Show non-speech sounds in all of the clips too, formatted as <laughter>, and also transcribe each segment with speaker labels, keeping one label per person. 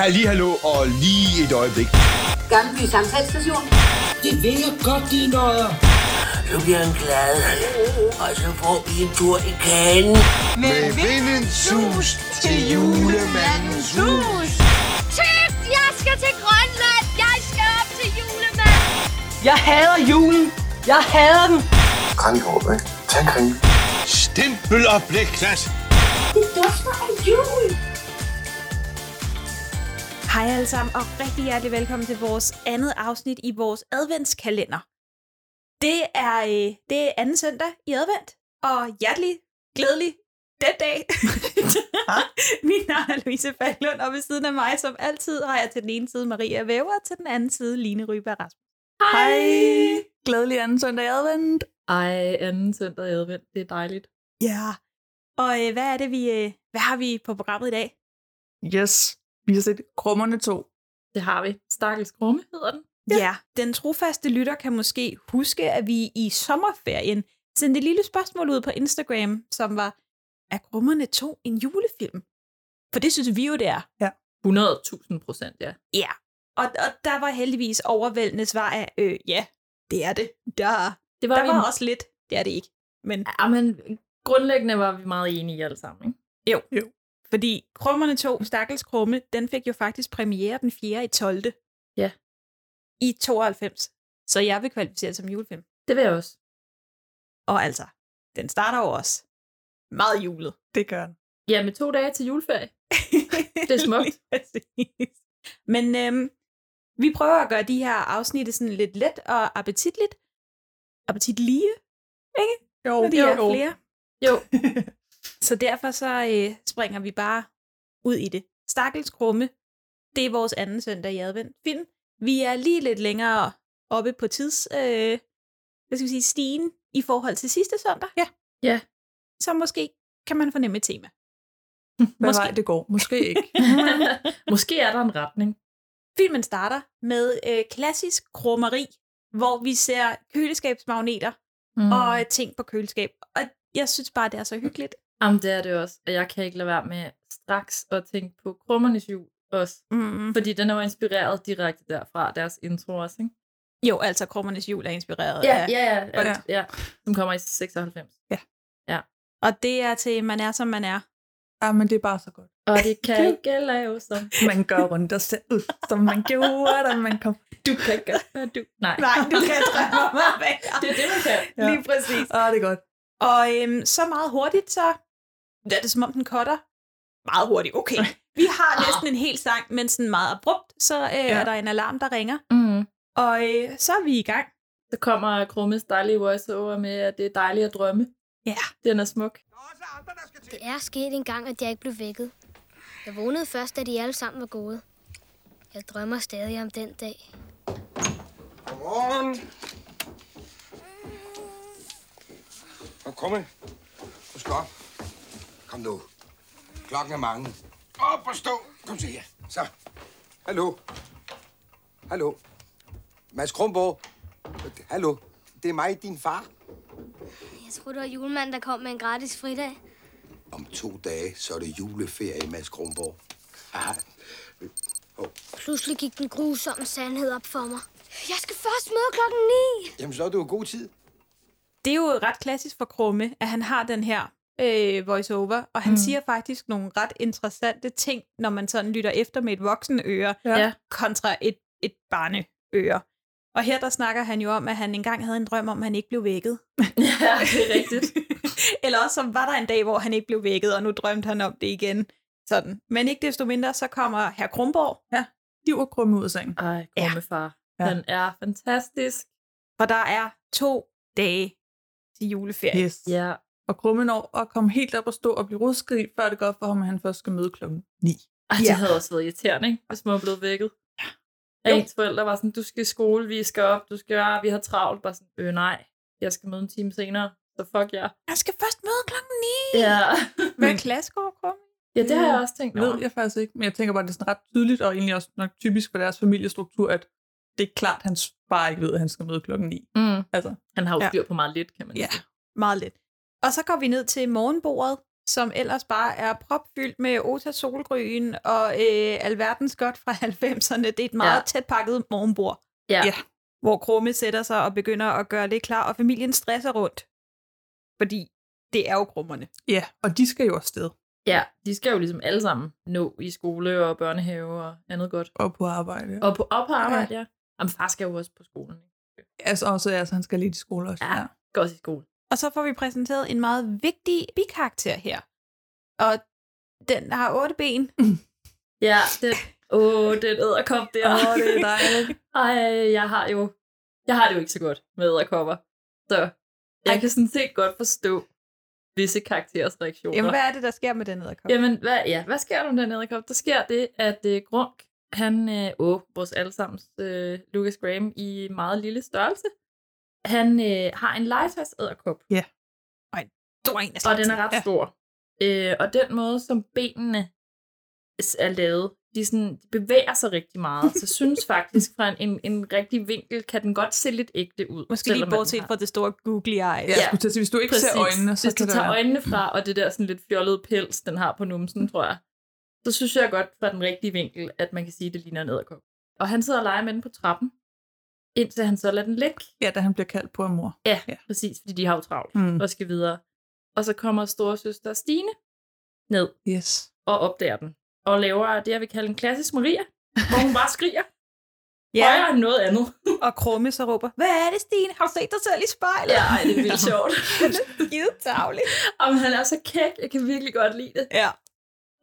Speaker 1: Halli, hallo og lige et øjeblik.
Speaker 2: Gammelby Samtalsstation.
Speaker 3: Det vil jeg godt, de nøjer.
Speaker 4: Så bliver han glad. Og så får vi en tur i kagen.
Speaker 1: Med vindens sus til julemandens hus.
Speaker 5: Typ, jeg skal til Grønland. Jeg skal op til julemanden.
Speaker 6: Jeg hader julen. Jeg hader den.
Speaker 7: Kranjehåb, ikke? Tag en
Speaker 1: Stempel og blikklat.
Speaker 2: Det dufter af jul.
Speaker 8: Hej alle sammen, og rigtig hjertelig velkommen til vores andet afsnit i vores adventskalender. Det er, øh, det er anden søndag i advent, og hjertelig, glædelig den dag. <laughs> Mit navn er Louise Faglund, og ved siden af mig som altid har jeg til den ene side Maria Væver, og til den anden side Line Ryberg Rasmussen.
Speaker 9: Hej! Glædelig anden søndag i advent. Ej, anden søndag i advent, det er dejligt.
Speaker 8: Ja. Og øh, hvad er det, vi, øh, hvad har vi på programmet i dag?
Speaker 9: Yes, vi har set Krummerne 2. Det har vi. Stakkels Krumme hedder den.
Speaker 8: Ja. ja. Den trofaste lytter kan måske huske, at vi i sommerferien sendte et lille spørgsmål ud på Instagram, som var, er Grummerne 2 en julefilm? For det synes vi jo, det er.
Speaker 9: 100.000 procent, ja.
Speaker 8: Ja. Og, og der var heldigvis overvældende svar af, øh, ja, det er det. Der,
Speaker 9: Det
Speaker 8: der var også lidt, det er det ikke. Men
Speaker 9: Ja, men grundlæggende var vi meget enige alle sammen, ikke?
Speaker 8: fordi Krummerne 2, Stakkels Krumme, den fik jo faktisk premiere den 4. i 12.
Speaker 9: Ja.
Speaker 8: I 92. Så jeg vil kvalificere det som julefilm.
Speaker 9: Det vil jeg også.
Speaker 8: Og altså, den starter jo også meget julet.
Speaker 10: Det gør den.
Speaker 9: Ja, med to dage til <laughs> juleferie. Det er smukt.
Speaker 8: <laughs> Lige præcis. Men øhm, vi prøver at gøre de her afsnit sådan lidt let og appetitligt. Appetitlige,
Speaker 10: Jo,
Speaker 8: når de
Speaker 10: jo,
Speaker 8: er
Speaker 10: jo.
Speaker 8: flere.
Speaker 9: Jo,
Speaker 8: <laughs> Så derfor så øh, springer vi bare ud i det. Stakkels Krumme, det er vores anden søndag i advent. Film. Vi er lige lidt længere oppe på tids, øh, hvad skal vi sige, stigen i forhold til sidste søndag. Ja.
Speaker 9: Ja.
Speaker 8: Så måske kan man fornemme et
Speaker 9: <laughs>
Speaker 8: tema. <laughs>
Speaker 10: Hvad
Speaker 8: Måske.
Speaker 10: vej det går. Måske ikke.
Speaker 9: måske er der en retning.
Speaker 8: Filmen starter med øh, klassisk krummeri, hvor vi ser køleskabsmagneter
Speaker 9: Mm.
Speaker 8: mm. og ting på køleskab. Og jeg synes bare, det er så hyggeligt.
Speaker 9: Jamen, det er det også. Og jeg kan ikke lade være med straks at tænke på Krummernes jul også.
Speaker 8: Mm.
Speaker 9: Fordi den er jo inspireret direkte derfra, deres intro også, ikke?
Speaker 8: Jo, altså Krummernes Jul er inspireret af.
Speaker 9: ja, ja. ja.
Speaker 10: og-
Speaker 9: ja. Som kommer i 96.
Speaker 8: Og det er til Man er, som man er.
Speaker 10: <laughs> ja, men det er bare så godt.
Speaker 9: Og det kan ikke lave som
Speaker 10: Man gør rundt og selv, som man gjorde, da man kom.
Speaker 9: du kan gøre, hvad <laughs> du... Nej.
Speaker 8: mig <laughs> bag.
Speaker 9: Det er det, man kan.
Speaker 10: Ja.
Speaker 8: Lige præcis.
Speaker 10: Åh, det er godt.
Speaker 8: Og øhm, så meget hurtigt, så er det som om, den cutter. Meget hurtigt, okay. Vi har næsten en hel sang, men sådan meget abrupt, så øh, ja. er der en alarm, der ringer.
Speaker 9: Mm.
Speaker 8: Og øh, så er vi i gang.
Speaker 9: Så kommer Krummes dejlige voiceover med, at det er dejligt at drømme.
Speaker 8: Ja.
Speaker 9: Den er smuk.
Speaker 5: Det er sket en gang, at jeg ikke blev vækket. Jeg vågnede først, da de alle sammen var gået. Jeg drømmer stadig om den dag.
Speaker 7: Godmorgen. Kom, kom. ind. Du skal op. Kom nu. Klokken er mange. Op og stå. Kom så her. Så. Hallo. Hallo. Mads Kronborg. Hallo. Det er mig, din far.
Speaker 5: Jeg tror, det var julemanden, der kom med en gratis fridag.
Speaker 7: Om to dage, så er det juleferie, Mads Kronborg. Haha.
Speaker 5: Pludselig gik den grusomme sandhed op for mig. Jeg skal først møde klokken 9.
Speaker 7: Jamen, så er det jo god tid.
Speaker 8: det er jo ret klassisk for Krumme, at han har den her øh, voiceover, og han mm. siger faktisk nogle ret interessante ting, når man sådan lytter efter med et voksenøre
Speaker 9: Ja.
Speaker 8: kontra et, et barneøre. Og her der snakker han jo om, at han engang havde en drøm om, at han ikke blev vækket.
Speaker 9: <laughs> ja, det er rigtigt.
Speaker 8: <laughs> Eller også så var der en dag, hvor han ikke blev vækket, og nu drømte han om det igen. Sådan. Men ikke desto mindre, så kommer herr Kronborg,
Speaker 10: Liv og krumme ud af sengen.
Speaker 9: Ej, Krummefar. Ja.
Speaker 10: Ja.
Speaker 9: Han er fantastisk.
Speaker 8: for der er to dage til juleferie.
Speaker 10: Yes.
Speaker 9: Ja.
Speaker 10: Og krumme når at komme helt op og stå og blive rusket i, før det går for ham, at han først skal møde klokken 9.
Speaker 9: Ej, det
Speaker 8: Ja.
Speaker 9: havde også været irriterende, ikke? hvis man var blevet vækket. Ja.
Speaker 8: Jo.
Speaker 9: Ens forældre var sådan, du skal i skole, vi skal op, du skal gøre, vi har travlt. Bare sådan, øh nej, jeg skal møde en time senere, så fuck jer.
Speaker 8: Han skal først møde klokken 9.
Speaker 9: Ja,
Speaker 8: Hvad klasse går Krumme?
Speaker 9: ja det har jeg også tænkt
Speaker 10: Det ved
Speaker 9: over.
Speaker 10: jeg faktisk ikke, men jeg tænker bare, at det er sådan ret tydeligt, og egentlig også nok typisk for deres familiestruktur, at det er klart, at hans far ikke ved, at han skal møde klokken 9.
Speaker 9: Mm.
Speaker 10: Altså,
Speaker 9: Han har jo
Speaker 8: Ja.
Speaker 9: styr på meget lidt, kan man
Speaker 10: Ja.
Speaker 9: sige.
Speaker 8: Meget lidt. Og så går vi ned til morgenbordet, som ellers bare er propfyldt med Ota Solgryn og øh, alverdens godt fra <laughs> 90'erne. Det er et meget ja.
Speaker 9: Ja.
Speaker 8: tæt pakket morgenbord,
Speaker 9: Ja.
Speaker 10: Ja.
Speaker 9: ja.
Speaker 8: hvor Krumme sætter sig og begynder at gøre lidt klar, og familien stresser rundt. Fordi det er jo krummerne.
Speaker 10: Ja, og de skal jo afsted
Speaker 9: Ja, de skal jo ligesom alle sammen nå i skole og børnehave og andet godt.
Speaker 10: og på arbejde. Og,
Speaker 9: Og på, og på arbejde, ja. ja. Jamen, far skal jo også på skolen. ikke?
Speaker 10: altså, også, altså, han skal lidt i skole også.
Speaker 9: Ja. Skal også i skole.
Speaker 8: Og så får vi præsenteret en meget vigtig bikarakter her. Og den har otte ben.
Speaker 9: Ja, den, åh, den æderkop der.
Speaker 10: Åh, det er dejligt.
Speaker 9: <laughs> Ej, jeg har jo, jeg har det jo ikke så godt med æderkopper. Så jeg kan sådan set godt forstå visse karakterers reaktioner.
Speaker 8: Jamen, hvad er det, der sker med den æderkop?
Speaker 9: Jamen, hvad, ja, hvad sker der med den æderkop? Der sker det, at øh, Grunk, han, øh, åh, vores allesammens øh, Lucas Graham i meget lille størrelse, han øh, har en legetøjsæderkop,
Speaker 8: Du er en af
Speaker 9: og
Speaker 8: slagsen.
Speaker 9: den er ret stor. Øh, og den måde, som benene s- er lavet, de, sådan, de bevæger sig rigtig meget. Så
Speaker 10: <laughs>
Speaker 9: jeg synes faktisk, fra en, en, en rigtig vinkel, kan den godt se lidt ægte ud.
Speaker 8: Måske
Speaker 9: selvom
Speaker 8: lige
Speaker 9: man
Speaker 8: bortset
Speaker 9: har-
Speaker 8: fra det store googly eye.
Speaker 10: Ja,
Speaker 9: Ja.
Speaker 10: jeg skulle til at sige, hvis du ikke ser øjnene, så
Speaker 9: Hvis du
Speaker 10: kan det
Speaker 9: tager
Speaker 10: være- Mm.
Speaker 9: øjnene fra, og det der sådan lidt fjollede pels, den har på numsen, tror jeg, så synes jeg godt fra den rigtige vinkel, at man kan sige, at det ligner en æderkop. Og han sidder og leger med den på trappen, indtil han så lader den ligge.
Speaker 10: Ja, da han bliver kaldt på af mor.
Speaker 9: Ja,
Speaker 10: Ja.
Speaker 9: ja. præcis, fordi de har jo travlt
Speaker 10: Mm.
Speaker 9: og skal videre. Og så kommer storesøster Stine ned
Speaker 10: Yes.
Speaker 9: og opdager den, og laver det, jeg vil kalde en klassisk Maria, hvor hun bare skriger højere end noget andet.
Speaker 8: og Krumme så råber, hvad er det, Stine? Har du set dig selv i spejlet?
Speaker 9: Ja, ej, det er vildt
Speaker 8: <laughs>
Speaker 9: sjovt.
Speaker 8: Skide tavligt.
Speaker 9: <laughs> Om han er så kæk, jeg kan virkelig godt lide det.
Speaker 8: Ja.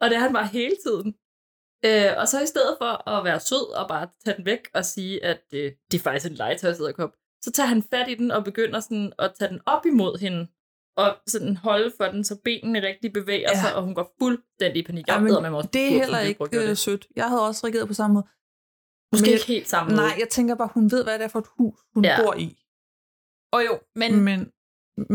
Speaker 9: Og det er han bare hele tiden. Øh, og så i stedet for at være sød og bare tage den væk og sige, at øh, det er faktisk en legetøjsæderkop, så tager han fat i den og begynder sådan at tage den op imod hende. Og sådan holde for den, så benene rigtig bevæger
Speaker 10: Ja.
Speaker 9: ja. sig, og hun går fuldstændig i panik.
Speaker 10: Ja,
Speaker 9: Jeg
Speaker 10: men
Speaker 9: ved, man også
Speaker 10: det er
Speaker 9: burde
Speaker 10: heller
Speaker 9: forbyde
Speaker 10: ikke
Speaker 9: at gøre
Speaker 10: øh,
Speaker 9: det.
Speaker 10: sødt. Jeg havde også reageret på samme måde.
Speaker 9: Måske
Speaker 10: men jeg-
Speaker 9: ikke helt samme måde.
Speaker 10: Nej, jeg tænker bare, hun ved, hvad det er for et hus, hun ja.
Speaker 9: Ja.
Speaker 10: bor i.
Speaker 8: Og jo, men,
Speaker 10: Men,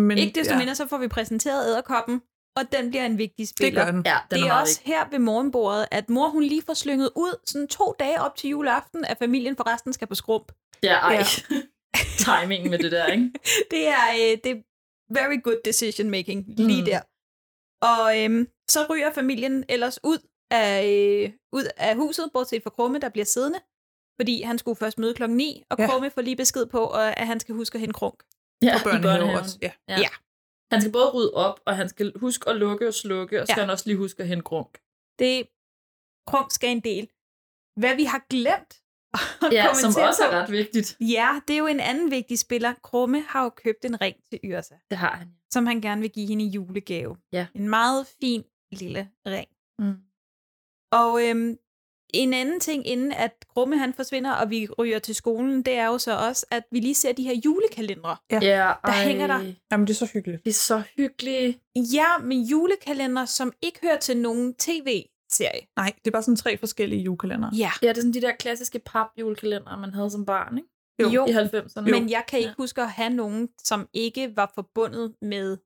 Speaker 10: men
Speaker 8: ikke desto ja. mindre, så får vi præsenteret æderkoppen, og den bliver en vigtig
Speaker 10: det
Speaker 8: spiller.
Speaker 10: gør den.
Speaker 9: Ja, den
Speaker 8: det er,
Speaker 9: meget
Speaker 8: også
Speaker 9: vigtig.
Speaker 8: her ved morgenbordet, at mor hun lige får slynget ud sådan to dage op til juleaften, at familien forresten skal på skrump.
Speaker 9: Ja, ej.
Speaker 8: Ja.
Speaker 9: Ja. <laughs> Timingen med det der,
Speaker 8: <laughs>
Speaker 9: ikke?
Speaker 8: Det er, øh, det er very good decision making lige
Speaker 9: Mm.
Speaker 8: der. Og øhm, så ryger familien ellers ud af, øh, ud af huset, bortset fra Krumme, der bliver siddende, fordi han skulle først møde klokken 9, og
Speaker 10: Ja.
Speaker 8: ja. Krumme får lige besked på, øh, at han skal huske at hente krunk.
Speaker 9: Ja,
Speaker 10: Og
Speaker 9: i
Speaker 10: børnene
Speaker 9: børnehaven.
Speaker 10: også. Ja.
Speaker 9: Ja.
Speaker 8: Ja.
Speaker 9: ja. Han skal både rydde op, og han skal huske at lukke og slukke, og så
Speaker 8: Ja.
Speaker 9: skal ja. han også lige huske at hente grunk.
Speaker 8: Det krunk skal en del. Hvad vi har glemt <laughs> at
Speaker 9: Ja, som
Speaker 8: kommentere
Speaker 9: også er
Speaker 8: på-
Speaker 9: ret vigtigt.
Speaker 8: Ja, det er jo en anden vigtig spiller. Krumme har jo købt en ring til Yrsa,
Speaker 9: Det har han.
Speaker 8: som han gerne vil give hende i julegave.
Speaker 9: Ja.
Speaker 8: En meget fin lille ring.
Speaker 9: Mm.
Speaker 8: Og øhm, en anden ting, inden at Krumme han forsvinder, og vi ryger til skolen, det er jo så også, at vi lige ser de her julekalendere.
Speaker 9: Ja,
Speaker 8: Der hænger der.
Speaker 10: Jamen, det er så hyggeligt.
Speaker 9: Det er så hyggeligt.
Speaker 8: Ja, men julekalendere, som ikke hører til nogen tv-serie.
Speaker 10: Nej, det er bare sådan tre forskellige julekalendere.
Speaker 8: Ja,
Speaker 9: Ja, det er sådan de der klassiske papjulekalender, man havde som barn, ikke?
Speaker 10: Jo.
Speaker 9: I 90'erne.
Speaker 8: men jeg kan ikke
Speaker 9: Ja.
Speaker 8: huske at have nogen, som ikke var forbundet med,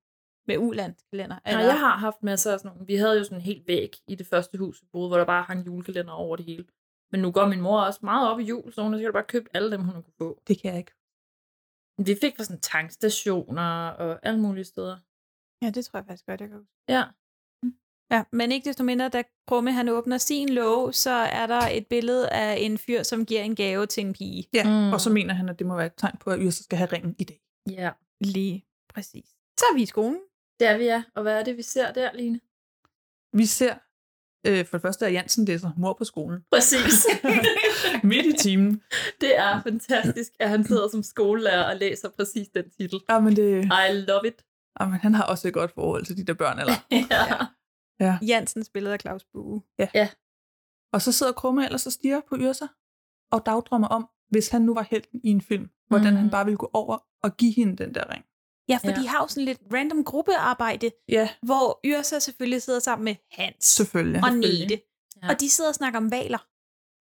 Speaker 8: med ulandskalender.
Speaker 9: Nej, jeg har haft masser af sådan nogle. Vi havde jo sådan en helt væg i det første hus, vi boede, hvor der bare hang julekalender over det hele. Men nu går min mor også meget op i jul, så hun har sikkert bare købt alle dem, hun har kunne få.
Speaker 10: Det kan jeg ikke.
Speaker 9: Vi fik fra sådan tankstationer og alle mulige steder.
Speaker 8: Ja, det tror jeg faktisk godt, jeg kan huske.
Speaker 9: Ja.
Speaker 8: Ja, men ikke desto mindre, da Krumme han åbner sin låge, så er der et billede af en fyr, som giver en gave til en pige.
Speaker 10: Ja, mm.
Speaker 9: Mm.
Speaker 10: og så mener han, at det må være et tegn på, at Yrsa skal have ringen i dag.
Speaker 9: Ja.
Speaker 8: Lige præcis. Så er vi i skolen.
Speaker 9: Det er vi, ja. Og hvad er det, vi ser der, Line?
Speaker 10: Vi ser, øh, for det første er Jansen læser mor på skolen,
Speaker 9: <laughs> Præcis.
Speaker 10: midt i timen.
Speaker 9: <laughs> det er fantastisk, at han sidder som skolelærer og læser præcis den titel.
Speaker 10: Jamen, det,
Speaker 9: I love it.
Speaker 10: jamen, han har også et godt forhold til de der børn, eller?
Speaker 9: ja.
Speaker 8: Jansens billede af Claus Bue.
Speaker 10: Og så sidder Krumme ellers og stiger på Yrsa og dagdrømmer om, hvis han nu var helten i en film, hvordan mm. han
Speaker 9: Mhm.
Speaker 10: bare ville gå over og give hende den der ring.
Speaker 8: Ja, for ja.
Speaker 9: Ja.
Speaker 8: de har jo sådan lidt random gruppearbejde,
Speaker 10: Ja,
Speaker 8: hvor Yrsa selvfølgelig sidder sammen med Hans
Speaker 10: selvfølgelig.
Speaker 8: og
Speaker 9: selvfølgelig.
Speaker 8: Nete. Ja.
Speaker 9: Ja.
Speaker 8: Og de sidder og snakker om valer. De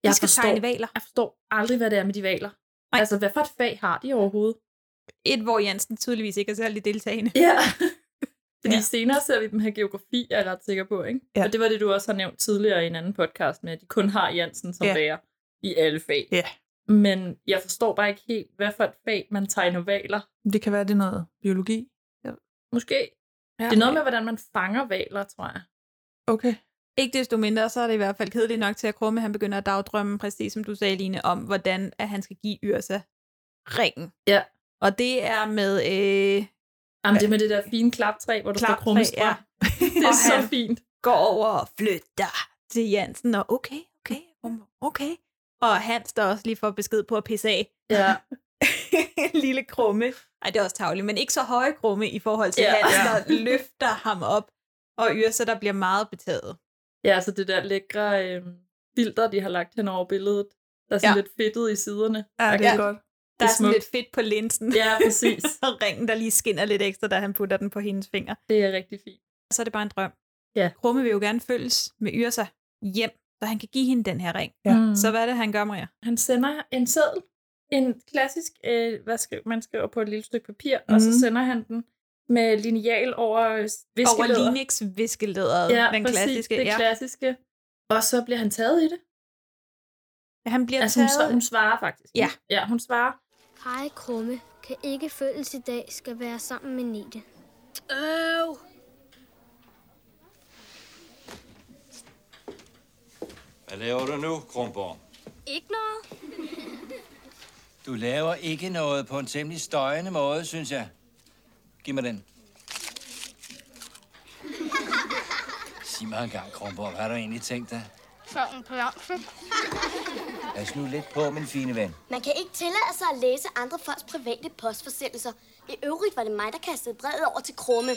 Speaker 9: Jeg
Speaker 8: skal
Speaker 9: forstår.
Speaker 8: tegne valer.
Speaker 9: Jeg forstår aldrig, hvad det er med de valer.
Speaker 8: Nej.
Speaker 9: Altså, hvad for et fag har de overhovedet?
Speaker 8: Et, hvor Jansen tydeligvis ikke er særlig deltagende.
Speaker 9: Ja. <laughs> Fordi ja. senere ser vi dem have geografi, er jeg ret sikker på, ikke?
Speaker 10: Ja.
Speaker 9: Og det var det, du også har nævnt tidligere i en anden podcast med, at de kun har Jansen som
Speaker 10: Ja.
Speaker 9: ja. lærer i alle fag.
Speaker 10: Ja.
Speaker 9: Men jeg forstår bare ikke helt, hvad for et fag man tegner valer.
Speaker 10: Det kan være, det er noget biologi.
Speaker 9: Måske. Ja. Det er noget med, hvordan man fanger valer, tror jeg.
Speaker 10: Okay.
Speaker 8: Ikke desto mindre, så er det i hvert fald kedeligt nok til, at Krumme han begynder at dagdrømme, præcis som du sagde, Line, om hvordan at han skal give Yrsa ringen.
Speaker 9: Ja.
Speaker 8: Og det er med...
Speaker 9: <laughs>
Speaker 8: Øh,
Speaker 9: Jamen, det er med det der fine klaptræ, hvor der står
Speaker 8: Klaptræ,
Speaker 9: krummestrøm.
Speaker 8: ja.
Speaker 9: Ja. <laughs> Det er
Speaker 8: Og
Speaker 9: så
Speaker 8: han-
Speaker 9: fint.
Speaker 8: går over og flytter til Jansen, og okay, okay, Krumme, okay. Og Hans, der også lige får besked på at pisse af.
Speaker 9: Ja.
Speaker 8: <laughs> Lille Krumme. Ej, det er også tavligt, men ikke så høje Krumme i forhold til
Speaker 9: Ja.
Speaker 8: ja. Hans, der løfter ham op. Og Yrsa, der bliver meget betaget.
Speaker 9: ja, så det der lækre øh, filter, de har lagt hen over billedet, der er sådan
Speaker 8: Ja.
Speaker 9: ja. lidt fedtet i siderne.
Speaker 10: Ja, det er
Speaker 8: Ja.
Speaker 10: godt.
Speaker 8: Der er,
Speaker 9: er
Speaker 8: er sådan
Speaker 9: smukt.
Speaker 8: lidt fedt på linsen. <laughs>
Speaker 9: Ja, præcis.
Speaker 8: og ringen, der lige skinner lidt ekstra, da han putter den på hendes fingre.
Speaker 9: Det er rigtig fint.
Speaker 8: Og så er det bare en drøm.
Speaker 9: Ja.
Speaker 8: Krumme vil jo gerne følges med Yrsa hjem, så han kan give hende den her ring.
Speaker 10: Ja.
Speaker 9: Mm.
Speaker 8: Så hvad er det, han gør, Maria?
Speaker 9: Han sender en seddel, en klassisk, øh, hvad skriver, man skriver på et lille stykke papir, mm. og så
Speaker 10: Mhm.
Speaker 9: sender han den med lineal over øh,
Speaker 8: Over
Speaker 9: viskelæder.
Speaker 8: Linux viskelæder,
Speaker 9: Ja,
Speaker 8: den
Speaker 9: præcis,
Speaker 8: klassiske.
Speaker 9: det
Speaker 8: ja.
Speaker 9: klassiske. Og så bliver han taget i det.
Speaker 8: Han bliver
Speaker 9: Altså, hun,
Speaker 8: taget.
Speaker 9: så- hun svarer faktisk.
Speaker 8: Ja.
Speaker 9: ja, hun svarer.
Speaker 5: Hej, Krumme. Kan ikke følges i dag, skal være sammen med Nete. Øv!
Speaker 1: Hvad laver du nu, Kronborg?
Speaker 5: Ikke noget?
Speaker 11: Du laver ikke noget på en temmelig støjende måde, synes jeg. Giv mig den. Sig mig engang, Kronborg, hvad har du egentlig tænkt dig?
Speaker 2: Sådan på
Speaker 11: Pas nu lidt på, min fine ven.
Speaker 2: Man kan ikke tillade sig at læse andre folks private postforsendelser. I øvrigt var det mig, der kastede brevet over til Krumme.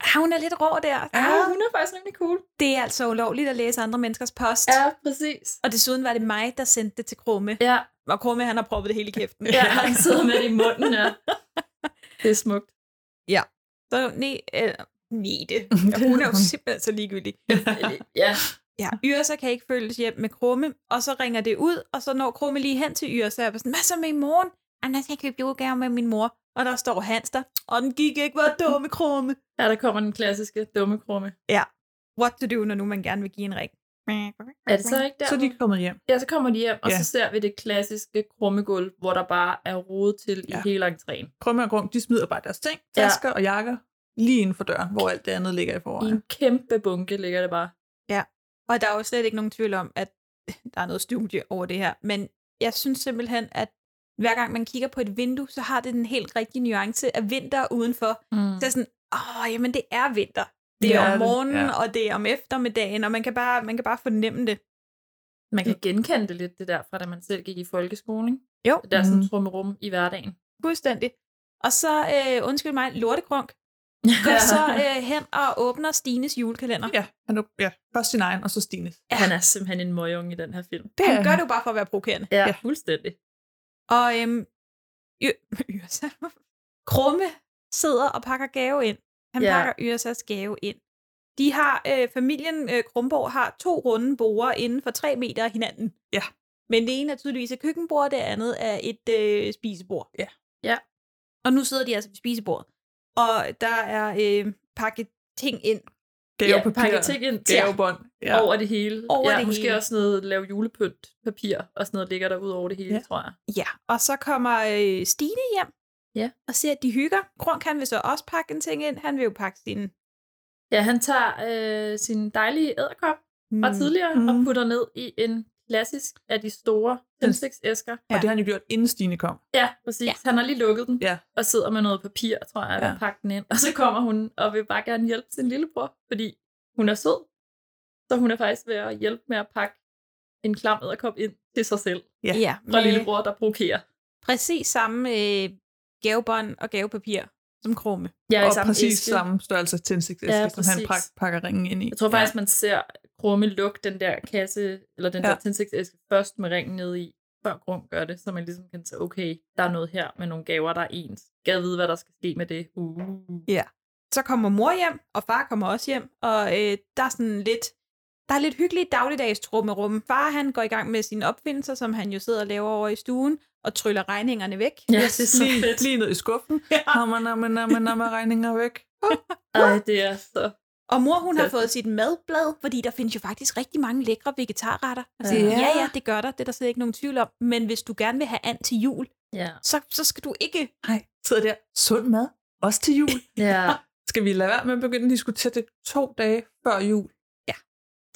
Speaker 8: Ah, hun er lidt rå der. Ah,
Speaker 9: Ja,
Speaker 2: Ah.
Speaker 9: hun er faktisk rimelig cool.
Speaker 8: Det er altså ulovligt at læse andre menneskers post.
Speaker 9: Ja, præcis.
Speaker 8: Og desuden var det mig, der sendte det til Krumme.
Speaker 9: Ja,
Speaker 8: Og Krumme, han har proppet det hele i kæften.
Speaker 9: <laughs>
Speaker 8: <laughs>
Speaker 9: ja han sidder med det i munden, ja. Det er
Speaker 8: <laughs>
Speaker 9: smukt.
Speaker 8: Så ne, øh, Nete. Hun er jo simpelthen så ligegyldig.
Speaker 9: Ja,
Speaker 8: Ja, Yrsa kan ikke følges hjem med Krumme, og så ringer det ud, og så når Krumme lige hen til Yrsa, og er sådan, hvad så med i morgen? Anders, jeg købte julegave med min mor. Og der står Hans der, og den gik ikke, hvor dumme Krumme.
Speaker 9: ja der kommer den klassiske dumme krumme.
Speaker 8: What to do, når nu man gerne vil give en ring?
Speaker 9: Er <laughs> det så ikke der?
Speaker 10: Så er de er kommet hjem.
Speaker 9: Ja, så kommer de hjem, og
Speaker 10: Ja.
Speaker 9: så ser vi det klassiske krummegulv, hvor der bare er rodet til i
Speaker 10: Ja.
Speaker 9: hele entréen.
Speaker 10: Krumme og Grum, de smider bare deres ting,
Speaker 9: Ja.
Speaker 10: tasker og jakker, lige inden for døren, hvor alt det andet ligger i
Speaker 9: I
Speaker 10: forvejen.
Speaker 9: en kæmpe bunke ligger det bare.
Speaker 8: Og der er jo slet ikke nogen tvivl om, at <laughs> der er noget studie over det her. Men jeg synes simpelthen, at hver gang man kigger på et vindue, så har det den helt rigtige nuance af vinter udenfor.
Speaker 9: Mm.
Speaker 8: Så er jeg sådan, åh, jamen det er vinter. Det er
Speaker 10: Ja,
Speaker 8: om
Speaker 10: det-
Speaker 8: morgenen,
Speaker 10: ja.
Speaker 8: og det er om eftermiddagen, og man kan bare, man kan bare fornemme det.
Speaker 9: Man kan genkende det lidt, det der, fra da man selv gik i folkeskolen. ikke?
Speaker 8: Jo.
Speaker 9: Det der sådan
Speaker 10: Mhm.
Speaker 9: trummerum i hverdagen.
Speaker 8: Fuldstændig. Og så, øh, undskyld mig, lortegrunk, går så øh, hen og åbner Stines julekalender.
Speaker 10: Ja, han er, ja, først sin egen, og så Stines.
Speaker 9: Han er simpelthen en møgung i den her film.
Speaker 10: Det
Speaker 8: Han
Speaker 10: er
Speaker 8: gør
Speaker 10: han.
Speaker 8: det jo bare for at være provokerende.
Speaker 9: Ja, fuldstændig.
Speaker 8: Og øhm, y- <laughs> Yrsa. Krumme sidder og pakker gave ind. Han
Speaker 9: Ja.
Speaker 8: ja. pakker Yrsas gave ind. De har, øh, familien øh, Krumborg har to runde borer inden for tre meter af hinanden.
Speaker 10: Ja.
Speaker 8: Men det ene er tydeligvis et køkkenbord, og det andet er et øh, spisebord.
Speaker 10: Ja.
Speaker 9: Ja.
Speaker 8: Og nu sidder de altså ved spisebordet. Og der er øh, pakket ting ind
Speaker 10: Gavepapir,
Speaker 9: pakke ting ind til
Speaker 10: gavebånd. Ja.
Speaker 9: over det hele.
Speaker 8: Over
Speaker 9: ja,
Speaker 8: det
Speaker 9: måske
Speaker 8: hele.
Speaker 9: også noget lave julepynt papir og sådan noget ligger der ud over det hele,
Speaker 10: Ja.
Speaker 9: ja. tror jeg.
Speaker 8: Ja, og så kommer øh, Stine hjem
Speaker 9: Ja.
Speaker 8: og ser, at de hygger. Grunk, han vil så også pakke en ting ind. Han vil jo pakke sin...
Speaker 9: Ja, han tager øh, sin dejlige æderkop fra
Speaker 8: Mm.
Speaker 9: tidligere
Speaker 10: Mm.
Speaker 9: og putter ned i en klassisk af de store tændstiksæsker.
Speaker 10: Og det har han jo gjort, inden Stine kom.
Speaker 9: Ja, præcis. Ja. Han har lige lukket den
Speaker 10: Ja.
Speaker 9: og sidder med noget papir, tror jeg, og
Speaker 10: Ja.
Speaker 9: ja. pakker den ind. Og så kommer hun og vil bare gerne hjælpe sin lillebror, fordi hun er sød. Så hun er faktisk ved at hjælpe med at pakke en klam æderkop ind til sig selv.
Speaker 10: Ja.
Speaker 9: Fra
Speaker 8: med
Speaker 9: lillebror, der provokerer.
Speaker 8: præcis samme øh, gavebånd og gavepapir som Krumme.
Speaker 9: Ja,
Speaker 10: og præcis samme størrelse tændstiksæske,
Speaker 9: Ja,
Speaker 10: ja, som han
Speaker 9: præcis.
Speaker 10: pak- pakker ringen ind i.
Speaker 9: Jeg tror faktisk, man ser Krumme lukke den der kasse, eller den ja.
Speaker 10: Ja.
Speaker 9: der tændstiksæske først med ringen ned i, før Krum gør det, så man ligesom kan sige, okay, der er noget her med nogle gaver, der er ens. Gad vide, hvad der skal ske med det. Uh.
Speaker 8: Så kommer mor hjem, og far kommer også hjem, og øh, der er sådan lidt... Der er lidt hyggeligt dagligdags trummerum. Far han går i gang med sine opfindelser, som han jo sidder og laver over i stuen, og tryller regningerne væk.
Speaker 9: Ja, det er så
Speaker 10: lige,
Speaker 9: fedt.
Speaker 10: lige ned i skuffen.
Speaker 9: Ah.
Speaker 10: Hammer, nammer, nammer, nammer, regninger væk.
Speaker 9: Ej, det er så...
Speaker 8: Og mor, hun har
Speaker 9: Fantastisk.
Speaker 8: fået sit madblad, fordi der findes jo faktisk rigtig mange lækre vegetarretter. Altså,
Speaker 9: Ja.
Speaker 8: ja. ja, ja, det gør der. Det er der slet ikke nogen tvivl om. Men hvis du gerne vil have and til jul,
Speaker 9: Ja.
Speaker 8: så, så skal du ikke...
Speaker 10: Nej, sidder der. Sund mad. også til jul.
Speaker 9: Ja.
Speaker 10: Skal vi lade være med at begynde at diskutere det to dage før jul?
Speaker 9: <laughs>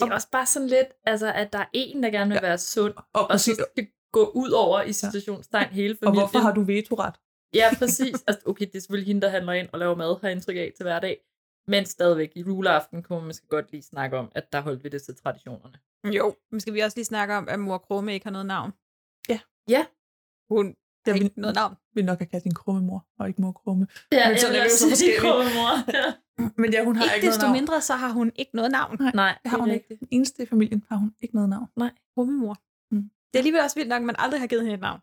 Speaker 9: Det er også bare sådan lidt, altså, at der er en, der gerne vil ja. være sund,
Speaker 10: og,
Speaker 9: og så skal gå ud over i situationstegn ja. hele familien.
Speaker 10: Og hvorfor har du vetoret?
Speaker 9: Ja, præcis. Altså, okay, det er selvfølgelig hende, der handler ind og laver mad, har jeg indtryk af til hverdag. Men stadigvæk, i juleaften kunne man måske godt lige snakke om, at der holdt vi det til traditionerne.
Speaker 8: Jo. Men skal vi også lige snakke om, at mor Krumme ikke har noget navn?
Speaker 10: Ja.
Speaker 9: Ja.
Speaker 8: Hun har
Speaker 10: Jeg vil,
Speaker 8: ikke noget navn.
Speaker 10: vil nok have kaldt din krumme mor, og ikke mor krumme.
Speaker 9: Ja,
Speaker 10: Men sådan er
Speaker 9: jeg
Speaker 10: vi jo så forskellige.
Speaker 9: <laughs> mor. Ja.
Speaker 10: Men ja, hun har ikke,
Speaker 8: Ikke
Speaker 10: noget
Speaker 8: desto
Speaker 10: navn.
Speaker 8: mindre, så har hun ikke noget navn.
Speaker 9: Nej,
Speaker 10: Det har hun ikke. Den eneste i familien har hun ikke noget navn.
Speaker 8: Rummemor.
Speaker 10: Mm.
Speaker 8: Det er alligevel også vildt nok, at man aldrig har givet hende et navn.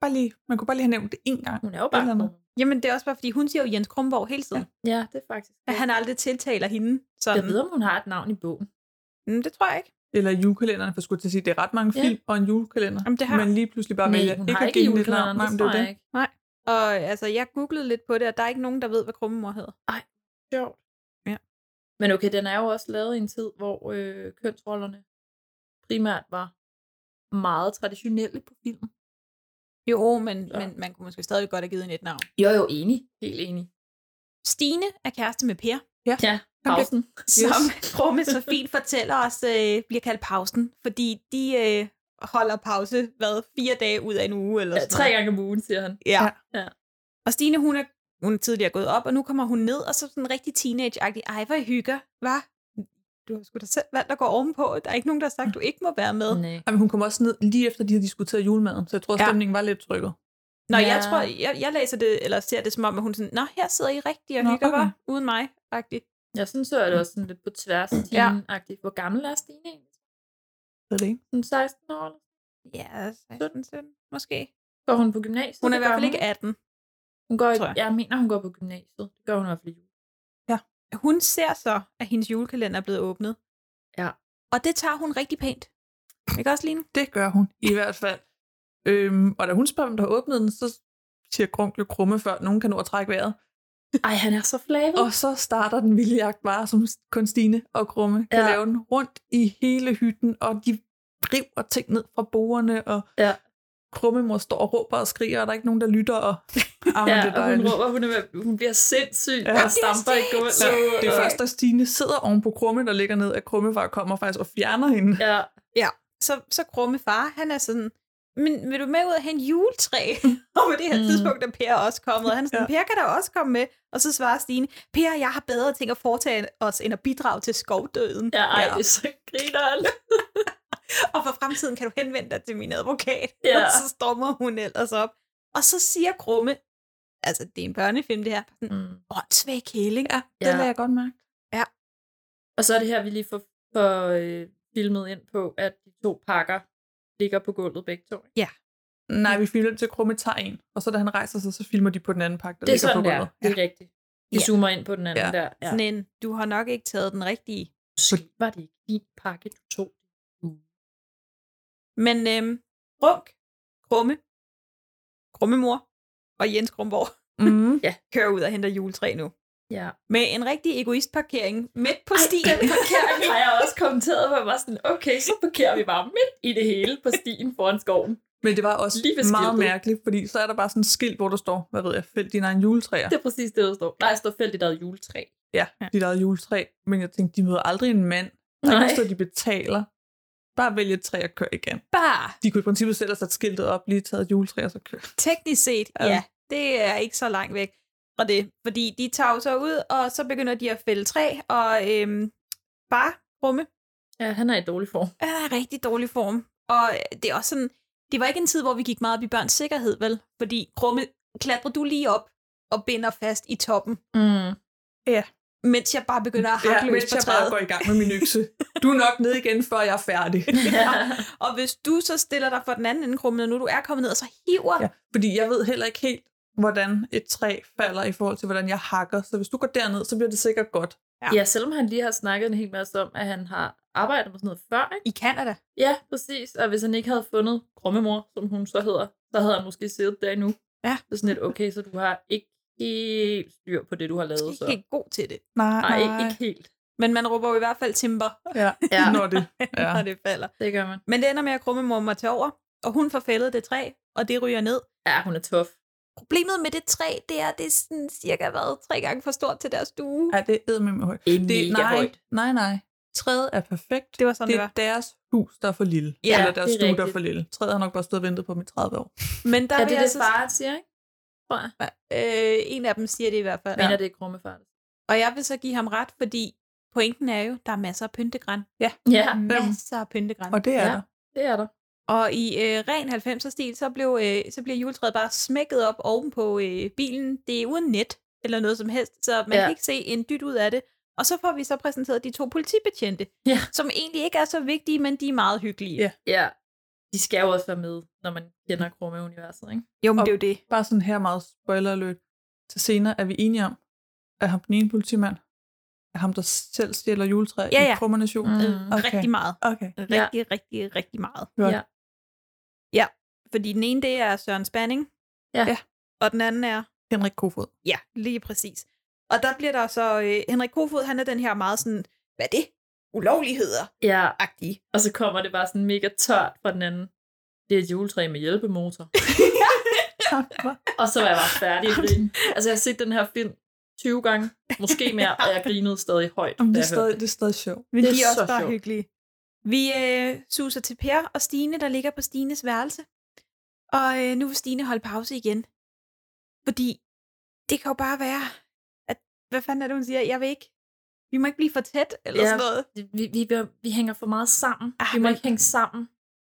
Speaker 10: Bare lige, man kunne bare lige have nævnt det én gang.
Speaker 9: Hun er jo bare
Speaker 10: Eller noget.
Speaker 9: krumme.
Speaker 8: Jamen, det er også bare, fordi hun siger jo Jens Krumborg hele tiden. Ja.
Speaker 9: Ja, det er faktisk.
Speaker 8: At han aldrig tiltaler hende.
Speaker 9: Jeg
Speaker 8: Sådan.
Speaker 9: ved, om hun har et navn i bogen.
Speaker 8: Mm, det tror jeg ikke.
Speaker 10: Eller julekalenderen, for jeg skulle til at sige, det er ret mange
Speaker 9: Ja.
Speaker 10: film og en julekalender.
Speaker 8: Jamen, det har-
Speaker 10: Men lige pludselig bare
Speaker 9: Nej,
Speaker 10: vælger
Speaker 9: hun
Speaker 10: ikke
Speaker 9: har
Speaker 10: at
Speaker 9: ikke
Speaker 10: give den et navn.
Speaker 9: julekalenderen,
Speaker 10: Nej,
Speaker 9: det
Speaker 10: men det
Speaker 9: tror
Speaker 10: er
Speaker 9: jeg
Speaker 10: det.
Speaker 8: Og
Speaker 9: ikke.
Speaker 8: altså, jeg googlede lidt på det, og der er ikke nogen, der ved, hvad krummemor hedder.
Speaker 9: Sjovt.
Speaker 8: Ja.
Speaker 9: Men okay, den er jo også lavet i en tid, hvor øh, kønsrollerne primært var meget traditionelle på film.
Speaker 8: Jo, men,
Speaker 9: Ja.
Speaker 8: ja. men man kunne måske stadig godt have givet hende et navn.
Speaker 9: Jeg er jo enig. Helt enig.
Speaker 8: Stine er kæreste med Per,
Speaker 9: Ja, pausen.
Speaker 8: som <laughs> Krumme så fint fortæller os, øh, bliver kaldt pausen, fordi de øh, holder pause, hvad, fire dage ud af en uge eller
Speaker 9: Ja,
Speaker 8: sådan
Speaker 9: tre
Speaker 8: noget.
Speaker 9: gange om ugen, siger han.
Speaker 8: Ja.
Speaker 9: Ja.
Speaker 8: ja. Og Stine, hun er, hun er tidligere gået op, og nu kommer hun ned, og så sådan rigtig teenage-agtig. Ej, hvor I hygger, hva? Du har sgu da selv valgt at gå ovenpå. Der er ikke nogen, der har sagt, du ikke må være med.
Speaker 9: Nej.
Speaker 10: Jamen, hun kom også ned lige efter, de havde diskuteret julemaden, så jeg tror,
Speaker 8: Ja.
Speaker 10: stemningen var lidt trykket.
Speaker 8: Nå,
Speaker 9: Ja.
Speaker 8: jeg tror, jeg, jeg læser det, eller ser det som om, at hun sådan, Nå, her sidder I rigtig og
Speaker 10: Nå,
Speaker 8: hygger,
Speaker 10: okay.
Speaker 8: hva? Uden mig, agtigt.
Speaker 9: Jeg synes, så er det også sådan lidt på tværs af
Speaker 8: Mm. Ja.
Speaker 9: teenagtigt. Hvor gammel er Stine egentlig?
Speaker 10: Det er det ikke?
Speaker 9: Sådan 16 år? eller?
Speaker 8: Ja, 17, 17, måske.
Speaker 9: Går hun på gymnasiet?
Speaker 8: Hun er i
Speaker 9: Det
Speaker 8: hvert
Speaker 9: gør
Speaker 8: fald ikke 18.
Speaker 9: Hun går,
Speaker 8: tror jeg.
Speaker 9: jeg mener, hun går på gymnasiet. Det gør hun i hvert fald i jul.
Speaker 8: Hun ser så, at hendes julekalender er blevet åbnet.
Speaker 9: Ja.
Speaker 8: Og det tager hun rigtig pænt. Ikke også, Line?
Speaker 10: Det gør hun, i hvert fald. Øhm, og da hun spørger, om der åbnede den, så siger Grunk jo krumme, før nogen kan nå at trække vejret.
Speaker 9: Ej, han er så flavet.
Speaker 10: Og så starter den vilde jagt bare, som kun Stine og Krumme kan
Speaker 9: Ja.
Speaker 10: ja. lave den rundt i hele hytten, og de driver ting ned fra bordene, og
Speaker 9: Ja.
Speaker 10: Krumme mor står og råber og skriger, og der er ikke nogen, der lytter,
Speaker 9: <laughs>
Speaker 10: og, Jamen,
Speaker 9: ja,
Speaker 10: det er
Speaker 9: og hun
Speaker 10: dejligt.
Speaker 9: råber, hun, er, ved- hun bliver sindssyg
Speaker 10: Ja.
Speaker 9: ja. og stamper i gulvet.
Speaker 10: Så det er først, da Stine sidder oven på Krumme, der ligger ned, at Krumme bare kommer faktisk og fjerner hende. Ja.
Speaker 9: Ja,
Speaker 8: Så, så krumme far, han er sådan, men vil du med ud og hente juletræ? <laughs> og på det her
Speaker 9: Mm.
Speaker 8: mm. tidspunkt er Per også kommet, og han er sådan, ja. Per kan da også komme med. Og så svarer Stine, Per, jeg har bedre ting at foretage os, end at bidrage til skovdøden.
Speaker 9: ja ej, det er så grineren.
Speaker 8: Og for fremtiden kan du henvende dig til min advokat.
Speaker 9: Ja.
Speaker 8: Og så stormer hun ellers op. Og så siger Krumme, altså det er en børnefilm det her, sådan,
Speaker 9: Mm.
Speaker 8: åndssvag kæling. Ja.
Speaker 10: Det lader jeg godt mærke.
Speaker 9: Og så er det her, vi lige får, får øh, filmet ind på, at de to pakker ligger på gulvet begge to. ikke?
Speaker 10: Nej, vi filmer til Krumme tager en, og så da han rejser sig, så filmer de på den anden pakke, der
Speaker 9: Det er
Speaker 10: ligger
Speaker 9: sådan
Speaker 10: på
Speaker 9: der.
Speaker 10: gulvet.
Speaker 9: Det er rigtigt.
Speaker 8: Ja.
Speaker 9: Vi zoomer ind på den anden
Speaker 10: Ja.
Speaker 9: der. Ja.
Speaker 8: Sådan en, du har nok ikke taget den rigtige.
Speaker 9: Måske var det ikke din pakke, du tog.
Speaker 8: Men øhm, Runk, Krumme, Krummemor og Jens Krumborg <laughs>
Speaker 10: Mm.
Speaker 8: kører ud og henter juletræ nu.
Speaker 9: Ja.
Speaker 8: Med en rigtig egoistparkering midt på
Speaker 9: Ej,
Speaker 8: stien.
Speaker 9: den
Speaker 8: <laughs>
Speaker 9: parkering <laughs> har jeg også kommenteret, hvor jeg var sådan, okay, så parkerer vi bare midt i det hele på stien foran skoven.
Speaker 10: Men det var også
Speaker 9: Lige ved skiltet.
Speaker 10: meget mærkeligt, fordi så er der bare sådan et skilt, hvor der står, hvad ved jeg, fæld dine egne juletræer.
Speaker 9: Det er præcis det, der står. Nej, der står fældt i der juletræ.
Speaker 10: Ja,
Speaker 8: Ja.
Speaker 10: dit eget juletræ. Men jeg tænkte, de møder aldrig en mand. Der er
Speaker 9: Nej.
Speaker 10: ikke noget, de betaler. Bare vælge et træ og kør igen.
Speaker 8: Bare
Speaker 10: De kunne i princippet selv have sat skiltet op, lige taget et juletræ og så køre.
Speaker 8: teknisk set,
Speaker 10: Ja.
Speaker 8: ja. ja, det er ikke så langt væk fra det. Fordi de tager jo så ud, og så begynder de at fælde træ, og øhm, bare Krumme
Speaker 9: Ja, han er i dårlig form.
Speaker 8: er i Øh, rigtig dårlig form. Og øh, det er også sådan, det var ikke en tid, hvor vi gik meget op i børns sikkerhed, vel? Fordi Krumme, klatrer du lige op og binder fast i toppen,
Speaker 9: Mm.
Speaker 8: mens jeg bare begynder at hakke ja, løs
Speaker 10: mens
Speaker 8: på
Speaker 10: jeg
Speaker 8: træet.
Speaker 10: bare går i gang med min økse. <laughs> Du er nok nede igen, før jeg er færdig.
Speaker 9: Ja.
Speaker 8: Og hvis du så stiller dig for den anden ende, Krumme, når nu du er kommet ned, og så hiver
Speaker 10: Ja, fordi jeg ved heller ikke helt, hvordan et træ falder i forhold til, hvordan jeg hakker. Så hvis du går derned, så bliver det sikkert godt.
Speaker 8: Ja.
Speaker 9: ja, selvom han lige har snakket en hel masse om, at han har arbejdet med sådan noget før, ikke?
Speaker 8: i Kanada.
Speaker 9: Ja, præcis. Og hvis han ikke havde fundet grummemor, som hun så hedder, så havde han måske siddet der endnu.
Speaker 8: Ja.
Speaker 9: Det er sådan lidt, okay, så du har ikke helt styr på det, du har lavet. Så.
Speaker 8: Ikke helt god til det.
Speaker 10: Nej,
Speaker 9: Nej, ikke, ikke helt.
Speaker 8: Men man råber jo i hvert fald timber, <laughs>
Speaker 10: Ja,
Speaker 9: <laughs> Ja,
Speaker 10: når det
Speaker 8: ja.
Speaker 10: Ja.
Speaker 8: når det falder.
Speaker 9: det gør man.
Speaker 8: Men det ender med, at krummemor må tage over, og hun får fældet det træ, og det ryger ned.
Speaker 9: Ja, hun er tof.
Speaker 8: Problemet med det træ, det er, det er sådan cirka været tre gange for stort til deres stue.
Speaker 10: Ja, det er med højt.
Speaker 8: Det er
Speaker 10: det,
Speaker 8: mega
Speaker 10: nej,
Speaker 8: højt.
Speaker 10: nej, nej. Træet er perfekt.
Speaker 8: Det var sådan,
Speaker 10: det
Speaker 8: det
Speaker 10: er
Speaker 8: var.
Speaker 10: deres hus, der er for lille.
Speaker 8: Ja,
Speaker 10: Eller deres
Speaker 8: det er
Speaker 10: stue, der er
Speaker 8: rigtigt.
Speaker 10: for lille. Træet har nok bare stået og ventet på dem i 30 år.
Speaker 8: Men der
Speaker 9: Er
Speaker 8: vil
Speaker 9: det
Speaker 8: jeg
Speaker 9: det,
Speaker 8: så-
Speaker 9: faren siger, ikke? Tror jeg.
Speaker 8: Øh, en af dem siger det i hvert fald.
Speaker 9: Mener det er krumme fart.
Speaker 8: Og jeg vil så give ham ret, fordi pointen er jo, der er masser af pyntegræn.
Speaker 10: Ja.
Speaker 9: Ja.
Speaker 8: Masser af pyntegræn.
Speaker 10: Og det er
Speaker 8: ja.
Speaker 10: der.
Speaker 9: Det er der.
Speaker 8: Og i øh, ren 90'er-stil, så blev øh, så bliver juletræet bare smækket op oven på øh, bilen. Det er uden net eller noget som helst, så man
Speaker 9: Ja.
Speaker 8: ja. kan ikke se en dyt ud af det. Og så får vi så præsenteret de to politibetjente,
Speaker 9: ja.
Speaker 8: som egentlig ikke er så vigtige, men de er meget hyggelige.
Speaker 10: Ja.
Speaker 9: Ja. De skal jo også være med, når man kender krumme-universet, ikke?
Speaker 8: Jo, men
Speaker 10: Og
Speaker 8: det er jo det.
Speaker 10: Bare sådan her meget spoiler alert. Til senere er vi enige om, at ham den ene politimand, er ham, der selv stjæler juletræ
Speaker 8: Ja,
Speaker 10: i
Speaker 8: ja.
Speaker 10: Krumme Nation.
Speaker 9: Mm.
Speaker 10: Okay.
Speaker 8: Øh, Rigtig meget.
Speaker 10: Okay.
Speaker 8: Rigtig, ja. rigtig, rigtig meget.
Speaker 10: Godt.
Speaker 9: Ja.
Speaker 8: Ja, fordi den ene, det er Søren Spanning.
Speaker 9: Ja.
Speaker 10: Ja.
Speaker 8: Og den anden er
Speaker 10: Henrik
Speaker 8: <laughs>
Speaker 10: Kofod.
Speaker 8: Ja, lige præcis. Og der bliver der så, øh, Henrik Kofod, han er den her meget sådan, hvad er det? Ulovligheder.
Speaker 9: <laughs> Ja,
Speaker 8: Agtige.
Speaker 9: og så kommer det bare sådan mega tørt fra den anden. Det er et juletræ med hjælpemotor.
Speaker 10: <laughs>
Speaker 9: og så var jeg bare færdig at grine. Altså, jeg har set den her film 20 gange, måske mere, og jeg grinede stadig højt.
Speaker 10: Jamen,
Speaker 9: da
Speaker 10: det,
Speaker 9: jeg
Speaker 10: er
Speaker 9: hørte
Speaker 10: stadig, det er stadig sjovt.
Speaker 8: Men
Speaker 9: Det
Speaker 8: det
Speaker 9: er
Speaker 8: de er også
Speaker 9: så
Speaker 8: bare
Speaker 9: sjovt.
Speaker 8: hyggelige. Vi øh, suser til Per og Stine, der ligger på Stines værelse. Og øh, nu vil Stine holde pause igen. Fordi det kan jo bare være, at hvad fanden er det, hun siger? Jeg vil ikke. Vi må ikke blive for tæt, eller
Speaker 9: Ja.
Speaker 8: sådan noget.
Speaker 9: vi, vi, vi- vi hænger for meget sammen.
Speaker 8: Ah,
Speaker 9: Ah, vi må
Speaker 8: men-
Speaker 9: ikke hænge sammen,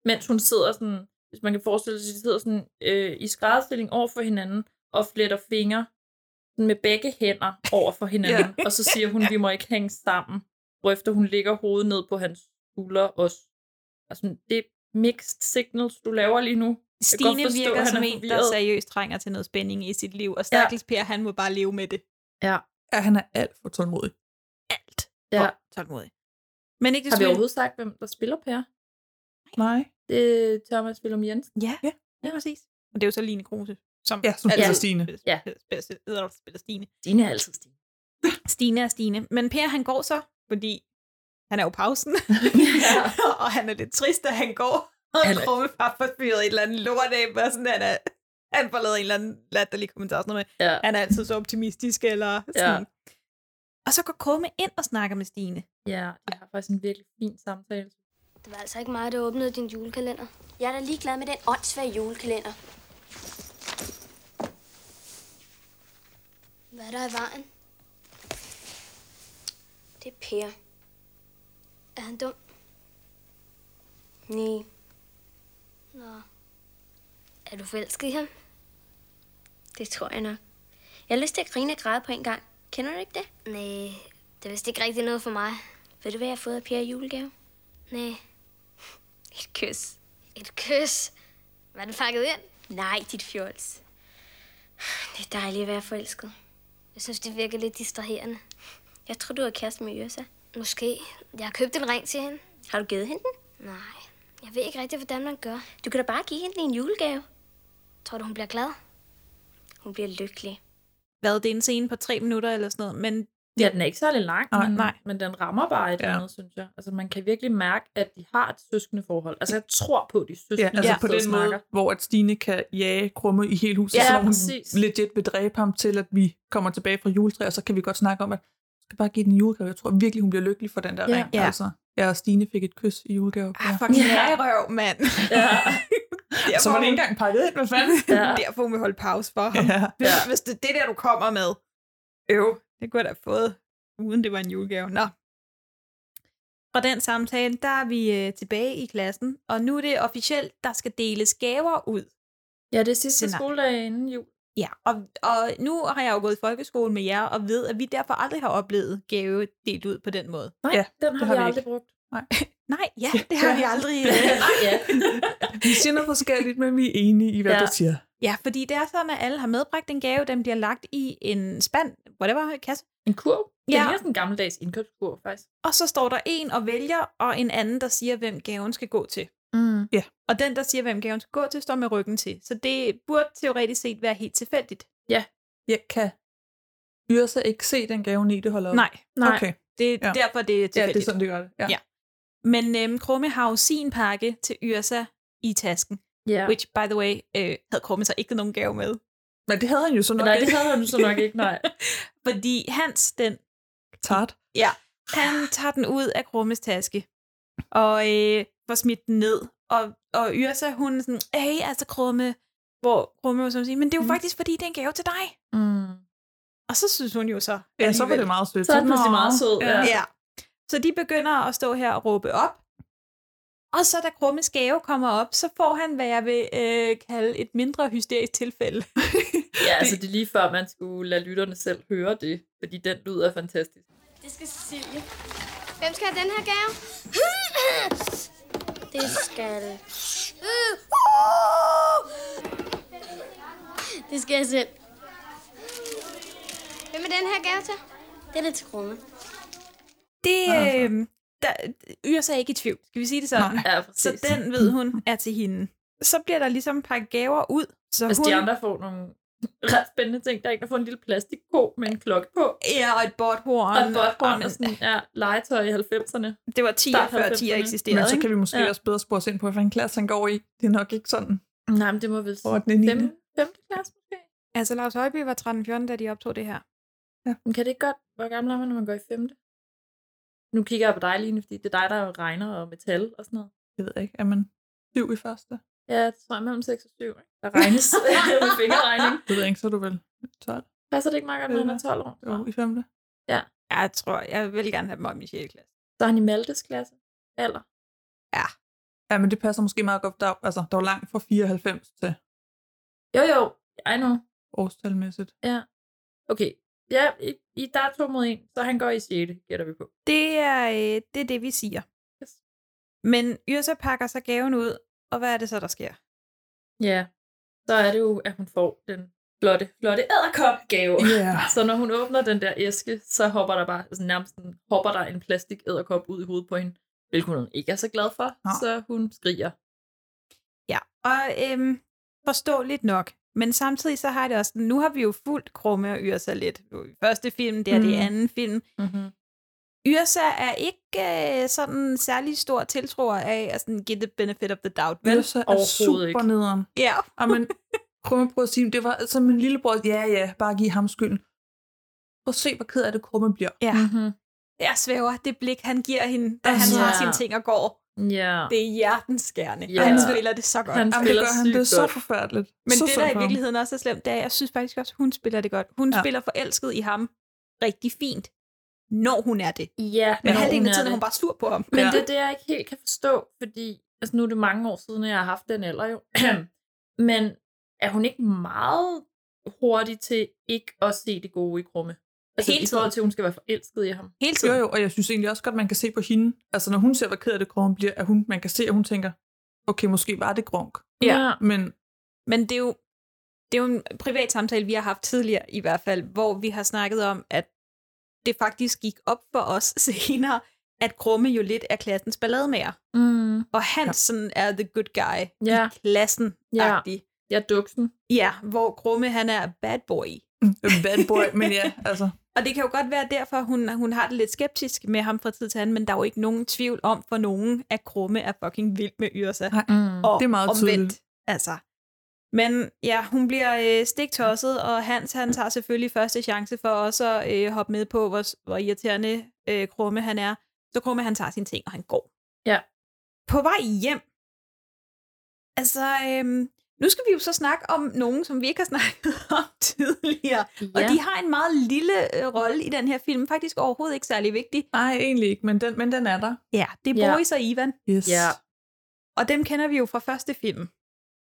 Speaker 9: mens hun sidder sådan, hvis man kan forestille sig, at de sidder sådan øh, i skrædderstilling over for hinanden og fletter fingre sådan med begge hænder over for hinanden. Og så siger hun, vi må ikke hænge sammen. Hvorefter hun lægger hovedet ned på hans skulder og s- og sådan, det er mixed signals, du laver lige nu. Jeg kan godt
Speaker 8: Stine
Speaker 9: forstå,
Speaker 8: virker
Speaker 9: han er
Speaker 8: som en, der
Speaker 9: forvirret.
Speaker 8: seriøst trænger til noget spænding i sit liv. Og stakkels Per, han må bare leve med det.
Speaker 9: Ja,
Speaker 10: Ja, han er alt for tålmodig.
Speaker 8: Alt.
Speaker 9: ja.
Speaker 8: Og tålmodig. Men ikke
Speaker 9: Har vi
Speaker 8: mindre-
Speaker 9: overhovedet sagt, hvem der spiller Per?
Speaker 10: Nej.
Speaker 9: Det er Thomas Willum Jensen.
Speaker 8: Ja,
Speaker 10: Ja.
Speaker 8: ja. ja præcis. Og det er jo så Line Kruse, som
Speaker 10: Ja, som
Speaker 8: altid
Speaker 10: spiller Stine.
Speaker 8: spiller-
Speaker 9: Ja.
Speaker 8: spiller- spiller- spiller Stine.
Speaker 9: Dine er altid Stine.
Speaker 8: Stine er Stine. Men Per, han går så, fordi han er jo pausen, <laughs> og han er lidt trist, at han går. Og
Speaker 9: Han er-
Speaker 8: Krumme bare får fyret et eller andet lort af, og sådan, han, er, han får lavet en eller anden latterlig kommentar. og Sådan noget med,
Speaker 9: Ja.
Speaker 8: han er altid så optimistisk, eller sådan. Ja. Og så går Krumme ind og snakker med Stine.
Speaker 9: <laughs> Ja, de har faktisk en virkelig fin samtale.
Speaker 5: Det var altså ikke mig, der åbnede din julekalender.
Speaker 2: Jeg er da ligeglad med den åndssvage julekalender. Hvad er der i vejen? Det er Per. Er han dum? Nej. Nå.
Speaker 5: Er du forelsket i ham?
Speaker 2: Det tror jeg nok. Jeg har lyst til at grine og græde på en gang. Kender du ikke det?
Speaker 5: Nej, det er vist ikke rigtig noget for mig.
Speaker 2: Ved du, hvad jeg har fået af Per i julegave?
Speaker 5: Nej,
Speaker 2: Et kys.
Speaker 5: et kys. Var den pakket ind?
Speaker 2: Nej, dit fjols. <sighs> Det er dejligt at være forelsket.
Speaker 5: Jeg synes, det virker lidt distraherende.
Speaker 2: Jeg tror, du er kæreste med Yrsa.
Speaker 5: Måske. Jeg har købt en ring til hende.
Speaker 2: Har du givet hende den?
Speaker 5: Nej, jeg ved ikke rigtig, hvordan man gør.
Speaker 2: Du kan da bare give hende en julegave.
Speaker 5: Tror du, hun bliver glad?
Speaker 2: Hun bliver lykkelig.
Speaker 8: Hvad, det er en scene på tre minutter eller sådan noget, men
Speaker 9: Ja, den er ikke særlig lang,
Speaker 10: Nej,
Speaker 9: men,
Speaker 8: nej.
Speaker 9: men den rammer bare et eller
Speaker 10: Ja.
Speaker 9: andet, synes jeg. Altså, man kan virkelig mærke, at de har et søskende forhold. Altså, jeg tror på, at de er søskende
Speaker 10: Ja, altså
Speaker 9: der
Speaker 10: på
Speaker 9: sidder
Speaker 10: den
Speaker 9: og
Speaker 10: måde,
Speaker 9: snakker.
Speaker 10: hvor at Stine kan jage krumme i hele huset,
Speaker 9: Ja,
Speaker 10: så hun
Speaker 9: præcis.
Speaker 10: legit vil dræbe ham til, at vi kommer tilbage fra juletræ, og så kan vi godt snakke om, at du skal bare give den en julegave. Jeg tror virkelig, hun bliver lykkelig for den der
Speaker 9: Ja.
Speaker 10: ring.
Speaker 8: Ja.
Speaker 10: Altså, jeg og Stine fik et kys i julegave.
Speaker 8: ah,
Speaker 10: Ja.
Speaker 8: fucking
Speaker 9: Ja.
Speaker 8: ja. røv,
Speaker 9: <laughs>
Speaker 8: mand.
Speaker 9: Ja,
Speaker 10: <laughs> Så var det ikke engang pakket ind, hvad
Speaker 8: <laughs>
Speaker 10: fanden?
Speaker 9: ja,
Speaker 8: Derfor hun vil holde pause for ham.
Speaker 10: Ja.
Speaker 8: Hvis,
Speaker 9: Ja.
Speaker 8: ja. hvis det er det der, du kommer med. Øv, det kunne jeg da have fået, uden det var en julegave. Nå. Fra den samtale, der er vi øh, tilbage i klassen, og nu er det officielt, der skal deles gaver ud.
Speaker 9: ja, det er sidste
Speaker 8: Det er nej.
Speaker 9: skoledag inden jul.
Speaker 8: Ja, og, og nu har jeg jo gået i folkeskole med jer, og ved, at vi derfor aldrig har oplevet gave delt ud på den måde.
Speaker 9: Nej,
Speaker 10: Ja,
Speaker 9: den har,
Speaker 10: det har
Speaker 9: vi
Speaker 10: vi
Speaker 9: aldrig brugt. <laughs>
Speaker 8: Nej, ja, det har vi aldrig. øh.
Speaker 9: Nej, ja.
Speaker 10: Vi siger noget forskelligt, men vi er enige i, hvad
Speaker 9: Ja.
Speaker 10: ja. du siger.
Speaker 8: Ja, fordi det er sådan, at alle har medbragt en gave, den bliver lagt i en spand, whatever, kasse,
Speaker 9: En kurv? Det
Speaker 8: Ja.
Speaker 9: er mere sådan en gammeldags indkøbskurv, faktisk.
Speaker 8: og så står der en og vælger, og en anden, der siger, hvem gaven skal gå til.
Speaker 9: Mm.
Speaker 8: Og den, der siger, hvem gaven skal gå til, står med ryggen til. Så det burde teoretisk set være helt tilfældigt.
Speaker 10: Jeg kan Yrsa ikke se den gave, Nete holder op?
Speaker 8: Nej,
Speaker 9: Nej.
Speaker 10: Okay.
Speaker 8: det er ja.
Speaker 10: Ja.
Speaker 8: derfor, det er
Speaker 10: Ja, det
Speaker 8: tilfældigt.
Speaker 10: er sådan, det gør det. Ja.
Speaker 8: Ja. Men øhm, Krumme har jo sin pakke til Yrsa i tasken.
Speaker 9: Ja.
Speaker 8: Ja. Which, by the way, øh, havde Krumme så ikke nogen gave med.
Speaker 10: Men det havde han jo så nok
Speaker 8: Nej,
Speaker 10: ikke.
Speaker 8: det havde han jo så nok
Speaker 10: <laughs>
Speaker 9: ikke, nej.
Speaker 8: Fordi Hans, den...
Speaker 10: Tart.
Speaker 8: Ja, han tager den ud af Grummes taske. Og øh, får smidt den ned. Og, og Yrsa, hun er sådan, hey, altså Krumme, hvor Krumme var sådan sige, men det er jo mm. faktisk, fordi det er en gave til dig.
Speaker 10: Mm.
Speaker 8: Og så synes hun jo så.
Speaker 10: Ja, så var det
Speaker 8: alligevel-
Speaker 10: meget sødt. Så er den pludselig meget sød, ja.
Speaker 8: Ja. ja. Så de begynder at stå her og råbe op. Og så da Krummes gave kommer op, så får han, hvad jeg vil øh, kalde et mindre hysterisk
Speaker 10: <laughs>
Speaker 8: tilfælde.
Speaker 9: Ja, altså det er lige før, man skulle lade lytterne selv høre det, fordi den lyd er fantastisk.
Speaker 2: Det skal Cecilie. Hvem skal have den her gave? Det skal... Det skal jeg selv. Hvem er den her gave til? Den er til Krumme.
Speaker 8: Det
Speaker 2: Altså.
Speaker 8: øh, der, Yrsa er ikke i tvivl, skal vi sige det sådan.
Speaker 9: Nej. Ja,
Speaker 8: så
Speaker 9: præcis.
Speaker 8: den ved hun er til hende. Så bliver der ligesom pakket gaver ud. Så
Speaker 9: Altså,
Speaker 8: hun...
Speaker 9: de andre får nogle ret spændende ting. Der er en, der får en lille plastikko med en klokke på.
Speaker 8: Ja, og et borthorn.
Speaker 9: Og et borthorn og sådan, ja, legetøj i 90'erne.
Speaker 8: Det var 10
Speaker 9: Start
Speaker 8: før
Speaker 9: 90'erne.
Speaker 8: 10'er eksisterede,
Speaker 10: Men så kan vi måske ja. også bedre spore os ind på, hvilken klasse han går i. Det er nok ikke sådan.
Speaker 9: Nej, men det må vel...
Speaker 10: Hvor er den i niende?
Speaker 9: 5. klasse måske.
Speaker 8: Altså, Lars Højby var 13-14, da de optog det her.
Speaker 10: Ja.
Speaker 9: Men kan det ikke godt... Hvor gammel er man, når man går i 5. Nu kigger jeg på dig, Line, fordi det er dig, der regner og metal og sådan noget.
Speaker 10: Jeg ved ikke, er man syv i første?
Speaker 9: Ja, det tror jeg mellem 6 og 7, ikke? Der <laughs> regnes med fingerregning.
Speaker 10: Det ved jeg ikke, så er du vel 12?
Speaker 9: Passer det ikke meget godt, når man er 12 år?
Speaker 10: Jo, i femte.
Speaker 9: Ja.
Speaker 8: Jeg tror, jeg vil gerne have dem om i 6. klasse.
Speaker 9: Så er han i Maltes klasse? Alder?
Speaker 10: Ja, men det passer måske meget godt. Der, altså, der var langt fra 94 til
Speaker 9: Jo, jo. I know.
Speaker 10: årstalmæssigt.
Speaker 9: Ja. Okay. Ja, i, i der er to mod en, så han går i 6. gætter vi på.
Speaker 8: Det er, øh, det er det, vi siger.
Speaker 9: Yes.
Speaker 8: Men Yrsa pakker så gaven ud, og hvad er det så, der sker?
Speaker 9: Ja. Så er det jo, at hun får den flotte, flotte æderkopgave.
Speaker 10: Ja.
Speaker 9: Så når hun åbner den der æske, så hopper der bare, altså nærmest en- hopper der en plastik æderkop ud i hovedet på hende, hvilket hun ikke er så glad for,
Speaker 8: Nå.
Speaker 9: så hun skriger.
Speaker 8: Ja, og øhm, forståeligt nok. Men samtidig så har jeg det også, sådan, nu har vi jo fuldt Krumme og Yrsa lidt. Det var i Første film, det er mm. det
Speaker 9: Mm.
Speaker 8: anden film.
Speaker 9: Mm-hmm.
Speaker 8: Yrsa er ikke øh, sådan særlig stor tiltroer af at sådan get the benefit of the doubt. Vel?
Speaker 10: Yrsa er Ah, super ikke. nederen.
Speaker 8: Ja.
Speaker 10: Og man Krumme prøver at sige, det var som min lillebror. Ja, ja, bare giv ham skylden. Prøv at se, hvor ked af det Krumme bliver.
Speaker 8: Ja.
Speaker 9: Mm-hmm.
Speaker 8: Jeg svæver det blik, han giver hende, da han
Speaker 10: Altså.
Speaker 8: tager
Speaker 10: Ja.
Speaker 8: sine ting og går.
Speaker 9: Ja.
Speaker 8: Det er hjertenskærende.
Speaker 9: Ja.
Speaker 8: Ja. Han spiller det så godt.
Speaker 9: Han
Speaker 10: Jamen, det
Speaker 9: spiller
Speaker 10: gør han.
Speaker 9: sygt
Speaker 10: Det er så
Speaker 9: godt.
Speaker 10: forfærdeligt.
Speaker 8: Men
Speaker 10: så
Speaker 8: det,
Speaker 10: synd
Speaker 8: der
Speaker 10: for
Speaker 8: i
Speaker 10: ham.
Speaker 8: virkeligheden også er slemt, det er, at jeg synes faktisk også, hun spiller det godt. Hun
Speaker 10: Ja.
Speaker 8: ja. spiller forelsket i ham rigtig fint, når hun er det.
Speaker 9: Ja,
Speaker 8: Men
Speaker 9: når
Speaker 8: halvdelen
Speaker 9: hun
Speaker 8: af
Speaker 9: er
Speaker 8: tiden er
Speaker 9: det.
Speaker 8: hun bare sur på ham.
Speaker 9: Men det er det, jeg ikke helt kan forstå, fordi altså, nu er det mange år siden, at jeg har haft den alder jo. <clears throat> Men er hun ikke meget hurtig til ikke at se det gode i krumme? Altså,
Speaker 10: Hele
Speaker 9: i forhold til, at hun skal være forelsket i ham.
Speaker 8: Hele
Speaker 10: Jo, jo, og jeg synes egentlig også godt, man kan se på hende, altså når hun ser, hvor ked af det Krumme bliver, at hun, man kan se, at hun tænker, okay, måske var det grunk.
Speaker 9: Ja.
Speaker 10: Men
Speaker 8: Men det er jo, det er jo en privat samtale, vi har haft tidligere i hvert fald, hvor vi har snakket om, at det faktisk gik op for os <laughs> senere, at Krumme jo lidt er klassens ballademager.
Speaker 9: Mm.
Speaker 8: Og Hansen ja. er the good guy
Speaker 9: Ja.
Speaker 8: i klassen.
Speaker 9: Ja.
Speaker 8: -agtig.
Speaker 9: Jeg er duksen.
Speaker 8: ja, hvor Krumme han er bad boy.
Speaker 10: øh, bad boy, men ja, altså,
Speaker 8: Og det kan jo godt være derfor, hun, hun har det lidt skeptisk med ham fra tid til anden, men der er jo ikke nogen tvivl om for nogen, at Krumme er fucking vild med Yrsa.
Speaker 10: Nej,
Speaker 9: Mm.
Speaker 8: og
Speaker 10: det er meget tydeligt.
Speaker 8: altså. Men ja, hun bliver øh, stiktosset, og Hans han tager selvfølgelig første chance for også at øh, hoppe med på, hvor, hvor irriterende øh, Krumme han er. Så Krumme han tager sine ting, og han går.
Speaker 9: Ja.
Speaker 8: På vej hjem. Altså, øhm, nu skal vi jo så snakke om nogen, som vi ikke har <laughs> snakket om tidligere. Ja. Og
Speaker 9: Ja.
Speaker 8: de har en meget lille øh, rolle i den her film. Faktisk overhovedet ikke særlig vigtig.
Speaker 10: Nej, egentlig ikke, men den, men den er der.
Speaker 8: Ja, det er
Speaker 9: Ja.
Speaker 8: Boris og Ivan.
Speaker 10: Yes.
Speaker 9: Ja.
Speaker 8: Og dem kender vi jo fra første film.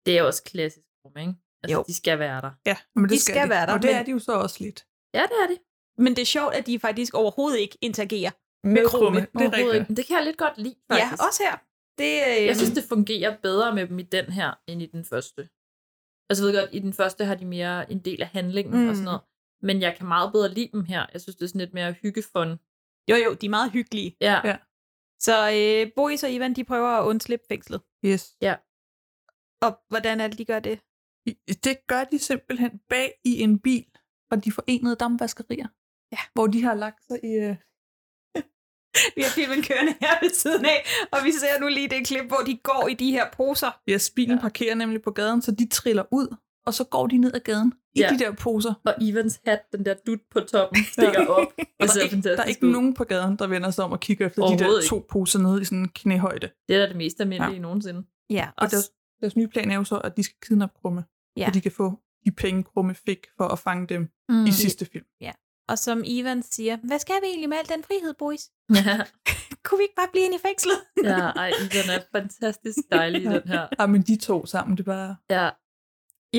Speaker 9: Det er jo også klassisk krumme, ikke? Altså,
Speaker 8: Jo.
Speaker 9: de skal være der.
Speaker 10: ja men det
Speaker 8: De skal være der,
Speaker 10: Og det
Speaker 8: men-
Speaker 10: er de jo så også lidt.
Speaker 9: Ja, det er det.
Speaker 8: Men det er sjovt, at de faktisk overhovedet ikke interagerer.
Speaker 10: Med
Speaker 8: Krumme.
Speaker 10: Det er rigtigt.
Speaker 9: Men det kan jeg lidt godt lide,
Speaker 8: Ja,
Speaker 9: faktisk.
Speaker 8: også her. Det, øh,
Speaker 9: Jeg synes, det fungerer bedre med dem i den her, end i den første. Altså, jeg ved godt, i den første har de mere en del af handlingen mm. og
Speaker 8: Mm.
Speaker 9: sådan noget. Men jeg kan meget bedre lide dem her. Jeg synes, det er sådan lidt mere hyggefond.
Speaker 8: jo jo, de er meget hyggelige.
Speaker 9: Ja.
Speaker 10: Ja.
Speaker 9: ja.
Speaker 8: Så øh, Boris og Ivan, de prøver at undslippe fængslet.
Speaker 10: Yes.
Speaker 8: Og hvordan er det, de gør det?
Speaker 10: I- Det gør de simpelthen bag i en bil fra de forenede dampvaskerier.
Speaker 8: Ja.
Speaker 10: Hvor de har lagt sig i... øh,
Speaker 8: Vi har filmen kørende her ved siden af, og vi ser nu lige det klip, hvor de går i de her poser.
Speaker 10: Yes, bilen ja. parkerer nemlig på gaden, så de triller ud, og så går de ned ad gaden i
Speaker 9: Ja.
Speaker 10: de der poser.
Speaker 9: Og Ivans hat, den der dut på
Speaker 10: <laughs>
Speaker 9: toppen, stikker op.
Speaker 10: Og
Speaker 9: Og
Speaker 10: der,
Speaker 9: ser
Speaker 10: er ikke, der er
Speaker 9: fantastisk
Speaker 10: ikke
Speaker 9: ud.
Speaker 10: nogen på gaden, der vender sig om og kigger efter de der
Speaker 9: Overhovedet
Speaker 10: to poser nede i sådan en knæhøjde.
Speaker 9: Det er da det mest almindelige ja. nogensinde. <laughs>
Speaker 8: Ja,
Speaker 10: Og deres, deres nye plan er jo så, at de skal kidnappe Krumme,
Speaker 8: Ja.
Speaker 10: så de kan få de penge, Krumme fik for at fange dem
Speaker 8: Mm.
Speaker 10: mm. i sidste film.
Speaker 8: Ja. Og som Ivan siger, hvad skal vi egentlig med al den frihed, boys?
Speaker 9: Ja,
Speaker 8: Kunne vi ikke bare blive inde i fængslet?
Speaker 9: ja ej, Ivan er fantastisk dejlig i
Speaker 10: <laughs>
Speaker 9: den her.
Speaker 10: Ja, Ah, men de to sammen, det er bare...
Speaker 9: Ja.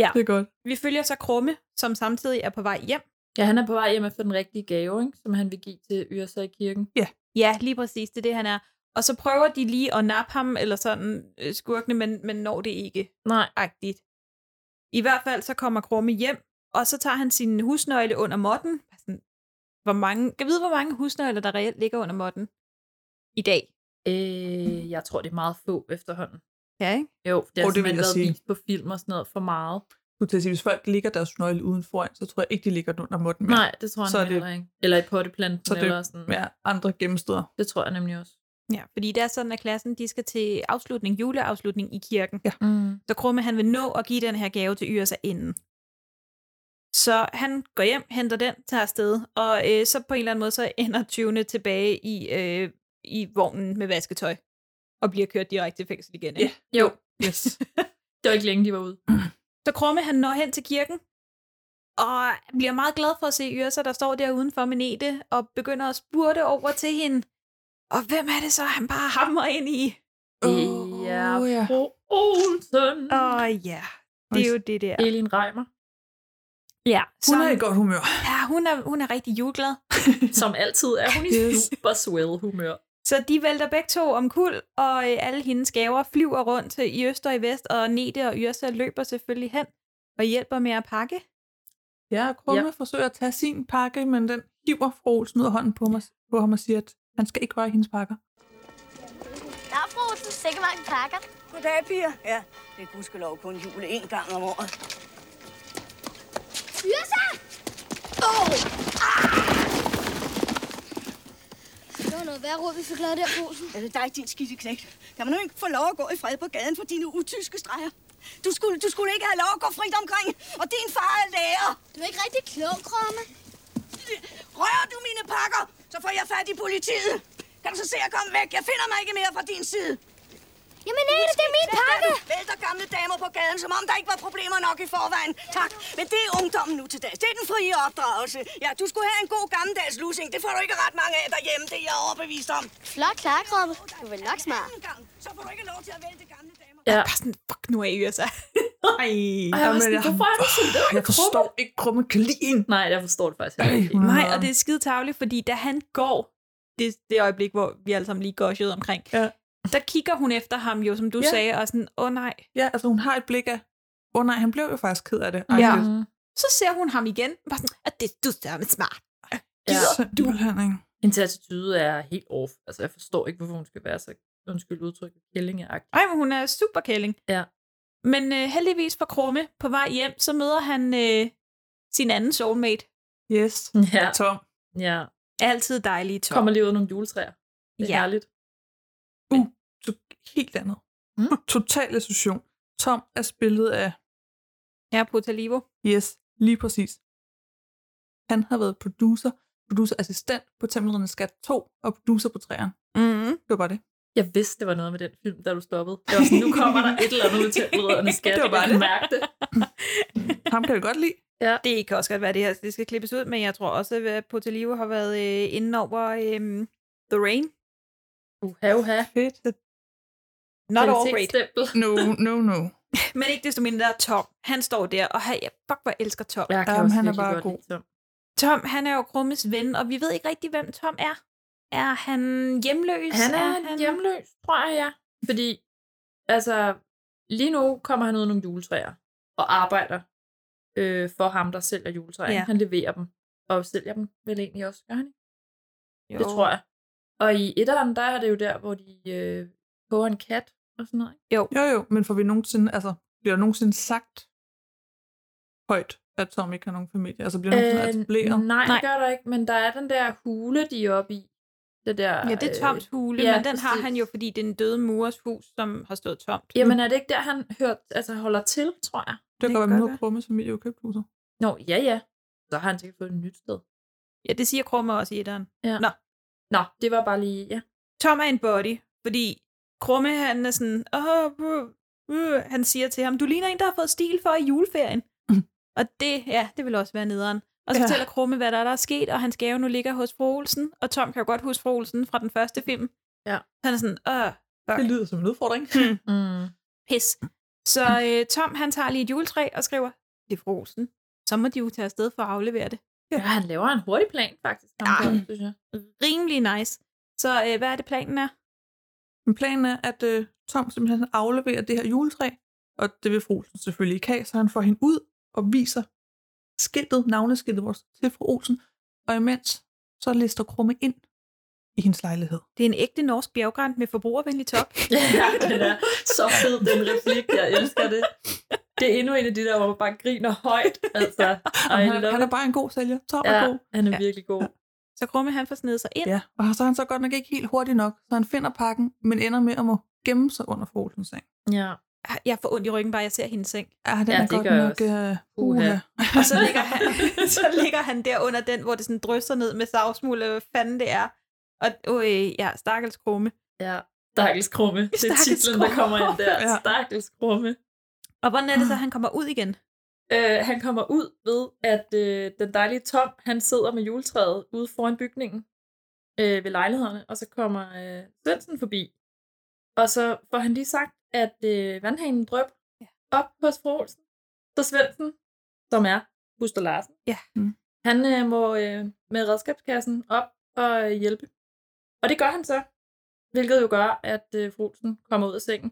Speaker 8: Ja.
Speaker 10: Det er godt.
Speaker 8: Vi følger så Krumme, som samtidig er på vej hjem.
Speaker 9: ja, han er på vej hjem efter den rigtige gave, ikke? som han vil give til Yrsa i kirken.
Speaker 8: Ja, lige præcis, det er det, han er. Og så prøver de lige at nappe ham, eller sådan øh, skurkene, men, men når det ikke.
Speaker 9: Nej.
Speaker 8: Agtigt. I hvert fald så kommer Krumme hjem, og så tager han sin husnøgle under måtten. Sådan, hvor mange, kan vide, hvor mange husnøgler, der reelt ligger under måtten i dag?
Speaker 9: Øh, jeg tror, det er meget få efterhånden.
Speaker 8: Ja, ikke?
Speaker 9: Jo, det
Speaker 10: Åh,
Speaker 9: har
Speaker 10: det
Speaker 9: oh,
Speaker 10: vil
Speaker 9: simpelthen
Speaker 10: jeg
Speaker 9: været
Speaker 10: sige.
Speaker 9: vist på film og sådan noget for meget.
Speaker 10: Du til at sige, hvis folk ligger deres nøgle uden foran, så tror jeg ikke, de ligger den under måtten mere.
Speaker 9: Nej, det tror jeg
Speaker 10: så er
Speaker 9: nemlig
Speaker 10: det-
Speaker 9: heller ikke. Eller i potteplanten
Speaker 10: Så er det-
Speaker 9: eller sådan.
Speaker 10: Ja, andre gennemsteder.
Speaker 9: Det tror jeg nemlig også.
Speaker 8: Ja, fordi det er sådan, at klassen de skal til afslutning, juleafslutning i kirken.
Speaker 9: Mm.
Speaker 8: Så Krumme han vil nå at give den her gave til Yrsa inden. Så han går hjem, henter den, tager afsted, og øh, så på en eller anden måde, så ender tyvene tilbage i, øh, i vognen med vasketøj, og bliver kørt direkte til fængsel igen. Ikke?
Speaker 10: Ja.
Speaker 9: Jo,
Speaker 10: Yes.
Speaker 9: det var ikke længe, de var ude.
Speaker 8: <laughs> Så Krumme han når hen til kirken, og bliver meget glad for at se Yrsa, der står der udenfor med Nete, og begynder at spurte over til hende. Og hvem er det så, han bare hammer ind i?
Speaker 10: Åh,
Speaker 9: ja,
Speaker 10: ja.
Speaker 9: fru
Speaker 12: Uh-uh.
Speaker 9: Olsen.
Speaker 8: Åh ja, det er jo det der.
Speaker 9: Elin Reimer,
Speaker 8: Ja,
Speaker 10: Hun
Speaker 8: som-
Speaker 10: er i godt humør.
Speaker 8: Ja, hun er, hun er rigtig juleglad.
Speaker 9: som altid er hun i
Speaker 10: Yes.
Speaker 9: super swell humør.
Speaker 8: Så de vælter begge to om kul, og øh, alle hendes gaver flyver rundt øh, i øst og i vest, og Nete og Yrsa løber selvfølgelig hen og hjælper med at pakke.
Speaker 10: Ja, og Krumme ja. forsøger at tage sin pakke, men den hiver fru Olsen ud af hånden på, mig, på ham og siger, at han skal ikke røre hendes pakker.
Speaker 2: Der er fru Olsen, sikke mange pakker.
Speaker 12: Goddag, piger. Ja, det er gudskelov kun jul én gang om året.
Speaker 2: Yrsa! Åh!
Speaker 5: Det var noget værre råd, vi fik lavet der, Posen.
Speaker 12: Er det dig, din skidte knægt? Kan man nu ikke få lov at gå i fred på gaden for dine utyske streger? Du skulle, du skulle ikke have lov at gå frit omkring, og din far er lærer.
Speaker 2: Du er ikke rigtig klog, Krumme.
Speaker 12: Rører du mine pakker, så får jeg fat i politiet. Kan du så se at komme væk? Jeg finder mig ikke mere fra din side.
Speaker 2: Jamen, Nete, det er min pakke!
Speaker 12: Du Vælter gamle damer på gaden, som om der ikke var problemer nok i forvejen. Tak, men det er ungdommen nu til dags. Det er den frie opdragelse. Ja, du skulle have en god gammeldags lusing. Det får du ikke ret mange af derhjemme, det er jeg overbevist om.
Speaker 2: Flot klar, Krumme. Du er vel nok smart.
Speaker 12: Anden gang, så får du ikke lov til at vælte gamle damer.
Speaker 9: Ja.
Speaker 8: Bare sådan, fuck nu af Yrsa. <laughs> Ej.
Speaker 9: Og jeg var sådan, hvorfor er du sådan der?
Speaker 10: Jeg altså, forstår ikke, Krumme kan lide en.
Speaker 9: Nej, jeg forstår det faktisk
Speaker 10: Ej,
Speaker 9: ikke.
Speaker 10: hun
Speaker 8: Nej, og det er skide tavligt, fordi da han går, det, det øjeblik, hvor vi alle sammen lige goshede omkring,
Speaker 10: Ja.
Speaker 8: der kigger hun efter ham jo, som du
Speaker 10: Ja.
Speaker 8: sagde, og sådan, åh oh, nej.
Speaker 10: Ja, altså hun har et blik af, åh oh, nej, han blev jo faktisk ked af det. Ej,
Speaker 8: Ja.
Speaker 10: det
Speaker 9: Mm.
Speaker 10: er
Speaker 8: Så ser hun ham igen, bare sådan, at det du er med smart.
Speaker 9: Ja.
Speaker 10: simpelthen, ikke?
Speaker 9: Hendes attitude er helt off. Altså, jeg forstår ikke, hvorfor hun skal være så, undskyld udtrykket, kællingeagtig.
Speaker 8: Ej, men hun er super kælling.
Speaker 9: Ja.
Speaker 8: Men øh, heldigvis for Krumme, på vej hjem, så møder han øh, sin anden soulmate.
Speaker 10: Yes.
Speaker 9: Ja,
Speaker 10: Tom.
Speaker 9: ja.
Speaker 8: Altid dejlige Tom.
Speaker 9: Kommer lige ud af nogle juletræer. Det er
Speaker 8: Ja.
Speaker 9: ja. herligt.
Speaker 10: Så helt andet.
Speaker 9: Mm.
Speaker 10: <laughs> Total association. Tom er spillet af,
Speaker 8: Ja, Potalivo.
Speaker 10: yes, lige præcis. Han har været producer, producerassistent på Tempelrende Skat 2 og producer på 3'eren.
Speaker 8: Mm-hmm.
Speaker 10: Det var bare
Speaker 9: <laughs>
Speaker 10: det.
Speaker 9: Jeg vidste, det var noget med den film, da du stoppede. Jeg
Speaker 10: <laughs>
Speaker 9: var sådan, nu kommer der et eller andet ud til rødderne skat.
Speaker 10: Det var bare
Speaker 9: jeg kan mærke det.
Speaker 10: Ham kan vi godt lide.
Speaker 8: Det kan også godt være, det her det skal klippes ud, men jeg tror også, at Potalivo har været øh, inde over øh, The Rain.
Speaker 9: Uha, uha.
Speaker 10: Fedt.
Speaker 8: Not all great.
Speaker 9: Kvalitetsstempel.
Speaker 10: No, no, no.
Speaker 8: Men ikke desto mindre Tom. Han står der, og hey, fuck, hvor jeg elsker Tom.
Speaker 9: Jeg kan
Speaker 10: Jamen,
Speaker 9: også
Speaker 10: han er
Speaker 9: virkelig
Speaker 10: bare
Speaker 9: godt
Speaker 10: god.
Speaker 9: lide Tom.
Speaker 8: Tom, han er jo Krummes ven, og vi ved ikke rigtig, hvem Tom er. Er han hjemløs?
Speaker 9: Han er, han... hjemløs, tror jeg, ja. Fordi, altså, lige nu kommer han ud af nogle juletræer og arbejder øh, for ham, der sælger juletræer.
Speaker 8: Ja.
Speaker 9: Ja. Han leverer dem og sælger dem vel egentlig også, gør han ikke?
Speaker 8: Jo.
Speaker 9: Det tror jeg. Og i etteren, der er det jo der, hvor de øh, koger en kat og sådan noget. Ikke?
Speaker 10: Jo, jo, men får vi nogensinde, altså, bliver der nogensinde sagt højt, at Tom ikke har nogen familie? Altså, bliver det nogensinde etableret?
Speaker 9: Øh, nej,
Speaker 8: Nej.
Speaker 9: det gør der ikke, men der er den der hule, de er oppe i. Det der,
Speaker 8: Ja, det er Toms hule,
Speaker 9: Øh, ja,
Speaker 8: ja, men den har
Speaker 9: præcis.
Speaker 8: han jo, fordi det er en døde murs hus, som har stået tomt.
Speaker 9: Jamen er det ikke der, han hørt, altså holder til, tror jeg?
Speaker 10: Det kan
Speaker 8: kan
Speaker 10: godt være, at hun
Speaker 8: godt
Speaker 10: har Krummes familie jo købt huset.
Speaker 9: Nå, ja, ja. Så har han sikkert fået et nyt sted.
Speaker 8: Ja, det siger Krumme også i etteren.
Speaker 9: Ja.
Speaker 8: Nå.
Speaker 9: Nå, det var bare lige, ja.
Speaker 8: Tom er en body, fordi Krumme han er sådan, Åh, buh, buh," han siger til ham, du ligner en, der har fået stil for i
Speaker 9: <clears throat>
Speaker 8: juleferien. og det, ja, det vil også være nederen. Og så
Speaker 10: Ja.
Speaker 8: ja. fortæller Krumme, hvad der er, der er sket, og hans gave nu ligger hos fru Olsen, og Tom kan jo godt huske fru Olsen fra den første film.
Speaker 9: Ja.
Speaker 8: Han er sådan, åh, fuck.
Speaker 10: Det lyder som en udfordring.
Speaker 9: Mm.
Speaker 8: Pis.
Speaker 9: <clears throat>
Speaker 8: Så øh, Tom, han tager lige et juletræ og skriver, det er fru Olsen. Så må de jo tage afsted for at aflevere det.
Speaker 9: Ja, Ah. han laver en hurtig plan, faktisk. Ja. Synes jeg.
Speaker 8: Rimelig nice. Så øh, hvad er det, planen er?
Speaker 10: <laughs> Men planen er, at øh, Tom simpelthen afleverer det her juletræ, og det vil fru Olsen selvfølgelig ikke have, så han får hende ud og viser skiltet, navneskiltet vores til fru Olsen, og imens så lister Krumme ind i hendes lejlighed.
Speaker 8: Det er en ægte norsk bjerggrant med forbrugervenlig <laughs> top.
Speaker 9: <laughs> ja, den er så fed, den replik. Jeg elsker det. Det er endnu en af de der, hvor man bare griner <laughs> højt. Altså,
Speaker 10: Og
Speaker 9: I
Speaker 10: han, er,
Speaker 9: love
Speaker 10: han er
Speaker 9: it.
Speaker 10: bare en god sælger. Tom
Speaker 9: ja,
Speaker 10: er god.
Speaker 9: han er virkelig god.
Speaker 8: Så Krumme han får snedet sig ind.
Speaker 10: Ja, og så er han så godt nok ikke helt hurtig nok, så han finder pakken, men ender med at må gemme sig under fru Olsens seng.
Speaker 9: Ja.
Speaker 8: Jeg får ondt i ryggen, bare jeg ser hendes seng.
Speaker 10: Ja, den
Speaker 9: Ja,
Speaker 10: er
Speaker 9: det
Speaker 10: godt
Speaker 9: gør jeg
Speaker 10: nok... Uh,
Speaker 9: Uha.
Speaker 8: Og så ligger,
Speaker 9: <laughs>
Speaker 8: han, så ligger han der under den, hvor det sådan drysser ned med savsmuld, eller hvad fanden det er. Og øh, ja, stakkels Krumme.
Speaker 9: Ja. Stakkels krumme. Det er
Speaker 8: Stakkels
Speaker 9: titlen, der kommer ind der.
Speaker 10: Ja.
Speaker 9: Stakkels krumme.
Speaker 8: Og hvordan er det så, han kommer ud igen?
Speaker 9: Øh, han kommer ud ved, at øh, den dejlige Tom, han sidder med juletræet ude foran bygningen øh, ved lejlighederne, og så kommer øh, Svendsen forbi. Og så får han lige sagt, at øh, vandhanen drøb op hos fru Olsen. Så Svendsen, som er Buster Larsen,
Speaker 8: Ja.
Speaker 10: Mm.
Speaker 9: han øh, må øh, med redskabskassen op og øh, hjælpe. Og det gør han så, hvilket jo gør, at øh, fru Olsen kommer ud af sengen.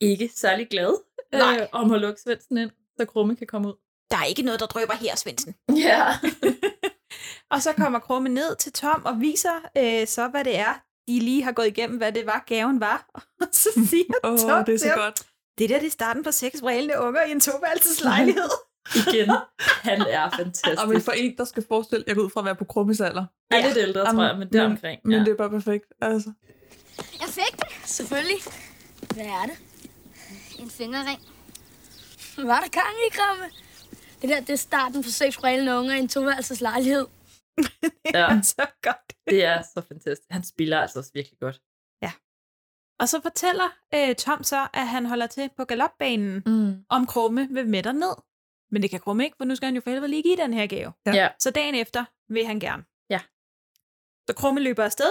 Speaker 9: Ikke særlig glad øh,
Speaker 8: Nej.
Speaker 9: om at lukke Svendsen ind, så Krumme kan komme ud.
Speaker 8: Der er ikke noget, der drøber her, Svendsen.
Speaker 9: Ja.
Speaker 8: Og så kommer Krumme ned til Tom og viser øh, så, hvad det er, de lige har gået igennem, hvad det var, gaven var. <laughs> Og så siger
Speaker 9: <laughs>
Speaker 10: Åh,
Speaker 8: Tom
Speaker 10: oh, det er
Speaker 8: til
Speaker 10: så
Speaker 8: ham,
Speaker 10: godt.
Speaker 8: Det der, det er starten på seks brælende unger i en toværelseslejlighed.
Speaker 9: Igen. Han
Speaker 10: Og
Speaker 9: er
Speaker 10: Ah, men
Speaker 9: fantastisk.
Speaker 10: for en, der skal forestille, jeg går ud fra at være på Krummes alder.
Speaker 9: Han er lidt ældre, tror jeg, men deromkring.
Speaker 10: Men, men
Speaker 9: Ja.
Speaker 10: det er bare perfekt, altså.
Speaker 2: Jeg fik det, selvfølgelig.
Speaker 5: Hvad er det? En fingerring.
Speaker 2: Var der gang i, Kramme? Det der, det er starten på seks brælende unger i en toværelseslejlighed.
Speaker 9: Ja,
Speaker 8: <laughs> så godt.
Speaker 9: det er så fantastisk. Han spiller altså også virkelig godt.
Speaker 8: Og så fortæller øh, Tom så, at han holder til på galopbanen,
Speaker 9: Mm.
Speaker 8: om Krumme vil med dig ned. Men det kan Krumme ikke, for nu skal han jo for helvede lige give den her gave.
Speaker 10: Ja.
Speaker 9: Ja.
Speaker 8: Så dagen efter vil han gerne.
Speaker 9: Ja.
Speaker 8: Så Krumme løber afsted,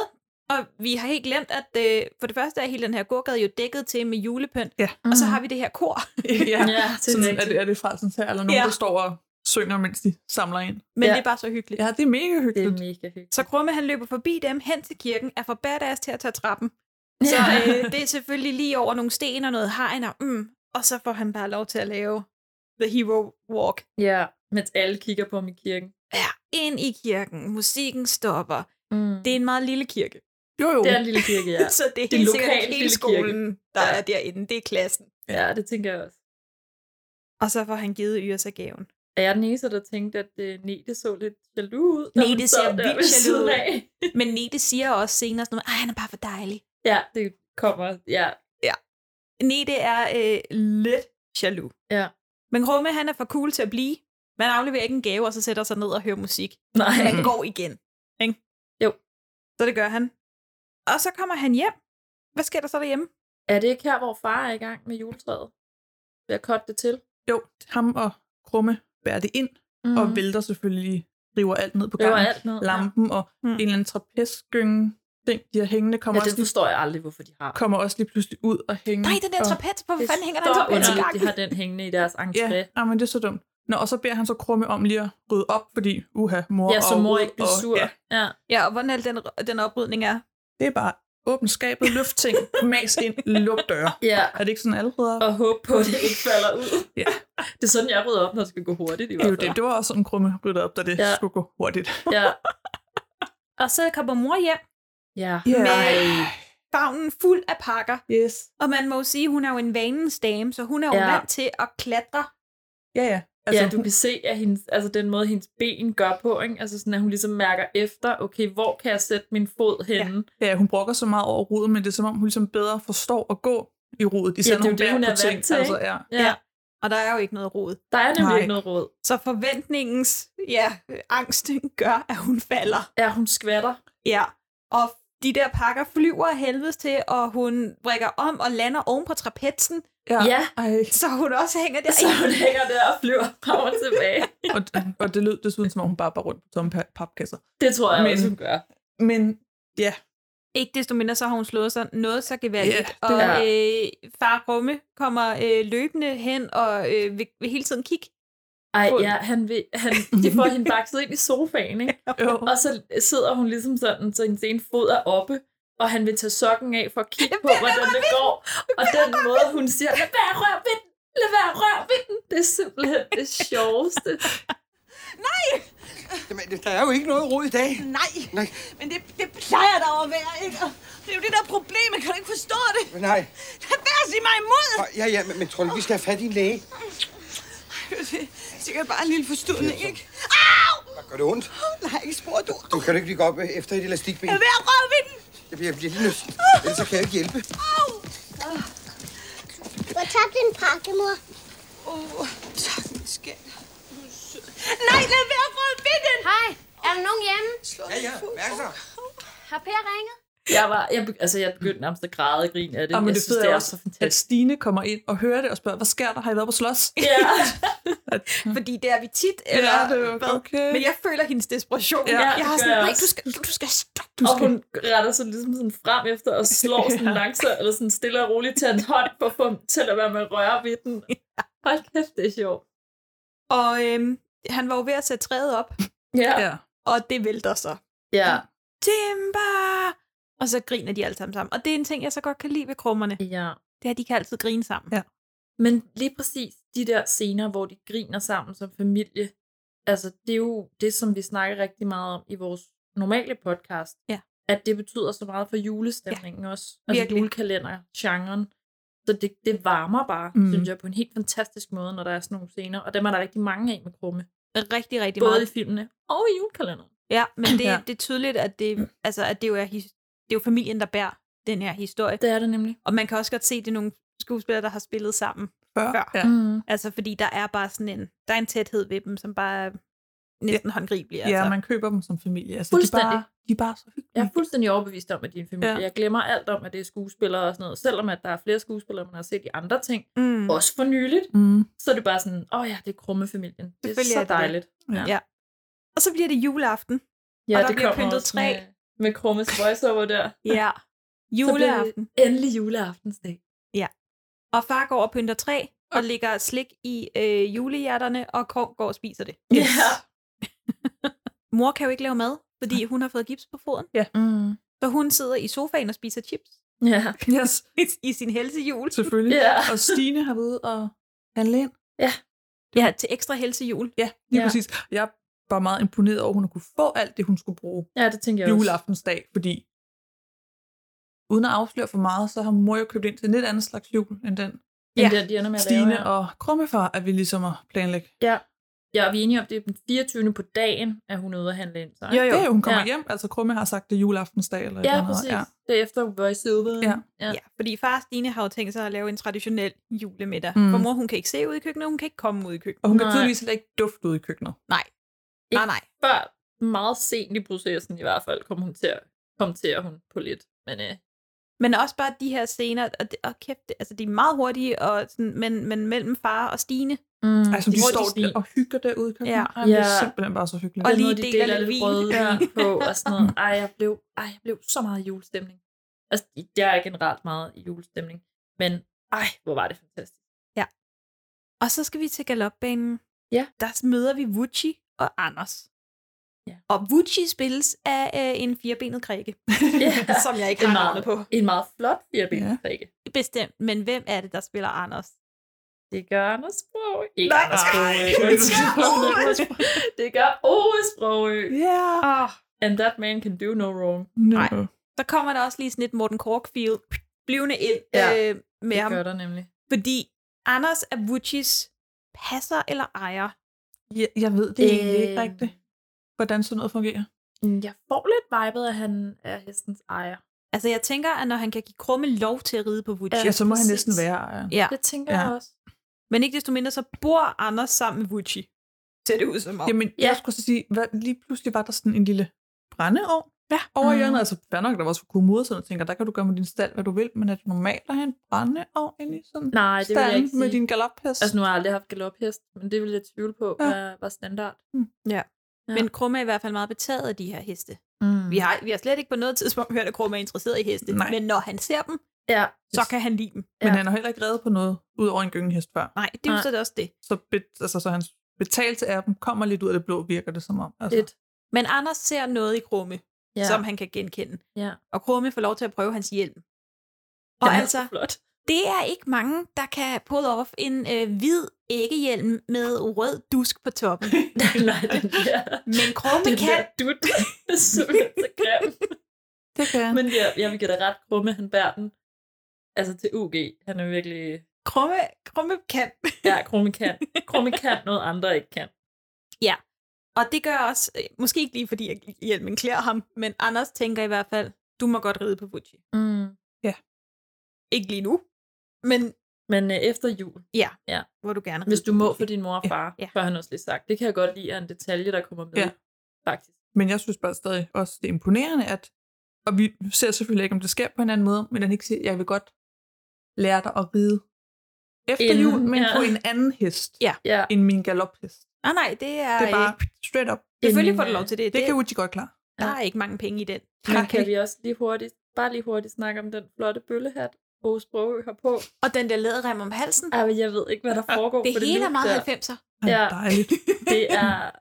Speaker 8: og vi har helt glemt, at øh, for det første er hele den her gågade jo dækket til med julepynt,
Speaker 10: Ja.
Speaker 8: og så har vi det her kor. <laughs>
Speaker 10: <laughs> ja,
Speaker 9: Mm. <laughs> Ja, det er
Speaker 10: sådan, er,
Speaker 9: rigtigt.
Speaker 10: det, er det Frelsens her, eller nogen,
Speaker 8: Ja.
Speaker 10: der står og synger, mens de samler ind.
Speaker 8: Men
Speaker 9: Ja.
Speaker 8: det er bare så hyggeligt.
Speaker 10: Ja, det er mega
Speaker 9: Det er
Speaker 10: hyggeligt.
Speaker 9: mega hyggeligt.
Speaker 8: Så Krumme han løber forbi dem hen til kirken, er for badass til at tage trappen. <laughs> Så
Speaker 9: Ja.
Speaker 8: øh, det er selvfølgelig lige over nogle sten og noget hegn, og, mm, og så får han bare lov til at lave The Hero Walk.
Speaker 9: Ja, mens alle kigger på ham i kirken.
Speaker 8: Ja, ind i kirken, musikken stopper.
Speaker 9: Mm.
Speaker 8: Det er en meget lille kirke.
Speaker 10: Jo, jo.
Speaker 9: Det er en lille kirke, ja.
Speaker 8: Ja. <laughs> Så det er
Speaker 9: Det er
Speaker 8: helt
Speaker 9: lokalt
Speaker 8: sikkert ikke
Speaker 9: lille
Speaker 8: hele
Speaker 9: kirke.
Speaker 8: skolen, der
Speaker 9: Ja.
Speaker 8: er derinde. Det er klassen.
Speaker 9: Ja, det tænker jeg også.
Speaker 8: Og så får han givet Yrsa
Speaker 9: <laughs>
Speaker 8: gaven.
Speaker 9: Er jeg den eneste, der tænkte, at øh, Nete så lidt jaloux ud? da
Speaker 8: Nete
Speaker 9: hun sad
Speaker 8: ser
Speaker 9: der
Speaker 8: vildt
Speaker 9: ved
Speaker 8: jaloux
Speaker 9: siden
Speaker 8: ud.
Speaker 9: af? <laughs>
Speaker 8: Men Nete siger også senere sådan noget, "Ej, han er bare for dejlig.
Speaker 9: Ja, det kommer. Ja,
Speaker 8: Nete er øh, lidt jaloux.
Speaker 9: Ja.
Speaker 8: Men Krumme, han er for cool til at blive. Man afleverer ikke en gave, og så sætter sig ned og hører musik.
Speaker 9: nej.
Speaker 8: <clears throat> Han går igen. Ikke?
Speaker 9: Jo.
Speaker 8: Så det gør han. Og så kommer han hjem. Hvad sker der så derhjemme?
Speaker 9: Er det ikke her, hvor far er i gang med juletræet? Vil jeg kotte det til?
Speaker 10: Jo, ham og Krumme bærer det ind, mm. og vælter selvfølgelig, river alt ned på
Speaker 9: Det var
Speaker 10: gangen.
Speaker 9: alt noget.
Speaker 10: Lampen og
Speaker 8: Mm.
Speaker 10: mm. en eller anden trapezgynge ting, de har hængende,
Speaker 9: Ja,
Speaker 10: kommer,
Speaker 9: det
Speaker 10: også, lige,
Speaker 9: forstår jeg aldrig, hvorfor de har.
Speaker 10: kommer også lige pludselig ud og hænger.
Speaker 8: Nej, den der
Speaker 10: og,
Speaker 8: trapez. Hvorfor
Speaker 9: Det
Speaker 8: fanden hænger der
Speaker 9: står
Speaker 8: en trapez i
Speaker 9: underligt,
Speaker 8: gangen?
Speaker 9: de har den hængende i deres entré.
Speaker 10: Ja, ah, men det er så dumt. Nå, og så beder han så Krumme om lige at rydde op, fordi uha, mor
Speaker 9: Ja, så
Speaker 10: og
Speaker 9: mor
Speaker 10: rod
Speaker 9: ikke bliver
Speaker 10: og-
Speaker 9: sur.
Speaker 10: Ja,
Speaker 9: Ja.
Speaker 8: Ja, og hvordan er det, den, den oprydning er?
Speaker 10: det er bare åbn skabet, løft ting, <laughs> mas ind, luk døre.
Speaker 9: ja.
Speaker 10: Er det ikke sådan alle rydder?
Speaker 9: Og håbe på, at det ikke falder <laughs> ud.
Speaker 10: Ja.
Speaker 9: Det er sådan, jeg rydder op, når det skal gå hurtigt i
Speaker 10: Det, er
Speaker 9: hvert
Speaker 10: jo
Speaker 9: fald.
Speaker 10: det. det var også sådan, Krumme ryddede op, da det
Speaker 9: Ja.
Speaker 10: ja. skulle gå hurtigt.
Speaker 9: Ja.
Speaker 8: Og så kommer mor hjem
Speaker 9: ja.
Speaker 10: Ja.
Speaker 8: med favnen fuld af pakker.
Speaker 10: Yes.
Speaker 8: Og man må jo sige, hun er jo en vanens dame, så hun er jo
Speaker 9: Ja.
Speaker 8: ja. vant til at klatre.
Speaker 10: Ja, ja.
Speaker 9: Altså,
Speaker 10: Altså,
Speaker 9: ja, du kan se, at hendes, altså den måde, hendes ben gør på, ikke? Altså sådan, at hun ligesom mærker efter, okay, hvor kan jeg sætte min fod henne? Ja,
Speaker 10: ja, hun brokker så meget over rodet, men det er som om, hun ligesom bedre forstår at gå i rodet, især
Speaker 9: det er
Speaker 10: når
Speaker 9: jo
Speaker 10: hun
Speaker 9: det,
Speaker 10: bærer
Speaker 9: hun
Speaker 10: på
Speaker 9: er
Speaker 10: ting.
Speaker 9: vant til,
Speaker 10: altså,
Speaker 9: ikke?
Speaker 10: ja.
Speaker 9: ja.
Speaker 8: Og der er jo ikke noget råd.
Speaker 9: Der er nemlig ikke noget råd.
Speaker 8: Så forventningens ja, øh, angst <laughs> gør, at hun falder.
Speaker 9: Ja, hun skvatter.
Speaker 8: Ja, og de der pakker flyver af helvedes til, og hun brækker om og lander oven på trapezen.
Speaker 10: Ja. Ja. Ej.
Speaker 8: Så hun også hænger der.
Speaker 9: <laughs> Så
Speaker 8: <laughs>
Speaker 9: hun hænger der og flyver frem <laughs> og tilbage.
Speaker 10: og, og det lød desuden, som om hun bare var rundt på tomme pa- papkasser.
Speaker 9: Det tror jeg
Speaker 10: Men-
Speaker 9: også, hun gør.
Speaker 10: Men ja,
Speaker 8: Ikke desto mindre, så har hun slået sig noget så gevaldigt.
Speaker 10: Ja, det-
Speaker 8: Yeah, og øh, far Rumme kommer øh, løbende hen og øh, vil, vil hele tiden kigge.
Speaker 9: Ej,
Speaker 8: på den.
Speaker 9: ja, han vil, han, de får hende bakset ind i sofaen, ikke? <laughs> Og så sidder hun ligesom sådan, så hendes ene fod er oppe, og han vil tage sokken af for at kigge på, hvordan det går. Og den måde, hun siger, lad være rør ved den, lad være rør ved den. Det er simpelthen <laughs> det sjoveste.
Speaker 7: Jamen, der er jo ikke noget råd i dag.
Speaker 12: Nej,
Speaker 7: Nej,
Speaker 12: men det, det plejer der at være, ikke? Og det er jo det der problem, kan du ikke forstå det?
Speaker 7: nej.
Speaker 12: Lad være at sige mig imod!
Speaker 7: Ja, ja, men, men tror du, vi skal have fat i en læge?
Speaker 12: Det er sikkert bare en lille forstudning, ikke?
Speaker 7: Gør det ondt?
Speaker 12: Nej, ikke spor, du.
Speaker 7: Du kan jo ikke lige gå op øh, efter et elastikben.
Speaker 12: Lad være at røre ved den!
Speaker 7: Jeg bliver, jeg bliver lige nødt. Ellers så kan jeg ikke hjælpe.
Speaker 2: Du har tabt en pakke, mor.
Speaker 12: Åh, tak, min skat. Du er sød. Nej, lad være at røre ved den!
Speaker 5: Hej, er der nogen hjemme?
Speaker 7: Ja, ja, mærk så.
Speaker 5: Har Per ringet?
Speaker 9: Jeg, var, jeg, be- altså, jeg begyndte nærmest at græde og grine af det.
Speaker 10: det, og men
Speaker 9: jeg
Speaker 10: det
Speaker 9: synes,
Speaker 10: fede
Speaker 9: det
Speaker 10: er
Speaker 9: er
Speaker 10: også,
Speaker 9: så
Speaker 10: at
Speaker 9: fantastisk.
Speaker 10: Stine kommer ind og hører det og spørger, hvad sker der? Har I været på slås?
Speaker 9: <laughs> Ja, Mm.
Speaker 8: Fordi det er vi tit.
Speaker 10: Ja,
Speaker 8: Eller,
Speaker 10: det er
Speaker 8: hvad?
Speaker 10: okay.
Speaker 8: Men jeg føler hendes desperation.
Speaker 9: Ja,
Speaker 8: jeg
Speaker 9: det
Speaker 8: har
Speaker 9: gør
Speaker 8: sådan,
Speaker 9: jeg
Speaker 8: nej,
Speaker 9: også.
Speaker 8: du skal, du skal stoppe.
Speaker 9: og hun retter sig ligesom sådan frem efter og <laughs> slår sådan langsomt, eller sådan stille og roligt til hans hånd, for at få ham til at være med at røre ved den. Hold kæft, det er sjovt.
Speaker 8: Og øhm, han var jo ved at sætte træet op,
Speaker 9: Ja,
Speaker 10: Ja.
Speaker 8: og det vælter så.
Speaker 9: ja.
Speaker 8: Timber! Og så griner de alle sammen sammen. Og det er en ting, jeg så godt kan lide ved krummerne.
Speaker 9: ja.
Speaker 8: Det er, at de kan altid grine sammen.
Speaker 10: Ja.
Speaker 9: Men lige præcis de der scener, hvor de griner sammen som familie, altså det er jo det, som vi snakker rigtig meget om i vores normale podcast,
Speaker 8: Ja.
Speaker 9: at det betyder så meget for julestemningen ja. også, altså
Speaker 8: virkelig.
Speaker 9: julekalender-genren. Så det, det varmer bare,
Speaker 10: Mm.
Speaker 9: mm. synes jeg, på en helt fantastisk måde, når der er sådan nogle scener, og dem er der rigtig mange af med Krumme.
Speaker 8: Rigtig, rigtig
Speaker 9: Både i
Speaker 8: meget.
Speaker 9: filmene og i julekalenderen.
Speaker 8: Ja, men det,
Speaker 10: Ja.
Speaker 8: ja. det er tydeligt, at det, altså, at det, jo er, his- det er jo familien, der bærer den her historie.
Speaker 9: Det er det nemlig.
Speaker 8: Og man kan også godt se, at det er nogle skuespillere, der har spillet sammen.
Speaker 10: Før.
Speaker 8: Før.
Speaker 10: Ja.
Speaker 9: Mm.
Speaker 8: Altså, fordi der er bare sådan en, der er en tæthed ved dem, som bare er næsten ja. håndgribelig. Altså.
Speaker 10: ja, man køber dem som familie. Altså, de, er bare,
Speaker 9: Fuldstændig.
Speaker 10: de er bare så
Speaker 9: Jeg
Speaker 10: hyggelige.
Speaker 9: er fuldstændig overbevist om, at din familie.
Speaker 10: Ja.
Speaker 9: Ja. Jeg glemmer alt om, at det er skuespillere og sådan noget. Selvom at der er flere skuespillere, man har set i andre ting.
Speaker 8: mm.
Speaker 9: Også for nyligt.
Speaker 10: Mm.
Speaker 9: så er det bare sådan, åh oh ja, det er krummefamilien. Det er
Speaker 8: Selvfølgelig
Speaker 9: så
Speaker 8: er det det.
Speaker 9: dejligt.
Speaker 10: Ja.
Speaker 8: Ja. Og så bliver det juleaften.
Speaker 9: Ja,
Speaker 8: Og der
Speaker 9: det
Speaker 8: bliver
Speaker 9: kommer
Speaker 8: pyntet
Speaker 9: også
Speaker 8: træ.
Speaker 9: Med, med krummes voiceover der.
Speaker 8: Ja.
Speaker 9: Så
Speaker 8: Juleaften.
Speaker 9: bliver det endelig juleaftensdag.
Speaker 8: Og far går og pynter træ, og lægger slik i øh, julehjerterne, og Krog går og spiser det.
Speaker 9: Yes. Ja.
Speaker 8: <laughs> Mor kan jo ikke lave mad, fordi hun har fået gips på foden.
Speaker 9: Mm.
Speaker 8: Så hun sidder i sofaen og spiser chips
Speaker 9: Ja.
Speaker 8: Mm.
Speaker 10: Yes,
Speaker 8: i sin helsejul.
Speaker 10: selvfølgelig.
Speaker 9: Ja.
Speaker 10: Og Stine har været ude og handle ind.
Speaker 8: Ja, til ekstra helsejul.
Speaker 10: Ja, lige ja.
Speaker 9: Ja.
Speaker 10: præcis. Jeg var meget imponeret over, at hun kunne få alt det, hun skulle bruge
Speaker 9: ja, det tænker jeg også.
Speaker 10: juleaftensdag, fordi uden at afsløre for meget, så har mor jo købt ind til en lidt anden slags jul, end den
Speaker 9: Ja. Det, de ender med at
Speaker 10: Stine
Speaker 9: lave, ja.
Speaker 10: og Krummefar er vi ligesom at planlægge.
Speaker 9: Ja. ja, og vi er enige om, det er den 24. på dagen, at hun er ude at handle ind. Så, ikke?
Speaker 10: Jo, jo. Det er jo, hun kommer ja.
Speaker 9: Ja.
Speaker 10: hjem. Altså, Krumme har sagt, det er juleaftensdag. Eller et
Speaker 9: Ja,
Speaker 10: eller andet.
Speaker 9: præcis. Ja. Det er efter voiceover.
Speaker 10: Ja.
Speaker 9: Ja.
Speaker 8: Ja, fordi far Stine har jo tænkt sig at lave en traditionel julemiddag.
Speaker 10: Mm.
Speaker 8: Mm. For mor, hun kan ikke se ud i køkkenet, hun kan ikke komme ud i køkkenet.
Speaker 10: Og hun kan
Speaker 9: Nej.
Speaker 10: tydeligvis heller ikke dufte ud i køkkenet.
Speaker 8: Nej, nej.
Speaker 9: Før meget sent i processen i hvert fald, kom hun til at kom til at hun på lidt. Men øh,
Speaker 8: Men også bare de her scener, og, det, og kæft, det- altså de er meget hurtige, og sådan, men, men mellem far og Stine.
Speaker 9: mm,
Speaker 10: Altså, de
Speaker 9: hvor
Speaker 10: står de og hygger derude i køkkenet. Ja.
Speaker 8: Ja.
Speaker 10: Ej, det er
Speaker 9: Ja.
Speaker 10: simpelthen bare så hyggeligt.
Speaker 8: Og
Speaker 9: Og lige
Speaker 8: lige
Speaker 9: de
Speaker 8: deler
Speaker 9: deler
Speaker 8: lidt
Speaker 9: lidt
Speaker 8: vin.
Speaker 9: røde vin på og sådan <laughs> noget. Ej, jeg blev, ej, jeg blev så meget julestemning. Altså, jeg er generelt meget i julestemning. Men ej, hvor var det fantastisk.
Speaker 8: Og så skal vi til galopbanen.
Speaker 9: Ja.
Speaker 8: Der møder vi Vucci og Anders.
Speaker 9: Ja.
Speaker 8: Og Vucci spilles af øh, en firebenet krikke,
Speaker 9: Ja.
Speaker 8: <laughs> som jeg ikke
Speaker 9: En
Speaker 8: har navnet
Speaker 9: meget,
Speaker 8: på.
Speaker 9: en meget flot firbenskrikke. Ja.
Speaker 8: Bestemt, men hvem er det, der spiller Anders?
Speaker 9: Det gør Anders Sprogø. Ikke
Speaker 8: Nej,
Speaker 9: Anders <laughs> Sprogø.
Speaker 10: nej.
Speaker 9: Undskyld. Det gør Ove Sprogø.
Speaker 10: <laughs> Ja.
Speaker 8: Oh.
Speaker 9: And that man can do no wrong.
Speaker 10: No.
Speaker 8: Nej. Så kommer der også lige sådan et Morten Korkfield blivende ind
Speaker 9: Ja,
Speaker 8: ja. øh, med
Speaker 9: Det
Speaker 8: ham.
Speaker 9: gør der nemlig.
Speaker 8: Fordi Anders er Vuccis passer eller ejer.
Speaker 10: Jeg, jeg ved det egentlig ikke rigtigt, hvordan sådan noget fungerer.
Speaker 9: Mm, Jeg får lidt vibet, at han er hestens ejer.
Speaker 8: Altså jeg tænker, at når han kan give Krumme lov til at ride på Vucci.
Speaker 10: Ja,
Speaker 8: Ja.
Speaker 10: så må han
Speaker 9: præcis.
Speaker 10: næsten være øh, ejeren.
Speaker 8: ja.
Speaker 9: Det tænker
Speaker 10: Ja.
Speaker 9: jeg også.
Speaker 8: Men ikke desto mindre, så bor Anders sammen med Vucci. Ser det ud som om.
Speaker 10: Jamen, ja. jeg skulle så sige, hvad, lige pludselig var der sådan en lille brændeovn ja. over i hjørnet. Altså, fair nok, der var så kommode, så jeg tænker, der kan du gøre med din stald, hvad du vil, men er det normalt at have en brændeovn inde i sådan
Speaker 9: Nej, det vil jeg
Speaker 10: stalden
Speaker 9: ikke sige.
Speaker 10: med din galophest?
Speaker 9: Altså, nu har jeg aldrig haft galophest, men det vil jeg tvivle på, ja. var, var standard.
Speaker 8: Ja.
Speaker 9: Ja.
Speaker 8: Men Krumme er i hvert fald meget betaget af de her heste.
Speaker 9: Mm.
Speaker 8: Vi, har, vi har slet ikke på noget tidspunkt hørt, at Krumme er interesseret i heste.
Speaker 10: Nej.
Speaker 8: Men når han ser dem,
Speaker 9: ja.
Speaker 8: så kan han lide dem.
Speaker 10: Men han har heller ikke reddet på noget, ud over en gyngehest før.
Speaker 8: Nej, det er jo så også det.
Speaker 10: Så, be, altså, så hans betalelse af dem kommer lidt ud af det blå, virker det som om. Altså.
Speaker 9: Lidt.
Speaker 8: Men Anders ser noget i Krumme,
Speaker 9: Ja.
Speaker 8: ja. som han kan genkende.
Speaker 9: Ja.
Speaker 8: Og Krumme får lov til at prøve hans hjelm. Og
Speaker 9: Den er
Speaker 8: altså,
Speaker 9: flot.
Speaker 8: det er ikke mange, der kan pull off en øh, hvid æggehjelm med rød dusk på
Speaker 9: <laughs>
Speaker 8: toppen.
Speaker 9: Nej, den <laughs> der,
Speaker 8: Men Krumme
Speaker 9: den
Speaker 8: kan...
Speaker 9: der dut er simpelthen så grim.
Speaker 10: Det kan
Speaker 9: <laughs> Men jeg, jeg vil give dig ret, Krumme, han bærer den. Altså til UG, han er virkelig...
Speaker 8: Krumme, Krumme kan.
Speaker 9: Ja, Krumme kan. Krumme kan noget, andre ikke kan.
Speaker 8: Ja. Og det gør også, øh, måske ikke lige fordi at hjelmen klæder ham, men Anders tænker i hvert fald, du må godt ride på Fuji.
Speaker 9: Mm.
Speaker 8: Ikke lige nu, men
Speaker 9: Men øh, efter jul,
Speaker 8: ja,
Speaker 9: Ja.
Speaker 8: hvor du gerne
Speaker 9: hvis du må for din mor og far,
Speaker 8: Ja.
Speaker 9: ja. har han også lige sagt. Det kan jeg godt lide er en detalje, der kommer med.
Speaker 10: Ja.
Speaker 9: Faktisk.
Speaker 10: Men jeg synes bare stadig også, det er imponerende, at, og vi ser selvfølgelig ikke, om det sker på en anden måde, men han ikke siger, jeg vil godt lære dig at ride efter
Speaker 9: Inden,
Speaker 10: jul, men
Speaker 9: ja.
Speaker 10: på en anden hest
Speaker 8: Ja.
Speaker 9: Ja.
Speaker 10: end min galophest.
Speaker 8: Ah, Nej, nej, det er,
Speaker 10: Det er bare straight up.
Speaker 8: Selvfølgelig
Speaker 9: En,
Speaker 8: får du
Speaker 9: øh,
Speaker 8: lov til det.
Speaker 10: Det, det kan Uchi godt klare.
Speaker 8: Der er ikke mange penge i den.
Speaker 9: Men kan vi også lige hurtigt, bare lige hurtigt snakke om den flotte bøllehat, Aarhus Sprogø har på.
Speaker 8: Og den der læderrem om halsen,
Speaker 9: Ej, men jeg ved ikke, hvad der foregår
Speaker 8: det
Speaker 9: på
Speaker 8: hele
Speaker 9: det
Speaker 8: er meget
Speaker 9: der.
Speaker 8: 90'er.
Speaker 9: Ja.
Speaker 10: Ja. Dejligt.
Speaker 9: Det er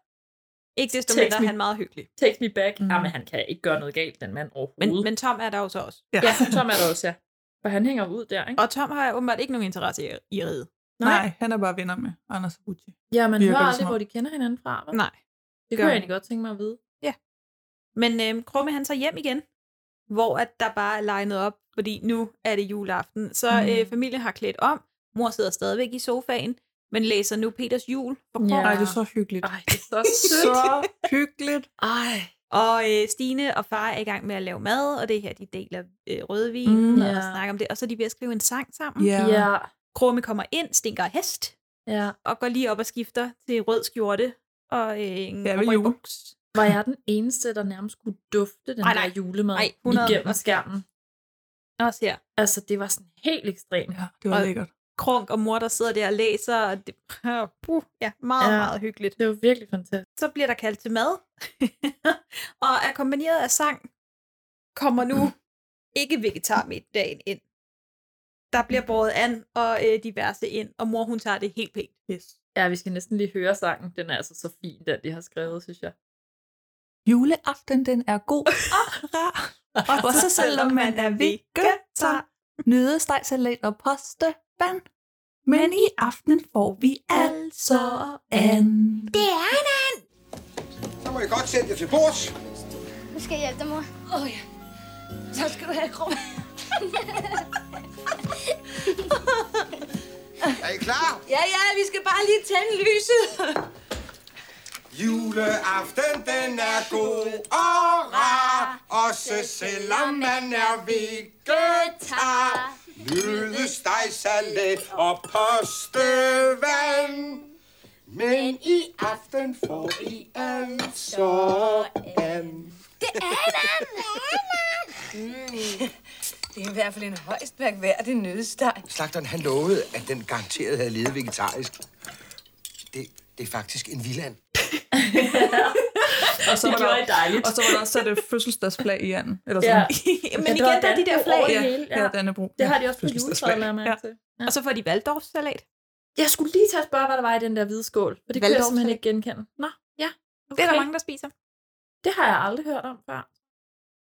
Speaker 8: Ikke desto
Speaker 9: Takes
Speaker 8: mindre er
Speaker 9: me-
Speaker 8: han meget hyggelig.
Speaker 9: take me back. Mm.
Speaker 10: Mm.
Speaker 9: Jamen, han kan ikke gøre noget galt, den mand
Speaker 8: Men,
Speaker 9: overhovedet. <laughs>
Speaker 8: men Tom er der jo så også.
Speaker 10: <laughs> Ja.
Speaker 9: ja, Tom er der også, ja. For han hænger ud der, ikke?
Speaker 8: Og Tom har åbenbart ikke nogen interesse i at- i at ride.
Speaker 10: Nej, han er bare venner med Anders og Uchi.
Speaker 9: Ja, man
Speaker 10: virker
Speaker 9: hører
Speaker 10: det
Speaker 9: aldrig,
Speaker 10: som om.
Speaker 9: hvor de kender hinanden fra, hva'?
Speaker 8: Nej.
Speaker 9: det
Speaker 8: gør
Speaker 9: kunne jeg
Speaker 8: han.
Speaker 9: egentlig godt tænke mig at vide.
Speaker 8: Men øhm, Krumme han tager hjem igen, hvor at der bare er legnet op, fordi nu er det juleaften. Så
Speaker 9: Mm.
Speaker 8: mm. øh, familien har klædt om, mor sidder stadigvæk i sofaen, men læser nu Peters jul for
Speaker 9: Ja.
Speaker 8: Krumme.
Speaker 10: Ej, det er så hyggeligt.
Speaker 9: Ej, det er <laughs> så
Speaker 10: Så
Speaker 9: sødt.
Speaker 10: hyggeligt.
Speaker 9: Ej.
Speaker 8: Og øh, Stine og far er i gang med at lave mad, og det er her, de deler øh, rødvin mm,
Speaker 10: Mm.
Speaker 8: og
Speaker 9: Ja.
Speaker 8: snakker om det. Og så er de ved at skrive en sang sammen.
Speaker 10: Ja.
Speaker 9: Ja,
Speaker 8: Krumme kommer ind, stinker af hest,
Speaker 9: ja.
Speaker 8: og går lige op og skifter til rød skjorte og øh, en
Speaker 10: Det er vel
Speaker 8: cowboy-
Speaker 10: jul.
Speaker 9: Var jeg den eneste, der nærmest kunne dufte den
Speaker 8: Ej,
Speaker 9: Ej,
Speaker 8: nej.
Speaker 9: der julemad
Speaker 8: Ej, 100.
Speaker 9: igennem skærmen?
Speaker 8: Også her.
Speaker 9: Altså, det var sådan helt ekstremt.
Speaker 10: Ja, det var
Speaker 8: Og-
Speaker 10: lækkert.
Speaker 8: Krunk og mor, der sidder der og læser. Og det, <laughs> puh, ja, meget,
Speaker 9: Ja.
Speaker 8: ja. meget hyggeligt.
Speaker 9: Det var virkelig fantastisk.
Speaker 8: så bliver der kaldt til mad, <laughs> og akkompagneret af sang kommer nu ikke vegetarmiddagen ind. Der bliver båret an og øh, diverse ind, og mor hun tager det helt pænt. <laughs>
Speaker 10: Yes.
Speaker 9: Ja, vi skal næsten lige høre sangen. Den er altså så fin, den de har skrevet, synes jeg.
Speaker 10: Juleaften, den er <laughs> god og rar. Også selvom man er vegetar. Nødesteg, salat og posteband. Men i aften får vi altså an.
Speaker 2: Det er han, han!
Speaker 7: Så må I godt sætte jer til bords.
Speaker 5: Nu skal jeg hjælpe dig, mor.
Speaker 2: Åh oh, ja. Så skal du have krumme.
Speaker 7: Er I klar?
Speaker 2: Ja, ja, vi skal bare lige tænde lyset.
Speaker 7: Juleaften, den er god og rar. Også selvom man er vegetar. Nødesteg, salat og postevand. Men i aften får I altså an.
Speaker 13: Det er i hvert fald en højst mærkværdig nødsteg.
Speaker 7: Slagteren, han lovede, at den garanteret havde levet vegetarisk. Det, det er faktisk en villand.
Speaker 10: Og så
Speaker 9: Det gjorde I dejligt.
Speaker 10: Og så var der også sat et fødselsdagsflag i anden. Eller
Speaker 9: Ja.
Speaker 10: sådan.
Speaker 8: Men
Speaker 9: det
Speaker 8: igen,
Speaker 9: var
Speaker 8: der er de der
Speaker 9: Dannebrog
Speaker 8: flag.
Speaker 9: over
Speaker 10: Ja,
Speaker 9: det hele,
Speaker 10: ja.
Speaker 9: ja.
Speaker 10: ja Dannebro.
Speaker 9: Det har
Speaker 10: Ja,
Speaker 9: de også på juletræet, lader jeg mærke til. Ja.
Speaker 8: Og så får de Waldorfsalat.
Speaker 9: Jeg skulle lige tage at spørge, hvad der var i den der hvide skål, for det kunne jeg
Speaker 8: Waldorf
Speaker 9: simpelthen
Speaker 8: salat.
Speaker 9: ikke genkende. Nå, ja. Okay.
Speaker 8: Det er der mange, der spiser.
Speaker 9: det har jeg aldrig hørt om før.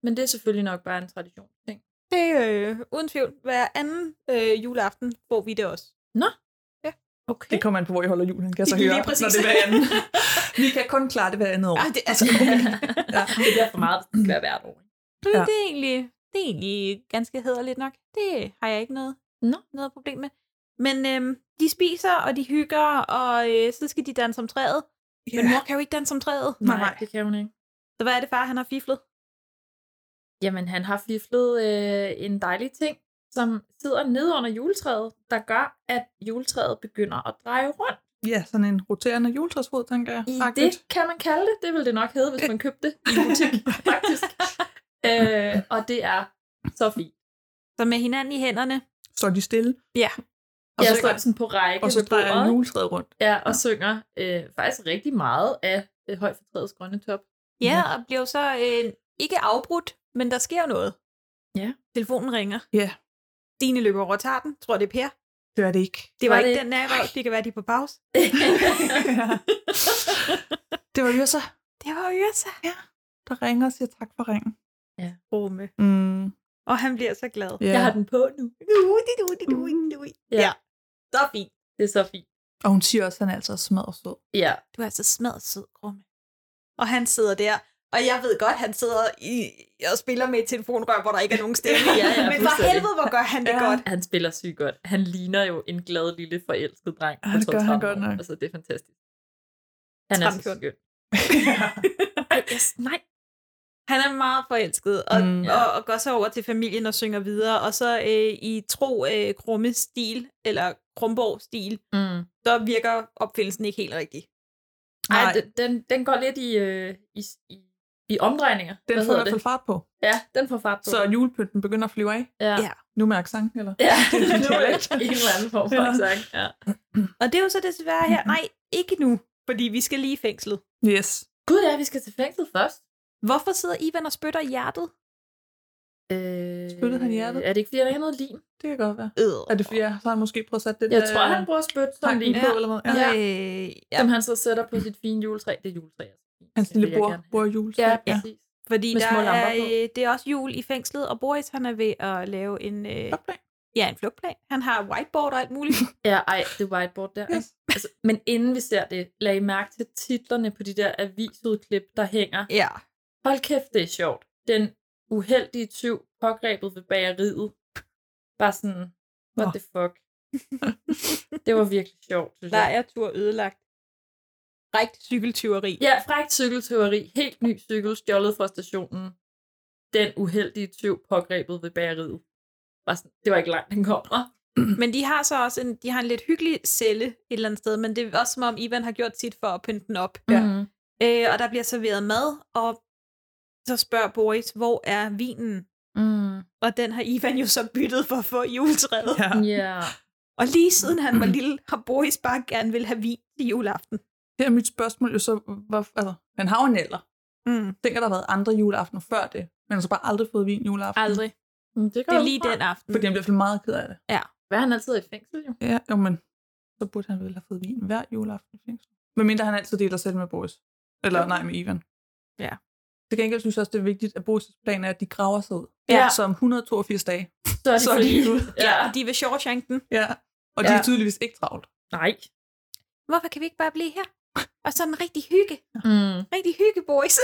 Speaker 9: Men det er selvfølgelig nok bare en traditionsting.
Speaker 8: Det øh, uden tvivl. Hver anden øh, juleaften får vi det også.
Speaker 9: Okay.
Speaker 10: Det kommer an på, hvor I holder julen, kan jeg så
Speaker 8: Lige
Speaker 10: høre,
Speaker 8: præcis.
Speaker 10: når det er hver anden. Vi kan kun klare det hver andet år.
Speaker 8: Ah, det, altså,
Speaker 9: <laughs> ja. Det bliver for meget, hvis det skal være hvert år. ikke?
Speaker 8: det,
Speaker 10: Ja.
Speaker 8: det, er egentlig, det er egentlig ganske hederligt nok. Det har jeg ikke noget,
Speaker 9: Nå.
Speaker 8: noget problem med. Men øhm, de spiser, og de hygger, og øh, så skal de danse om træet.
Speaker 10: Ja.
Speaker 8: Men mor kan jo ikke danse om træet.
Speaker 9: Nej, det kan hun ikke.
Speaker 8: Så hvad er det, far han har fiflet?
Speaker 9: Jamen, han har fiflet øh, en dejlig ting, som sidder nede under juletræet, der gør, at juletræet begynder at dreje rundt.
Speaker 10: Ja, sådan en roterende juletræsfod, tænker jeg.
Speaker 9: Agtigt. Det kan man kalde det. Det vil det nok hedde, hvis man købte det i en <laughs> butik, faktisk. øh, og det er så fint.
Speaker 8: Så med hinanden i hænderne.
Speaker 10: Står de stille?
Speaker 8: Ja.
Speaker 9: Og ja, så står de sådan på række
Speaker 10: Og så
Speaker 9: ved
Speaker 10: drejer
Speaker 9: bordet.
Speaker 10: juletræet rundt.
Speaker 9: Ja, og synger øh, faktisk rigtig meget af øh, højfortrædets grønne
Speaker 8: <laughs>
Speaker 9: top.
Speaker 8: Ja, og bliver jo så øh, ikke afbrudt, men der sker jo noget.
Speaker 9: Ja.
Speaker 8: Telefonen ringer.
Speaker 10: Ja.
Speaker 8: Dine løber over og tager den. Tror det er Per.
Speaker 10: Det er det ikke.
Speaker 8: Det var, var ikke det? den der røv. Det kan være, de er på pause.
Speaker 10: <laughs> Det var Yrsa,
Speaker 8: Det var Yrsa. Ja.
Speaker 10: der ringer og siger tak for ringen.
Speaker 9: Ja.
Speaker 8: Rumme.
Speaker 10: Mm.
Speaker 8: Og han bliver så glad.
Speaker 10: Ja. Jeg har
Speaker 9: den på nu.
Speaker 8: Du, di, du, di, du, di, du.
Speaker 9: Ja. ja.
Speaker 8: Så fint.
Speaker 9: Det er så fint.
Speaker 10: Og hun siger også, at han er altså smadret
Speaker 9: <laughs>
Speaker 10: sød.
Speaker 9: Ja.
Speaker 8: Du er altså smadret sød, Rumme. Og han sidder der, og jeg ved godt, han sidder i, og spiller med et telefonrør, hvor der ikke er nogen stemme.
Speaker 9: Ja, ja,
Speaker 8: Men for
Speaker 9: fuldstændig.
Speaker 8: helvede, hvor gør han det ja. godt.
Speaker 9: Han spiller sygt godt. Han ligner jo en glad lille forelsket dreng.
Speaker 10: Ja,
Speaker 9: på
Speaker 10: Ah, det gør han
Speaker 9: 12-13
Speaker 10: godt
Speaker 9: år.
Speaker 10: nok.
Speaker 9: Altså, det er fantastisk. Han er så
Speaker 8: Tramfjort.
Speaker 9: skøn. Ej, yes, nej.
Speaker 8: Han er meget forelsket, og,
Speaker 10: Mm.
Speaker 8: mm. og, og går så over til familien og synger videre, og så øh, i tro øh, Krumme-stil, eller Krumborg-stil,
Speaker 9: Mm.
Speaker 8: så virker opfindelsen ikke helt rigtig.
Speaker 9: Ej,
Speaker 8: Nej.
Speaker 9: den, den, den går lidt i, øh, i, i, i omdrejninger.
Speaker 10: Den
Speaker 9: Hvad
Speaker 10: får i
Speaker 9: hedder
Speaker 10: hvert fald
Speaker 9: det?
Speaker 10: fart på.
Speaker 9: Ja, den får fart på.
Speaker 10: Så julepynten begynder at flyve af.
Speaker 9: ja.
Speaker 8: Ja.
Speaker 10: Nu med accent, eller?
Speaker 9: Ja,
Speaker 10: Det er en
Speaker 9: <laughs> nu er
Speaker 10: dialekt.
Speaker 9: det en eller anden form for
Speaker 10: Ja.
Speaker 9: accent. Ja.
Speaker 8: Og det er jo så desværre her, nej, ikke nu, fordi vi skal lige i fængslet.
Speaker 10: Yes.
Speaker 9: Gud ja, vi skal til fængslet først.
Speaker 8: Hvorfor sidder Ivan og spytter i hjertet?
Speaker 9: Øh,
Speaker 10: Spyttede han i hjertet?
Speaker 9: Er det ikke, fordi der er noget lim?
Speaker 10: Det kan godt være.
Speaker 8: Øh.
Speaker 10: Er det fordi, jeg- så har han måske prøvet at sætte det
Speaker 9: Jeg
Speaker 10: der...
Speaker 9: tror, han bruger spyt som
Speaker 10: tanken
Speaker 9: lim.
Speaker 10: på, eller hvad? Ja.
Speaker 9: Ja.
Speaker 8: Øh, ja.
Speaker 9: Som han så sætter på sit fine juletræ. Det er juletræ, altså.
Speaker 10: Hans
Speaker 9: Det
Speaker 10: lille
Speaker 9: vil jeg
Speaker 10: bror,
Speaker 9: gerne have.
Speaker 10: bror Jules.
Speaker 9: Ja, præcis.
Speaker 8: Fordi
Speaker 9: Med
Speaker 8: der
Speaker 9: små lamper
Speaker 8: er,
Speaker 9: på.
Speaker 8: øh, det er også jul i fængslet, og Boris han er ved at lave en, øh,
Speaker 10: Flugtplan.
Speaker 8: ja, en flugtplan. Han har whiteboard og alt
Speaker 9: <laughs>
Speaker 8: muligt.
Speaker 9: Ja, ej, det er whiteboard der.
Speaker 10: Yes.
Speaker 9: Yes. Altså, men inden vi ser det, lag I mærke til titlerne på de der avisudklip, der hænger.
Speaker 8: ja.
Speaker 9: Hold kæft, det er sjovt. Den uheldige tyv pågrebet ved bageriet. Bare sådan, what
Speaker 10: Nå.
Speaker 9: the
Speaker 10: <laughs>
Speaker 9: fuck. det var virkelig sjovt, synes jeg.
Speaker 8: Lejertur ødelagt. Rigtig cykeltyveri.
Speaker 9: Ja, frækt cykelteori. Helt ny cykel stjålet fra stationen. Den uheldige tyv pågrebet ved bageriet. Bare sådan, Det var ikke langt, den kom. hva'?
Speaker 8: <clears throat> Men de har så også en, de har en lidt hyggelig celle et eller andet sted, men det er også som om Ivan har gjort sit for at pynte den op.
Speaker 10: Ja.
Speaker 9: Mhm.
Speaker 8: Øh, og der bliver serveret mad, og så spørger Boris, hvor er vinen?
Speaker 9: Mm.
Speaker 8: Og den har Ivan jo så byttet for at få i juletræet.
Speaker 10: Ja.
Speaker 9: Ja.
Speaker 8: Og lige siden han var lille, har Boris bare gerne vil have vin til juleaften.
Speaker 10: Her er mit spørgsmål jo så, hvor, altså, han har jo en alder.
Speaker 8: Mm.
Speaker 10: Tænker, der har været andre juleaftener før det, men han har så bare aldrig fået vin juleaften.
Speaker 8: Aldrig.
Speaker 9: Mm, Det, går
Speaker 8: Det er
Speaker 9: jeg ud
Speaker 8: lige
Speaker 9: fra.
Speaker 8: den aften.
Speaker 10: Fordi han bliver i hvert fald meget ked af det.
Speaker 9: Hvad er han altid i fængsel, jo?
Speaker 10: Ja, jo, men så burde han vel have fået vin hver juleaften i fængsel. Men mindre han altid deler selv med Boris. Eller nej, med Ivan.
Speaker 8: Ja.
Speaker 10: Til gengæld synes jeg også, det er vigtigt, at Boris' plan er, at de graver sig ud.
Speaker 9: Ja.
Speaker 10: Så om 182 dage.
Speaker 9: Så er
Speaker 10: Så er de
Speaker 9: fri.
Speaker 10: ude.
Speaker 9: Ja.
Speaker 8: Og de vil Shawshank den.
Speaker 10: Ja. Og de
Speaker 9: Ja.
Speaker 10: er tydeligvis ikke travlt.
Speaker 9: Nej.
Speaker 8: Hvorfor kan vi ikke bare blive her? Og sådan rigtig hygge.
Speaker 9: Mm.
Speaker 8: Rigtig hygge, Boris.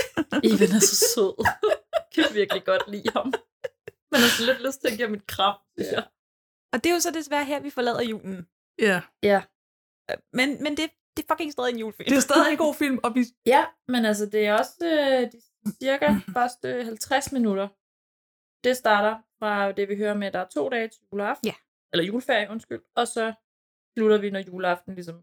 Speaker 9: Ivan er så sød. kan virkelig godt lide ham. Men har så lidt lyst til at give ham et kram. synes jeg.
Speaker 8: og det er jo så desværre her, vi forlader julen.
Speaker 10: Ja.
Speaker 9: Ja.
Speaker 8: Men, men det, det er fucking stadig en julefilm.
Speaker 10: Det er
Speaker 8: <laughs>
Speaker 10: stadig en god film, og vi...
Speaker 9: ja, men altså, det er også øh, de cirka
Speaker 10: Mm.
Speaker 9: første 50 minutter. Det starter fra det, vi hører med, at der er to dage til juleaften.
Speaker 8: Ja.
Speaker 9: Eller juleferie, undskyld. Og så slutter vi, når juleaften ligesom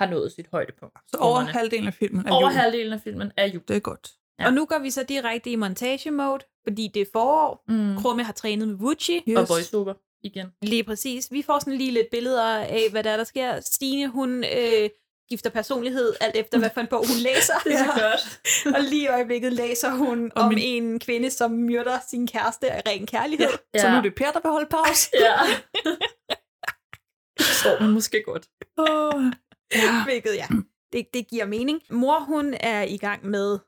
Speaker 9: har nået sit højdepunkt.
Speaker 10: Så over
Speaker 9: Ungerne.
Speaker 10: halvdelen af filmen er
Speaker 9: Over
Speaker 10: jul.
Speaker 9: halvdelen af filmen er jul.
Speaker 10: Det er godt.
Speaker 9: Ja.
Speaker 8: Og nu går vi så direkte i montage-mode, fordi det er forår.
Speaker 9: Mm.
Speaker 8: Krumme har trænet med Vucci.
Speaker 10: Yes.
Speaker 9: Og voiceover igen.
Speaker 8: Lige præcis. Vi får sådan lige lidt billeder af, hvad der er, der sker. Stine, hun øh, gifter personlighed, alt efter hvad for en bog hun
Speaker 10: <laughs>
Speaker 8: læser.
Speaker 9: Det er så godt.
Speaker 8: <laughs> og lige i øjeblikket læser hun
Speaker 10: Og
Speaker 8: om
Speaker 10: min-
Speaker 8: en kvinde, som myrder sin kæreste af ren kærlighed. Ja.
Speaker 10: Så nu er det Per, der vil holde pause.
Speaker 9: Ja. Det forstår man måske godt.
Speaker 10: Åh. ja.
Speaker 9: Ah.
Speaker 8: Hvilket, ja, det, det giver mening. Mor, hun er i gang med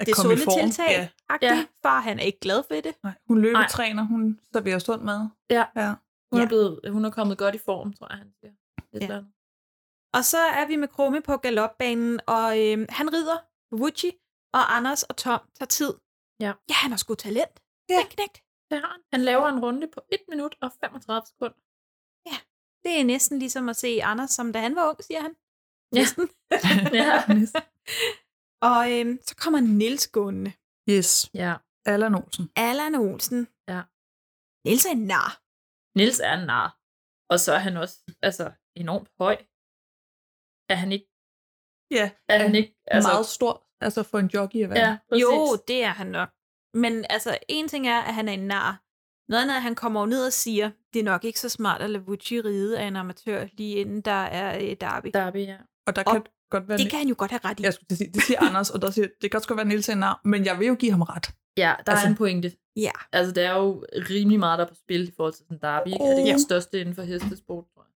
Speaker 10: At
Speaker 8: det
Speaker 10: komme i
Speaker 8: sunde
Speaker 10: form.
Speaker 8: tiltag.
Speaker 10: Ja.
Speaker 8: Ja.
Speaker 9: Ja.
Speaker 8: Far, han er ikke glad for det.
Speaker 10: Nej, hun løbetræner, hun serverer sund mad.
Speaker 9: Ja.
Speaker 10: ja.
Speaker 9: Hun,
Speaker 8: Ja.
Speaker 9: er blevet, hun er kommet godt i form, tror jeg, han siger. Et
Speaker 8: Ja.
Speaker 9: eller andet.
Speaker 8: Og så er vi med Krumme på galopbanen, og øh, han rider Wuchi, og Anders og Tom tager tid.
Speaker 9: Ja.
Speaker 8: ja han har sgu talent.
Speaker 10: Ja.
Speaker 8: Den knægt.
Speaker 9: Det har han. Han laver en runde på 1 minut og 35 sekunder.
Speaker 8: Det er næsten ligesom at se Anders, som da han var ung, siger han.
Speaker 9: Ja.
Speaker 8: Næsten. <laughs>
Speaker 9: Ja.
Speaker 8: og øhm, så kommer Nils gående.
Speaker 10: Yes.
Speaker 9: <laughs> ja.
Speaker 10: Allan Olsen.
Speaker 8: Allan Olsen.
Speaker 9: Ja.
Speaker 8: Nils er en nar.
Speaker 9: Nils er en nar. Og så er han også altså, enormt høj. Er han ikke...
Speaker 10: Ja,
Speaker 9: er han ikke...
Speaker 10: Altså... Meget stor, altså for en jockey at være.
Speaker 8: Ja, jo, det er han nok. Men altså, en ting er, at han er en nar. Noget andet er, at han kommer jo ned og siger, det er nok ikke så smart at lade Vucci ride af en amatør, lige inden der er øh, derby.
Speaker 9: Derby, ja.
Speaker 10: Og der kan og godt være...
Speaker 8: det kan han jo godt have ret i.
Speaker 10: Jeg skulle til at sige, det siger Anders, og der siger, det kan også godt være Niels er en nar, men jeg vil jo give ham ret.
Speaker 9: Ja, der altså,
Speaker 10: Altså-
Speaker 9: er en pointe.
Speaker 8: Ja.
Speaker 9: Altså, der er jo rimelig meget, der er på spil i forhold til sådan en derby. Ikke? Er det ikke
Speaker 8: Ja.
Speaker 9: den største inden for hestesport, tror jeg?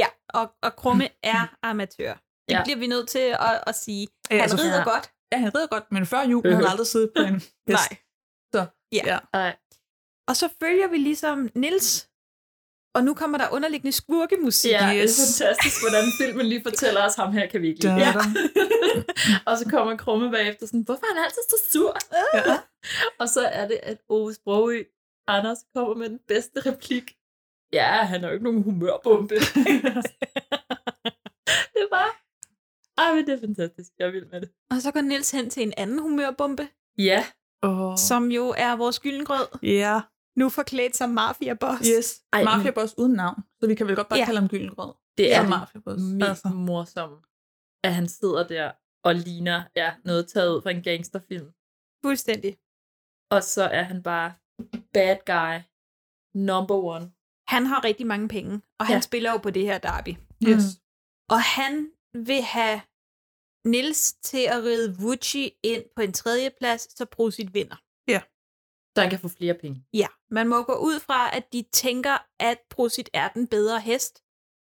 Speaker 8: Ja, og, og <clears throat> Krumme er amatør. Det
Speaker 9: Ja.
Speaker 8: ja. bliver vi nødt til at, at sige.
Speaker 10: Ja,
Speaker 8: Han
Speaker 10: altså-
Speaker 8: rider
Speaker 10: Ja.
Speaker 8: godt.
Speaker 10: Ja, han rider godt, men før jul har han
Speaker 8: Øh.
Speaker 10: aldrig siddet
Speaker 9: <laughs>
Speaker 10: på en hest.
Speaker 8: Nej.
Speaker 10: Så,
Speaker 8: Ja.
Speaker 10: ja.
Speaker 9: Nej.
Speaker 8: Og så følger vi ligesom Nils. Og nu kommer der underliggende skurkemusik.
Speaker 9: Ja, det er fantastisk, hvordan filmen lige fortæller os, ham her kan vi ikke lide.
Speaker 8: Da-da.
Speaker 9: Ja. <laughs> og så kommer Krumme bagefter sådan, hvorfor er han altid så sur?
Speaker 10: Ja.
Speaker 9: <laughs> og så er det, at Ove Sprogø, Anders, kommer med den bedste replik. Ja, han er jo ikke nogen humørbombe. <laughs> det var... Ej, men det er fantastisk. Jeg er vild med det.
Speaker 8: Og så går Nils hen til en anden humørbombe,
Speaker 9: Ja.
Speaker 10: Oh.
Speaker 8: som jo er vores gyldengrød.
Speaker 10: Ja.
Speaker 8: Nu forklædt som mafiaboss.
Speaker 10: Yes.
Speaker 9: Ej,
Speaker 10: Mafia Boss uden navn, så vi kan vel godt bare
Speaker 8: Ja.
Speaker 10: ja. kalde ham Gyldengrød.
Speaker 9: Det er
Speaker 10: ja.
Speaker 9: det
Speaker 10: Mafia Boss.
Speaker 9: mest morsomme, at han sidder der og ligner ja, noget taget ud fra en gangsterfilm.
Speaker 8: Fuldstændig.
Speaker 9: Og så er han bare bad guy number one.
Speaker 8: Han har rigtig mange penge, og han
Speaker 9: Ja.
Speaker 8: ja. spiller jo på det her derby.
Speaker 10: Yes.
Speaker 8: Og han vil have Nils til at ride Vucci ind på en tredjeplads, så Brusit vinder.
Speaker 9: Så han kan få flere penge.
Speaker 8: Ja, man må gå ud fra, at de tænker, at Brusit er den bedre hest,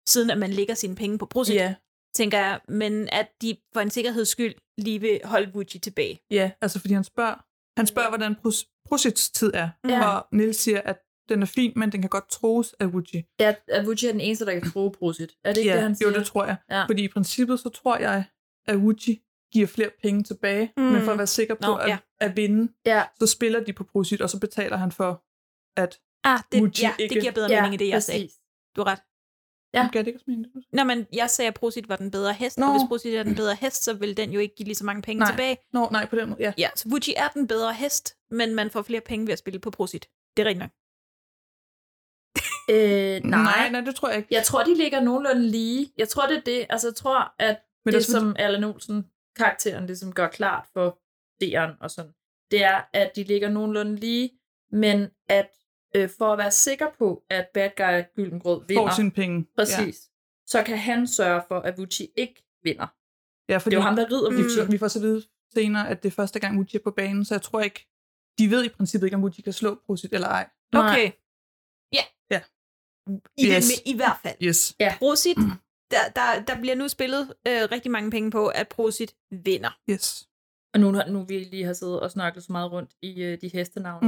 Speaker 8: siden at man lægger sine penge på Brusit,
Speaker 10: Ja.
Speaker 8: tænker jeg, men at de for en sikkerheds skyld lige vil holde Vucci tilbage.
Speaker 10: ja, altså fordi han spørger, han spørger, hvordan pros- prosits tid er,
Speaker 9: Ja.
Speaker 10: og Nils siger, at den er fin, men den kan godt troes af Wuji.
Speaker 9: Ja, at Vucci er den eneste, der kan tro Prosit. Er det ikke
Speaker 10: ja,
Speaker 9: det, han
Speaker 10: jo,
Speaker 9: siger?
Speaker 10: det tror jeg.
Speaker 9: Ja.
Speaker 10: Fordi i princippet, så tror jeg, at Wuji giver flere penge tilbage,
Speaker 8: Mm.
Speaker 10: mm. men for at være sikker på
Speaker 8: Nå,
Speaker 10: Nå, at,
Speaker 8: ja.
Speaker 10: ja. at vinde,
Speaker 9: Ja.
Speaker 10: så spiller de på prosit, og så betaler han for, at
Speaker 8: Ah, det,
Speaker 10: Vucci
Speaker 8: ja, det
Speaker 10: ikke-
Speaker 8: giver bedre
Speaker 9: Ja,
Speaker 8: mening, end det jeg sagde.
Speaker 9: præcis.
Speaker 8: Du har ret.
Speaker 9: Ja.
Speaker 10: Gør det ikke også mening?
Speaker 8: Nå, men jeg sagde, at Prosit var den bedre hest,
Speaker 10: Nå.
Speaker 8: og hvis Prosit er den bedre hest, så vil den jo ikke give lige så mange penge
Speaker 10: Nej.
Speaker 8: tilbage.
Speaker 10: Nå, nej, på den måde, ja.
Speaker 8: Ja, så Vucci er den bedre hest, men man får flere penge ved at spille på Prosit. Det er rigtigt nok.
Speaker 9: Øh, nej.
Speaker 10: nej, nej, det tror jeg ikke.
Speaker 9: Jeg tror, de ligger nogenlunde lige. Jeg tror, det er det. Altså, jeg tror, at
Speaker 10: Men
Speaker 9: Men
Speaker 10: der
Speaker 9: det,
Speaker 10: er
Speaker 9: som Allan Olsen karakteren ligesom gør klart for seeren og sådan, det er, at de ligger nogenlunde lige, men at øh, for at være sikker på, at bad guy Gyldengrød
Speaker 10: Får
Speaker 9: vinder,
Speaker 10: sine penge.
Speaker 9: præcis, ja. så kan han sørge for, at Vucci ikke vinder.
Speaker 10: Ja, ja fordi
Speaker 9: Det er jo ham, der rider
Speaker 10: Vi,
Speaker 9: Vucci.
Speaker 10: mm. vi får så vide senere, at det er første gang, Muji er på banen, så jeg tror ikke, de ved i princippet ikke, om Muji kan slå Prosit eller ej.
Speaker 8: Okay. Ja.
Speaker 10: Ja.
Speaker 8: I,
Speaker 10: Yes.
Speaker 8: yes. I hvert fald.
Speaker 10: Yes.
Speaker 8: Prosit, der, der, der bliver nu spillet øh, rigtig mange penge på, at Prosit vinder.
Speaker 10: Yes.
Speaker 9: Og nu, nu vi lige har siddet og snakket så meget rundt i øh, de hestenavne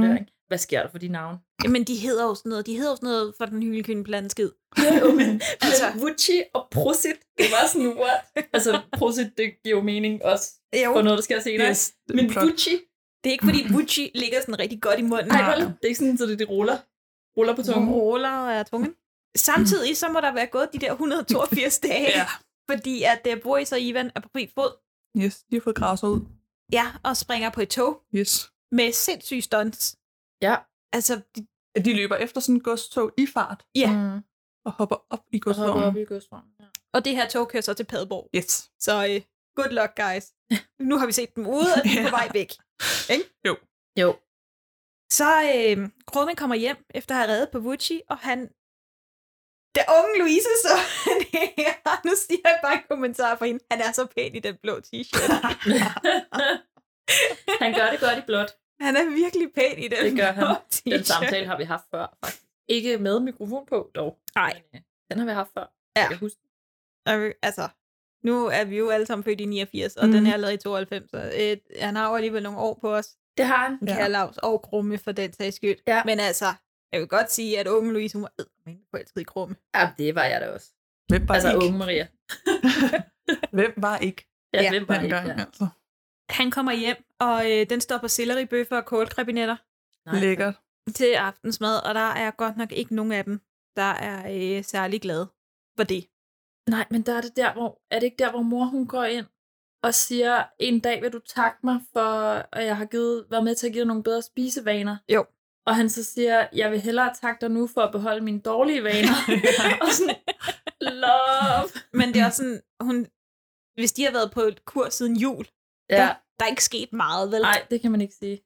Speaker 10: Mm.
Speaker 9: mm. der, ikke? Hvad sker der for de navne?
Speaker 8: Jamen, de hedder jo sådan noget. De hedder jo sådan noget for den hyldekynde blandskid.
Speaker 9: Jo, men
Speaker 8: Altså-
Speaker 9: <laughs> altså, Vucci og Prosit, det var sådan, what? altså, Prosit, det giver jo mening også
Speaker 8: Jo.
Speaker 9: for noget, der sker senere.
Speaker 10: Yes, det er
Speaker 9: men
Speaker 10: flot.
Speaker 9: Vucci,
Speaker 8: Det er ikke, fordi Gucci ligger sådan rigtig godt i munden.
Speaker 9: Nej, vel? Det er ikke sådan, at det, det ruller. Ruller på tungen.
Speaker 8: Roller er tungen. Samtidig så må der være gået de der 182 dage,
Speaker 10: Ja.
Speaker 8: fordi at uh, Boris og Ivan er på fri fod.
Speaker 10: Yes, de har fået græsser ud.
Speaker 8: Ja, og springer på et tog
Speaker 10: Yes.
Speaker 8: med sindssyge stunts.
Speaker 9: Ja.
Speaker 8: Altså, de,
Speaker 10: At de løber efter sådan en godstog i fart
Speaker 8: ja.
Speaker 9: Mm.
Speaker 10: og hopper op i
Speaker 9: Og så hopper
Speaker 10: godsvognen.
Speaker 9: op i godsvognen. Ja.
Speaker 8: Og det her tog kører så til Padborg.
Speaker 10: Yes.
Speaker 8: Så uh, good luck,
Speaker 9: <laughs>
Speaker 8: guys. Nu har vi set dem ude, og de er på vej væk.
Speaker 9: Jo.
Speaker 8: Så øh, Krumme kommer hjem efter at have reddet på Vucci, og han... Da unge Louise så det her, <laughs> nu siger jeg bare en kommentar for hende, han er så pæn i den blå
Speaker 9: <laughs>
Speaker 8: t-shirt.
Speaker 9: <laughs> han gør det godt i blåt.
Speaker 8: Han er virkelig pæn i den
Speaker 9: Det gør han.
Speaker 8: blå <laughs>
Speaker 9: Den
Speaker 8: t-shirt.
Speaker 9: samtale har vi haft før. faktisk. Ikke med mikrofon på, dog.
Speaker 8: Nej.
Speaker 9: Men, øh, Den har vi haft før.
Speaker 8: Ja.
Speaker 9: Jeg kan huske. den.
Speaker 8: Og, Altså, nu er vi jo alle sammen født i 89, og
Speaker 10: Mm.
Speaker 8: mm.
Speaker 9: Mhm.
Speaker 8: den her er lavet i 92, så øh, han har jo alligevel nogle år på os.
Speaker 9: Det har han.
Speaker 10: Ja.
Speaker 8: Ja. Karlavs og Krumme for den sags skyld.
Speaker 9: Ja.
Speaker 8: Men altså, jeg vil godt sige, at unge Louise, hun var eddermame forelsket i Krumme.
Speaker 9: Ja, det var jeg da også.
Speaker 10: Hvem var
Speaker 9: Altså
Speaker 10: altså, ikke?
Speaker 9: unge Maria.
Speaker 10: Hvem var ikke
Speaker 9: Ja,
Speaker 8: Ja,
Speaker 9: hvem var ikke?
Speaker 10: dengang?
Speaker 9: Ja.
Speaker 10: Altså.
Speaker 8: Han kommer hjem, og øh, den står på selleribøffer og kålkrebinetter.
Speaker 9: Nej.
Speaker 10: Lækkert.
Speaker 8: til aftensmad, og der er godt nok ikke nogen af dem, der er øh, særlig glade for det.
Speaker 9: Nej, men der er det der, hvor, er det ikke der, hvor mor hun går ind og siger, en dag vil du takke mig for, at jeg har givet, været med til at give dig nogle bedre spisevaner.
Speaker 8: Jo.
Speaker 9: og han så siger, jeg vil hellere takke dig nu for at beholde mine dårlige <laughs> vaner. og sådan, love.
Speaker 8: Men det er også sådan, hun, hvis de har været på et kur siden jul,
Speaker 9: Ja.
Speaker 8: der, der er ikke sket meget, vel?
Speaker 9: Nej, det kan man ikke sige.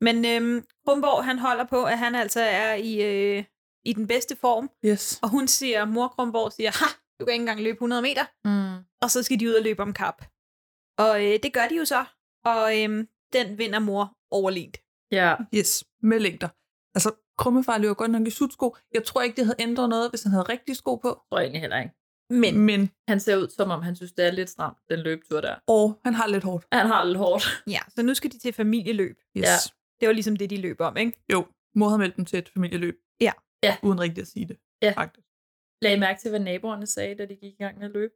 Speaker 8: Men øhm, Kronborg, han holder på, at han altså er i, øh, i den bedste form.
Speaker 10: Yes.
Speaker 8: Og hun siger, mor Kronborg siger, ha, du kan ikke engang løbe 100 meter.
Speaker 9: Mm.
Speaker 8: Og så skal de ud og løbe om kap. Og øh, det gør de jo så. Og øh, den vinder mor overlent.
Speaker 9: Ja.
Speaker 10: Yes, med længder. Altså, Krummefar løber godt nok i sutsko. Jeg tror ikke, det havde ændret noget, hvis han havde rigtige sko på. Jeg
Speaker 9: tror egentlig heller ikke.
Speaker 8: Men,
Speaker 10: Men
Speaker 9: han ser ud, som om han synes, det er lidt stramt, den løbetur der.
Speaker 10: Og han har lidt hårdt.
Speaker 9: Han har lidt hårdt.
Speaker 8: Ja, så nu skal de til familieløb.
Speaker 10: Yes. Ja.
Speaker 8: Det var ligesom det, de løb om, ikke?
Speaker 10: Jo, mor havde meldt dem til et familieløb.
Speaker 8: Ja.
Speaker 9: ja.
Speaker 10: Uden rigtig at sige det.
Speaker 9: Ja.
Speaker 10: Faktisk.
Speaker 9: Lagde I mærke til, hvad naboerne sagde, da de gik i gang med at løbe?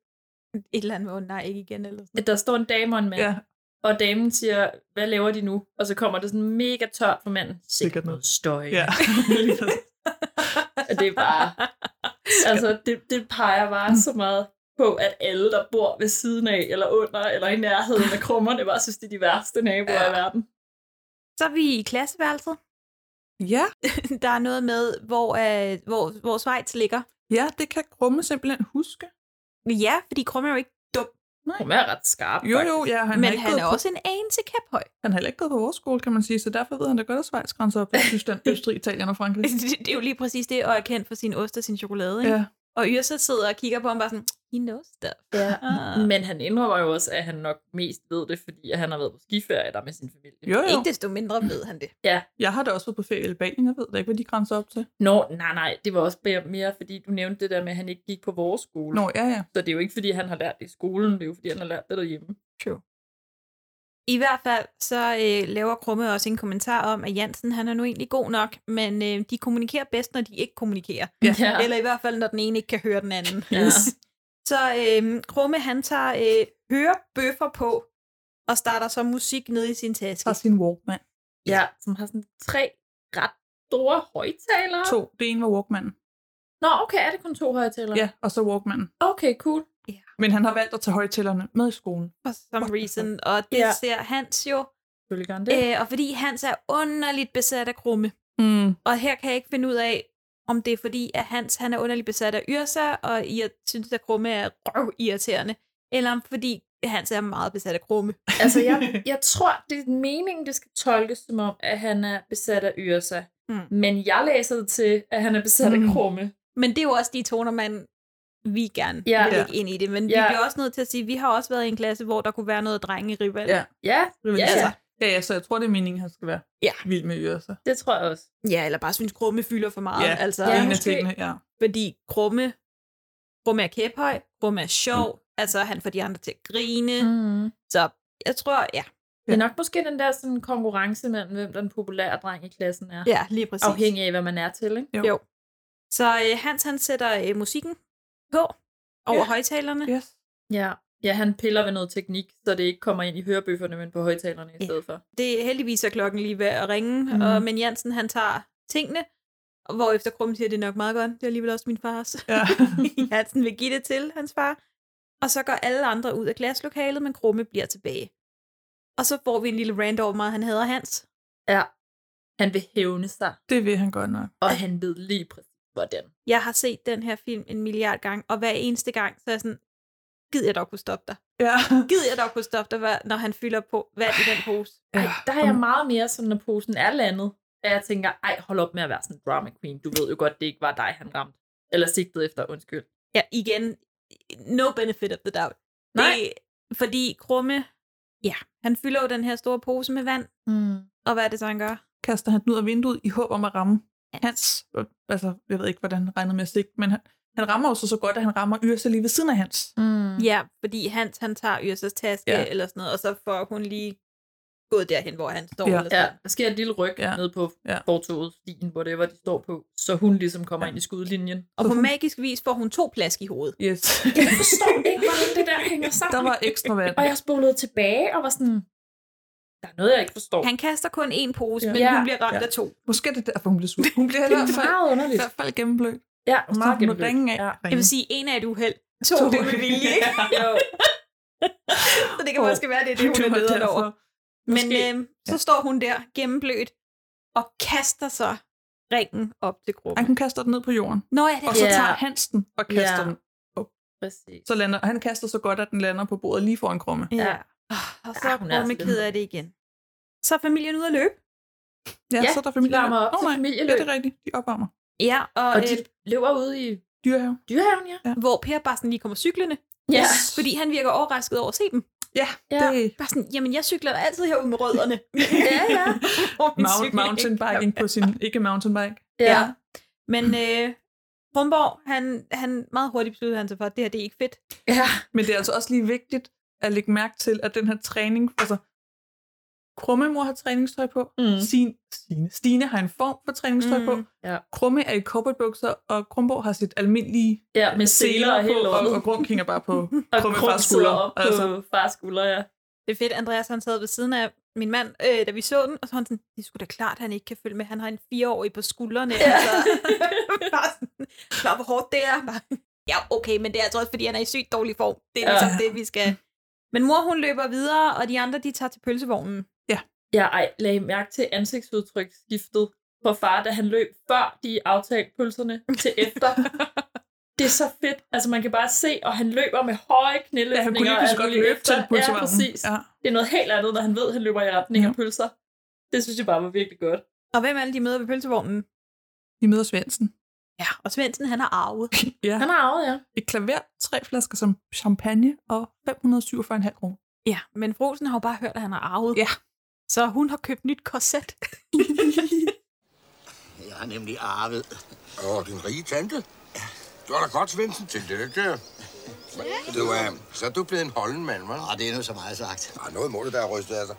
Speaker 8: Et eller andet, hvor nej, ikke igen. Eller
Speaker 9: sådan. Der står en dame og en mand,
Speaker 10: ja.
Speaker 9: og damen siger, hvad laver de nu? Og så kommer det sådan mega tørt for manden.
Speaker 10: Sikkert noget
Speaker 9: støj. <laughs>
Speaker 10: Ja.
Speaker 9: Og det er <laughs> bare... altså, det, det peger bare så meget på, at alle, der bor ved siden af, eller under, eller i nærheden af krummerne, bare synes, det er de værste naboer ja. i verden.
Speaker 8: Så er vi i klasseværelset. <laughs>
Speaker 10: Ja.
Speaker 8: der er noget med, hvor, øh, hvor, hvor Schweiz ligger.
Speaker 10: Ja, det kan Krumme simpelthen huske.
Speaker 8: Ja, fordi Krumme er jo ikke dum.
Speaker 9: Hun er ret skarp,
Speaker 10: Jo, jo, ja, han
Speaker 8: Men
Speaker 10: har ikke
Speaker 8: han
Speaker 10: gået
Speaker 8: er
Speaker 10: på-
Speaker 8: også en anelse kæphøj.
Speaker 10: Han har heller ikke gået på vores skole, kan man sige, så derfor ved han da godt, at Schweiz grænser op til
Speaker 8: <laughs>
Speaker 10: Tyskland, Østrig, Italien og Frankrig.
Speaker 8: det, det er jo lige præcis det, og er kendt for sin ost og sin chokolade.
Speaker 10: Ikke? Ja.
Speaker 8: Og Yrsa sidder og kigger på ham bare sådan, he knows stuff.
Speaker 9: Ja. Mm.
Speaker 8: Ah.
Speaker 9: Men han indrømmer jo også, at han nok mest ved det, fordi at han har været på skiferie der med sin familie.
Speaker 10: Jo, jo.
Speaker 8: Ikke desto mindre ved han det.
Speaker 9: Ja.
Speaker 10: Jeg har da også været på ferie i Albanien, jeg ved da ikke, hvad de grænser op til.
Speaker 9: Nå, nej, nej, det var også mere- mere, fordi du nævnte det der med, at han ikke gik på vores skole.
Speaker 10: Nå, ja, ja.
Speaker 9: Så det er jo ikke, fordi han har lært det i skolen, det er jo, fordi han har lært det derhjemme.
Speaker 8: True. I hvert fald så øh, laver Krumme også en kommentar om, at Jansen han er nu egentlig god nok, men øh, de kommunikerer bedst, når de ikke kommunikerer.
Speaker 9: Ja. Ja.
Speaker 8: <laughs> Eller i hvert fald, når den ene ikke kan høre den anden.
Speaker 9: Ja.
Speaker 8: Så øh, Krumme han tager øh, hørebøffer på og starter så musik ned i sin taske.
Speaker 10: Har sin Walkman.
Speaker 9: Ja, som har sådan tre ret store højtalere.
Speaker 10: To. Det ene var Walkmanen.
Speaker 9: Nå, okay, er det kun to højtalere?
Speaker 10: Ja, og så Walkmanen.
Speaker 9: Okay, cool.
Speaker 10: Men han har valgt at tage højtællerne med i skolen.
Speaker 8: for some reason, og det
Speaker 10: altså. Ja.
Speaker 8: ja. ser Hans jo.
Speaker 9: Selvfølgelig gør han
Speaker 10: det.
Speaker 8: Øh, og fordi Hans er underligt besat af krumme.
Speaker 10: Mm.
Speaker 8: Og her kan jeg ikke finde ud af, om det er fordi, at Hans han er underligt besat af Yrsa, og I synes, at krumme er røv irriterende. Eller om fordi Hans er meget besat af krumme.
Speaker 9: Altså, jeg, jeg tror, det er meningen, det skal tolkes som om, at han er besat af Yrsa.
Speaker 8: Mm.
Speaker 9: Men jeg læser det til, at han er besat
Speaker 8: Mm.
Speaker 9: af Krumme.
Speaker 8: Men det er jo også de toner, man vi gerne
Speaker 9: Ja.
Speaker 8: ja. vil
Speaker 9: Ja.
Speaker 8: lægge ind i det. Men ja.
Speaker 9: Ja.
Speaker 8: vi bliver også nødt til at sige, at vi har også været i en klasse, hvor der kunne være noget drenge i rival.
Speaker 10: Ja.
Speaker 9: Ja.
Speaker 10: Ja. ja, ja, så jeg tror, det er meningen, han skal være
Speaker 8: ja.
Speaker 10: vild med Yrsa.
Speaker 9: Det tror jeg også.
Speaker 8: Ja, eller bare synes, krumme fylder for meget.
Speaker 10: Ja,
Speaker 8: altså,
Speaker 10: det er en af tingene, ja.
Speaker 8: Fordi krumme, krumme er kæphøj, krumme er sjov, mm. altså han får de andre til at grine.
Speaker 9: Mm.
Speaker 8: Så jeg tror, ja.
Speaker 9: Det er nok måske den der sådan, konkurrence mellem, hvem den populære dreng i klassen er.
Speaker 8: Ja, lige præcis.
Speaker 9: Afhængig af, hvad man er til, ikke?
Speaker 8: Jo. jo. Så øh, Hans han sætter øh, musikken på over ja. højtalerne.
Speaker 10: Yes.
Speaker 9: Ja. ja, han piller ved noget teknik, så det ikke kommer ind i hørebøfferne, men på højtalerne i stedet for.
Speaker 8: Det er heldigvis er klokken lige ved at ringe,
Speaker 9: Mm.
Speaker 8: mm. og, men Jansen han tager tingene, og hvorefter Krumme siger, det er nok meget godt, det er alligevel også min fars. <laughs>
Speaker 10: Ja. <laughs>
Speaker 8: Hansen vil give det til hans far. Og så går alle andre ud af klasselokalet, men Krumme bliver tilbage. Og så får vi en lille rant over hvor meget, han hader Hans.
Speaker 9: Ja. Han vil hævne sig.
Speaker 10: Det vil han godt nok.
Speaker 9: Og han ved lige præcis, hvordan.
Speaker 8: Jeg har set den her film en milliard gange, og hver eneste gang, så er jeg sådan, gid jeg dog kunne stoppe dig.
Speaker 10: Ja. <laughs>
Speaker 8: Gid jeg dog kunne stoppe dig, hva- når han fylder på vand i den pose.
Speaker 9: Ej, der er jeg meget mere sådan, når posen er landet, at jeg tænker, ej, hold op med at være sådan en drama queen. Du ved jo godt, det ikke var dig, han ramte. Eller sigtede efter, undskyld.
Speaker 8: Ja, igen, no benefit of the doubt. Nej. Det, fordi Krumme, ja, han fylder jo den her store pose med vand,
Speaker 9: Mm.
Speaker 8: og hvad er det så, han gør?
Speaker 10: Kaster han den ud af vinduet i håb om at ramme Hans. Altså, jeg ved ikke, hvordan han regnede med at sigte, men han, han rammer jo så, så godt, at han rammer Yrsa lige ved siden af Hans.
Speaker 9: Mm.
Speaker 8: Ja, fordi Hans, han tager Yrsas taske
Speaker 10: Ja.
Speaker 8: ja. eller sådan noget, og så får hun lige gået derhen, hvor han står.
Speaker 9: Ja.
Speaker 8: Eller sådan.
Speaker 9: Ja, Altså, der sker et lille ryg ja. ned på
Speaker 10: ja.
Speaker 9: fortoget, stien, whatever de står på, så hun ligesom kommer ja. ind i skudlinjen.
Speaker 8: Og på magisk vis får hun to plask i hovedet. <laughs>
Speaker 10: Yes.
Speaker 9: Jeg forstår ikke, hvordan det <laughs> der Mm. hænger sammen.
Speaker 10: Der var ekstra vand.
Speaker 9: Og jeg spolede tilbage og var sådan, der er noget, jeg ikke forstår.
Speaker 8: Han kaster kun én pose, ja.
Speaker 9: Ja.
Speaker 8: men
Speaker 9: Ja.
Speaker 8: hun bliver ramt
Speaker 9: Ja.
Speaker 8: ja. af to.
Speaker 10: Måske er det derfor, hun bliver sur. Hun bliver i
Speaker 8: Det er
Speaker 10: hvert fald,
Speaker 8: meget underligt.
Speaker 10: I hvert fald gennemblødt.
Speaker 9: Ja,
Speaker 10: og så
Speaker 8: meget
Speaker 10: har hun
Speaker 8: gennemblødt.
Speaker 10: ringen af. Ja.
Speaker 8: Jeg vil sige, en er et uheld, to, to. det er med vilje. <laughs> ikke?
Speaker 9: Jo.
Speaker 8: så det kan måske være, det er det, hun <laughs>
Speaker 10: <laughs> Det
Speaker 8: er
Speaker 10: var
Speaker 8: nederen
Speaker 10: derfor.
Speaker 8: øhm, over. Men øh, så står hun der, gennemblødt, og kaster så ringen op til gruppen.
Speaker 10: Han kun kaster den ned på jorden.
Speaker 8: Nå, ja, det
Speaker 10: og så
Speaker 8: er-
Speaker 10: tager Hans den og kaster
Speaker 8: Ja.
Speaker 10: den op.
Speaker 9: Præcis.
Speaker 10: Så lander, han kaster så godt, at den lander på bordet lige foran krumme.
Speaker 8: Ja. Og så
Speaker 10: Ah,
Speaker 8: er
Speaker 10: hun er
Speaker 8: Krumme
Speaker 10: altså
Speaker 8: ked af det igen. Så er familien ude at løbe.
Speaker 10: Ja,
Speaker 8: Ja,
Speaker 10: så er der
Speaker 8: de
Speaker 10: familie.
Speaker 8: varmer op til
Speaker 10: Ja,
Speaker 8: familieløb.
Speaker 10: det er rigtigt. De opvarmer.
Speaker 8: Ja, og,
Speaker 10: Og de
Speaker 9: løber ude i
Speaker 10: dyrehaven.
Speaker 9: Dyrehaven, ja.
Speaker 8: ja. Hvor Per bare sådan lige kommer cyklende.
Speaker 9: Ja.
Speaker 8: Fordi han virker overrasket over at se dem.
Speaker 10: Ja,
Speaker 8: ja. Det... Bare sådan, jamen jeg cykler da altid herude med rødderne. <laughs> ja, ja.
Speaker 10: Mount, mountainbiking på sin ikke mountainbike.
Speaker 8: Ja. ja. Men øh, Brumborg, han, han meget hurtigt besluttede han sig for, at det her det er ikke fedt.
Speaker 9: Ja.
Speaker 10: Men det er altså også lige vigtigt at lægge mærke til, at den her træning, altså Krummemor har træningstøj på, mm. Stine, Stine, Stine har en form for træningstøj mm. på,
Speaker 9: ja.
Speaker 10: Krumme er i korporatbukser, og Krumborg har sit almindelige
Speaker 9: Ja, med seler og hele
Speaker 10: på, og,
Speaker 9: lortet.
Speaker 10: og Grum kigger bare på
Speaker 9: <laughs> Og
Speaker 10: Krumme
Speaker 9: Krum
Speaker 10: fra skulder. altså.
Speaker 9: sidder op på fars skulder, ja.
Speaker 8: Det er fedt, Andreas han sad ved siden af min mand, øh, da vi så den, og så var han sådan, det er sgu da klart, han ikke kan følge med. Han har en fireårig på skuldrene. Ja. Altså, <laughs> bare sådan, "Nå, hvor hårdt det er. Bare, ja, okay, men det er altså også, fordi han er i sygt dårlig form. Det er
Speaker 9: Ja.
Speaker 8: ligesom ja. det, vi skal... Men mor, hun løber videre, og de andre, de tager til pølsevognen.
Speaker 10: Ja.
Speaker 9: <laughs> Ja, ej, lag mærke til ansigtsudtryksskiftet på far, da han løb før de aftalte pølserne til
Speaker 10: <laughs>
Speaker 9: efter. det er så fedt. Altså, man kan bare se, og han løber med høje knæløftninger.
Speaker 10: Ja, han kunne lige pludselig godt
Speaker 9: og alt muligt
Speaker 10: løbe til
Speaker 9: efter. Ja,
Speaker 10: pølsevognen.
Speaker 9: præcis.
Speaker 10: Ja.
Speaker 9: Det er noget helt andet, når han ved, at han løber i retning af pølser. Det synes jeg bare var virkelig godt.
Speaker 8: Og hvem er alle de møder ved pølsevognen?
Speaker 10: De møder Svendsen.
Speaker 8: Ja, og Svendsen, han har arvet.
Speaker 10: ja.
Speaker 9: Han har arvet, ja.
Speaker 10: Et klaver, tre flasker som champagne og 547,5 kroner.
Speaker 8: Ja, men Frosen har jo bare hørt, at han har arvet.
Speaker 10: Ja.
Speaker 8: Så hun har købt nyt korset.
Speaker 4: Jeg har nemlig arvet.
Speaker 7: Åh, din rige tante. Du har da godt, Svendsen. Tillykke. Du, øh, så er du blevet en holden mand, hva'?
Speaker 14: Og det er nu så meget sagt.
Speaker 7: Ah, noget må det, der er rystet af sig.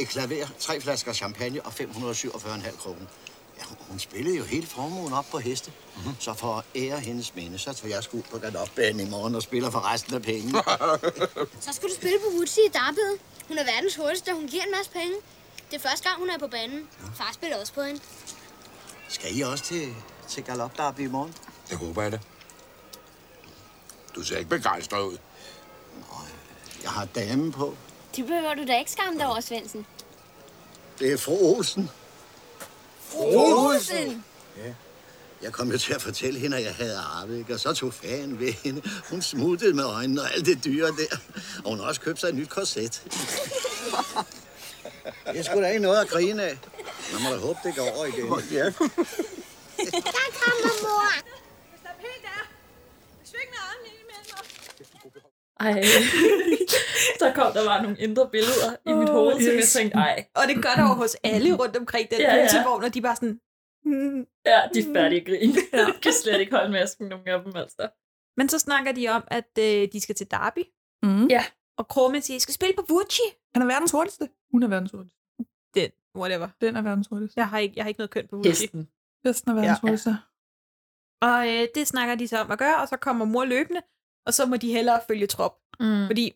Speaker 14: Et klaver, tre flasker champagne og 547,5 kroner. Ja, hun- hun spillede jo hele formuen op på heste. Mm-hmm. Så for at ære hendes minde, så tager jeg sgu ud på galopbanen i morgen og spiller for resten af pengene. <laughs>
Speaker 15: Så skal du spille på Woodsie i Darbed. Hun er verdens hurtigste, og hun giver en masse penge. Det er første gang, hun er på banen. Far spiller også på hende.
Speaker 14: Skal I også til, til galopdarby i morgen?
Speaker 7: Det håber jeg da. Du ser ikke begejstret ud.
Speaker 14: Jeg har dame på.
Speaker 15: Det behøver du da ikke skamme dig over, Svendsen.
Speaker 14: Det er fru Olsen.
Speaker 15: Rosen!
Speaker 14: Jeg kom jo til at fortælle hende, at jeg havde arvet, ikke? og så tog fan ved hende. Hun smuttede med øjnene og alt det dyre der. Og hun har også købt sig et nyt <laughs> korset. Jeg skulle da ikke noget at grine af. Man må da håbe, det går over igen. Ja.
Speaker 15: Der kommer mor!
Speaker 12: Slap helt af. Sving med armen ind imellem os.
Speaker 9: Ej, <laughs> der kom der bare nogle indre billeder i mit hoved, som jeg tænkte, ej.
Speaker 8: Og det gør der jo hos alle rundt omkring den
Speaker 9: Ja,
Speaker 8: ja,
Speaker 9: ja.
Speaker 8: pølsevogn, og de er bare sådan... "Mm."
Speaker 9: Ja, de er færdige grin. <laughs> Ja. kan slet ikke holde masken, nogle af dem altså.
Speaker 8: Men så snakker de om, at øh, de skal til Derby.
Speaker 10: Mm.
Speaker 9: Ja.
Speaker 8: Og Krumme siger, jeg skal spille på Vucci.
Speaker 10: Han er verdens hurtigste. Hun er verdens hurtigste.
Speaker 8: Den, whatever.
Speaker 10: Den er verdens hurtigste.
Speaker 8: Jeg har ikke, jeg har ikke noget køn på Vucci.
Speaker 10: Hesten. Hesten er verdens
Speaker 8: Ja.
Speaker 10: ja. hurtigste.
Speaker 8: Og øh, det snakker de så om at gøre, og så kommer mor løbende, og så må de hellere følge trop.
Speaker 9: Mm.
Speaker 8: Fordi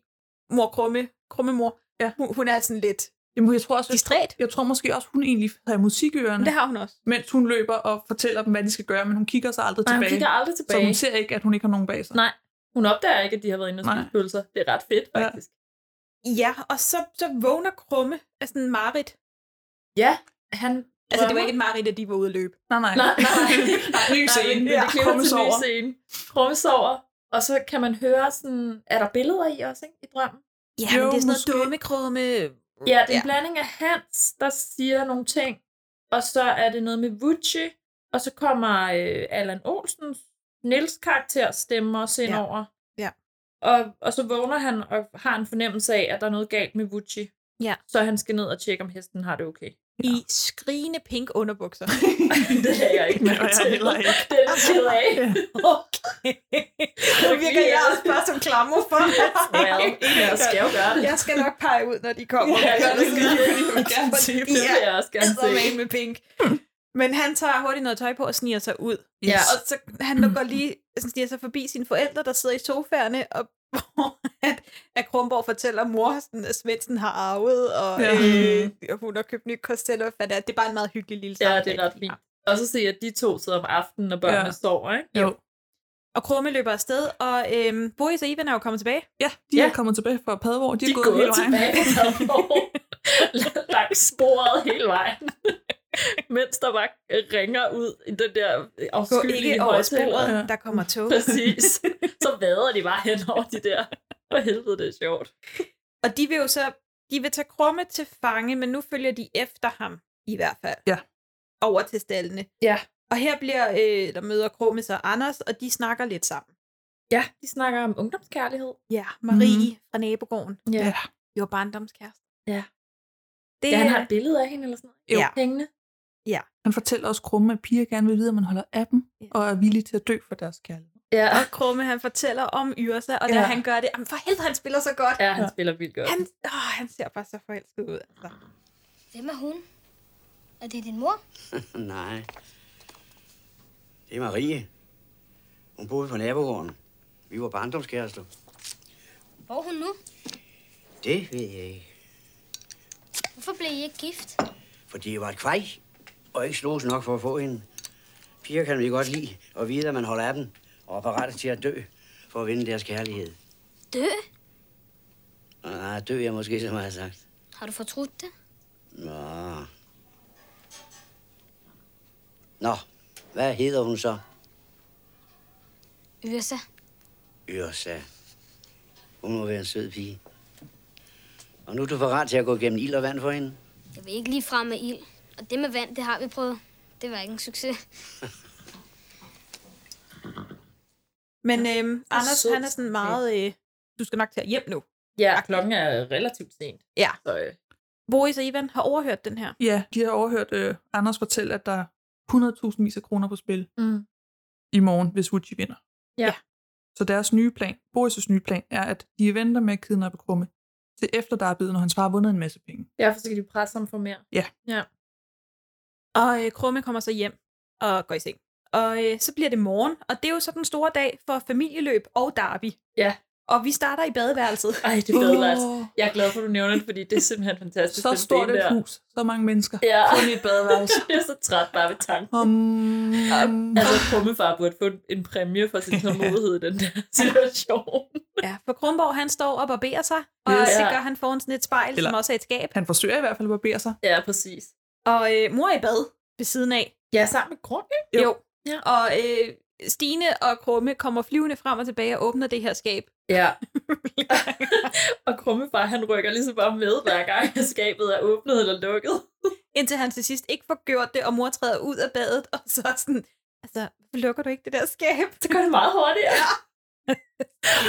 Speaker 8: mor Krumme, Krummemor, ja. hun, hun er sådan lidt...
Speaker 10: Jamen, jeg tror også,
Speaker 8: distræt.
Speaker 10: Jeg tror måske også, hun egentlig havde musik i ørerne.
Speaker 8: Det har hun også.
Speaker 10: Mens hun løber og fortæller dem, hvad de skal gøre, men hun kigger så aldrig
Speaker 9: Nej, hun
Speaker 10: tilbage.
Speaker 9: kigger aldrig tilbage.
Speaker 10: Så hun ser ikke, at hun ikke har nogen bag sig.
Speaker 9: Nej, hun opdager ikke, at de har været inde og spise pølser. Det er ret fedt, faktisk.
Speaker 8: Ja, og så, så vågner Krumme af sådan en marit.
Speaker 9: Ja, han
Speaker 8: Altså, det var ikke et marit, at de var ude at løbe.
Speaker 10: Nej, nej.
Speaker 9: Nej, nej.
Speaker 10: <laughs> nej. Ny scene.
Speaker 9: Men, ja. Det klipper til ny scene. Krummes over. Og så kan man høre sådan, er der billeder i også, ikke? I drømmen?
Speaker 8: Ja, men det er sådan noget dumme krumme.
Speaker 9: Ja, det er en blanding af Hans, der siger nogle ting, og så er det noget med Vucci, og så kommer øh, Allan Olsens Nils karakter stemmer også ind
Speaker 8: Ja.
Speaker 9: over.
Speaker 8: Ja.
Speaker 9: Og, og så vågner han og har en fornemmelse af, at der er noget galt med Vucci.
Speaker 8: Ja.
Speaker 9: Så han skal ned og tjekke, om hesten har det okay.
Speaker 8: I skrigende pink underbukser.
Speaker 9: <laughs> det er jeg ikke med til. <laughs> Det er jeg ked
Speaker 8: <laughs>
Speaker 9: af.
Speaker 8: Nu virker jeg også bare som klammer
Speaker 9: <laughs>
Speaker 8: for.
Speaker 9: Well, jeg skal jo gøre det.
Speaker 8: Jeg skal nok pege ud, når de kommer.
Speaker 9: Ja,
Speaker 8: Gør
Speaker 9: jeg
Speaker 8: <laughs> det
Speaker 9: vil
Speaker 8: skide.
Speaker 9: gerne se dem.
Speaker 8: Fordi
Speaker 9: Det vil jeg også gerne se.
Speaker 8: eddermame med pink. Men han tager hurtigt noget tøj på og sniger sig ud.
Speaker 9: Yes.
Speaker 8: Og så han nu går lige sådan sniger sig forbi sine forældre, der sidder i sofaerne, og <laughs> hvor at, at Kronborg fortæller mor, sådan, at Svendsen har arvet, og
Speaker 9: Ja.
Speaker 8: ja. øh, og hun har købt nyt korset, og hvad fanden det er. Det er bare en meget hyggelig lille
Speaker 9: Ja,
Speaker 8: samtale.
Speaker 9: det er ret fint. Og så se, at de to sidder om aftenen, når børnene
Speaker 8: Ja.
Speaker 9: sover, ikke?
Speaker 10: Jo.
Speaker 8: Og Krumme løber afsted, og øhm, Boris og Ivan er jo kommet tilbage.
Speaker 10: Ja, de er kommet tilbage fra Padborg.
Speaker 9: <laughs>
Speaker 10: De,
Speaker 8: De
Speaker 10: er
Speaker 8: er
Speaker 10: gået,
Speaker 8: gået
Speaker 10: hele vejen.
Speaker 9: tilbage fra Padborg. Langs sporet hele vejen. <laughs> mens der bare ringer ud i den der
Speaker 8: Gå
Speaker 9: afskyelige
Speaker 8: ikke over
Speaker 9: højspiller.
Speaker 8: sporet, der kommer tog.
Speaker 9: Præcis. Så vader de bare hen over de der. For helvede, det er sjovt.
Speaker 8: Og de vil jo så, de vil tage Krumme til fange, men nu følger de efter ham, i hvert fald.
Speaker 10: Ja.
Speaker 8: Over til stallene.
Speaker 9: Ja.
Speaker 8: Og her bliver, øh, der møder Krumme så Anders, og de snakker lidt sammen.
Speaker 9: Ja, de snakker om ungdomskærlighed. Mhm.
Speaker 8: Ja, Marie mm. fra nabogården.
Speaker 9: Ja. Ja.
Speaker 8: Jo, barndomskæreste.
Speaker 9: Ja. Det, ja, han har et billede af hende eller sådan noget.
Speaker 10: Jo.
Speaker 9: Ja. Pengene.
Speaker 8: Ja.
Speaker 10: Han fortæller også krumme, at piger gerne vil vide, at man holder af dem, og er villig til at dø for deres kærlighed.
Speaker 9: Ja.
Speaker 8: Og Krumme, han fortæller om Yrsa, og da
Speaker 10: Ja.
Speaker 8: han gør det, jamen for helvede, han spiller så godt.
Speaker 9: Ja, han Ja. spiller vildt godt.
Speaker 8: Han, åh, han ser bare så forelsket ud. Altså.
Speaker 5: Hvem er hun? Er det din mor?
Speaker 16: Nej. Det er Marie. Hun boede på nabogården. Vi var barndomskærester.
Speaker 5: Hvor er hun nu?
Speaker 16: Det ved jeg ikke.
Speaker 5: Hvorfor blev I ikke gift?
Speaker 16: Fordi jeg var et kvej, og ikke slås nok for at få hende. Piger kan vi godt lide, og vide, at man holder af dem, og er parat til at dø, for at vinde deres kærlighed.
Speaker 5: Dø?
Speaker 16: Nej, dø jeg måske, som jeg har sagt.
Speaker 5: Har du fortrudt det?
Speaker 16: Nå. Nå, hvad hedder hun så?
Speaker 5: Yrsa,
Speaker 16: Yrsa. Hun må være en sød pige. Og nu er du parat til at gå gennem ild og vand for hende?
Speaker 5: jeg vil ikke lige frem med ild. Og det med vand, det har vi prøvet. Det var ikke en succes.
Speaker 8: Men øhm, Anders,
Speaker 9: sød.
Speaker 8: han er sådan meget, øh, du skal nok tage hjem nu.
Speaker 9: Ja, klokken er relativt sent.
Speaker 8: Ja.
Speaker 9: Så, øh,
Speaker 8: Boris og Ivan har overhørt den her.
Speaker 10: Ja, de har overhørt øh, Anders fortælle, at der er 100.000 vis af kroner på spil
Speaker 9: Mm.
Speaker 10: i morgen, hvis Uchi vinder.
Speaker 9: Ja.
Speaker 10: Så deres nye plan, Boris' nye plan, er, at de venter med at kidnappe Krumme, til efter der er blevet, når hans far har vundet en masse penge.
Speaker 9: ja, for så kan de presse ham for mere.
Speaker 10: Ja.
Speaker 9: Ja.
Speaker 8: Og øh, Krumme kommer så hjem og går i seng. Og øh, så bliver det morgen, og det er jo så den store dag for familieløb og derby.
Speaker 9: Ja.
Speaker 8: Og vi starter i badeværelset.
Speaker 9: Ej, det er badeværelset. Uh. Jeg er glad for, at du nævner det, fordi det er simpelthen fantastisk.
Speaker 10: Så
Speaker 9: den
Speaker 10: stort
Speaker 9: scene
Speaker 10: et hus, så mange mennesker.
Speaker 9: Ja.
Speaker 10: Kun i et badeværelse.
Speaker 9: <laughs> jeg er så træt bare ved tanken.
Speaker 10: Um,
Speaker 9: altså, Krummefar burde få en præmie <laughs> for sin tålmodighed i den der situation.
Speaker 8: Ja, for Kronborg han står og barberer sig, og
Speaker 9: Ja.
Speaker 8: ja. det gør han foran sådan et spejl, Eller... som
Speaker 10: Eller-
Speaker 8: også er et skab.
Speaker 10: Han forsøger i hvert fald at barbere sig.
Speaker 9: Ja, præcis.
Speaker 8: Og øh, mor er i bad ved siden af.
Speaker 9: Ja, sammen med Kron,
Speaker 8: Jo. jo. Ja. Og øh, Stine og Krumme kommer flyvende frem og tilbage og åbner det her skab.
Speaker 9: Ja. og Krummefar, han rykker ligesom bare med, hver gang skabet er åbnet eller lukket.
Speaker 8: Indtil han til sidst ikke får gjort det, og mor træder ud af badet, og så er sådan, altså, hvorfor lukker du ikke det der skab?
Speaker 9: Det gør det meget hurtigt, ja.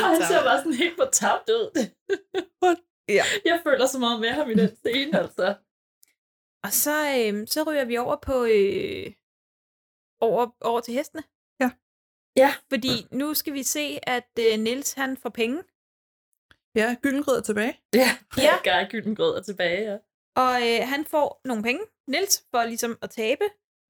Speaker 9: Og han
Speaker 8: Tak.
Speaker 9: ser bare sådan helt på tabt ud.
Speaker 8: ja.
Speaker 9: Jeg føler så meget med ham i den scene, altså.
Speaker 8: Og så, øh, så ryger vi over på øh, over, over til hestene.
Speaker 10: Ja.
Speaker 9: Ja.
Speaker 8: Fordi nu skal vi se, at øh, Nils han får penge.
Speaker 10: Ja, gyldengrød er tilbage.
Speaker 9: Ja, ja. Gar Gyldengrød er tilbage, ja.
Speaker 8: Og øh, han får nogle penge, Nils, for ligesom at tabe.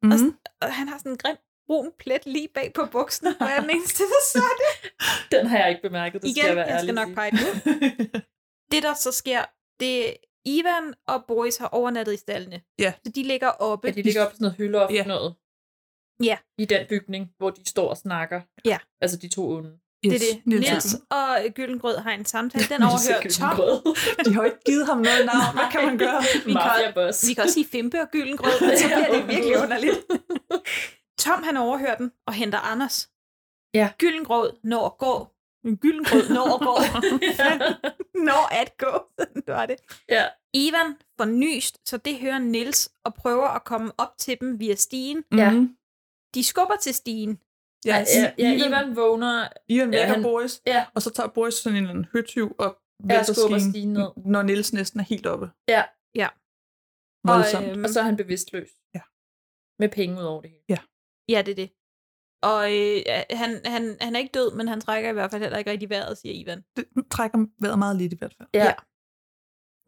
Speaker 10: Mm.
Speaker 8: Og, s- og han har sådan en grim brun plet lige bag på buksen, og
Speaker 9: <laughs>
Speaker 8: jeg er den eneste, der så det.
Speaker 9: Den har jeg ikke bemærket, det
Speaker 8: Igen,
Speaker 9: skal jeg være
Speaker 8: jeg skal
Speaker 9: ærlig
Speaker 8: nok
Speaker 9: sige.
Speaker 8: pege den ud.
Speaker 9: <laughs>
Speaker 8: Det, der så sker, det er, Ivan og Boris har overnattet i stallene.
Speaker 10: Ja.
Speaker 8: Så de ligger oppe.
Speaker 9: Ja, de ligger op på sådan noget hylde og ja. noget.
Speaker 8: Ja.
Speaker 9: I den bygning, hvor de står og snakker.
Speaker 8: Ja.
Speaker 9: Altså de to onde.
Speaker 8: Det er det. Nils og Gyllengrød har en samtale. Den overhører Tom.
Speaker 10: De har jo ikke givet ham noget navn. Hvad kan man gøre?
Speaker 8: Vi kan, vi kan også sige Fimpe og Gyllengrød, men så bliver det virkelig underligt. Tom han overhører den og henter Anders.
Speaker 9: Ja.
Speaker 8: Gyllengrød når at gå. Gyllengrød når
Speaker 9: <laughs>
Speaker 8: at gå. når at gå. Sådan var det.
Speaker 9: Ja.
Speaker 8: Ivan får nyst, så det hører Nils og prøver at komme op til dem via stigen.
Speaker 9: Ja.
Speaker 8: De skubber til stigen.
Speaker 10: Ja,
Speaker 9: ja, Mm. ja, Ivan vågner.
Speaker 10: Ivan
Speaker 9: Ja,
Speaker 10: vækker
Speaker 9: han-
Speaker 10: Boris,
Speaker 9: ja.
Speaker 10: og så tager Boris sådan en eller anden høtyv og
Speaker 9: Ja,
Speaker 10: vælter
Speaker 9: skubber
Speaker 10: skien,
Speaker 9: stigen ned.
Speaker 10: når Nils næsten er helt oppe.
Speaker 9: Ja.
Speaker 8: Ja.
Speaker 9: Og,
Speaker 10: Voldsomt.
Speaker 9: øhm, og så er han bevidstløs.
Speaker 10: Ja.
Speaker 9: Med penge ud over det hele.
Speaker 8: Ja, det er det. Og øh, han, han, han er ikke død, men han trækker i hvert fald heller ikke rigtig vejret, siger Ivan.
Speaker 10: Det trækker vejret meget lidt i hvert fald.
Speaker 9: Ja.
Speaker 8: ja.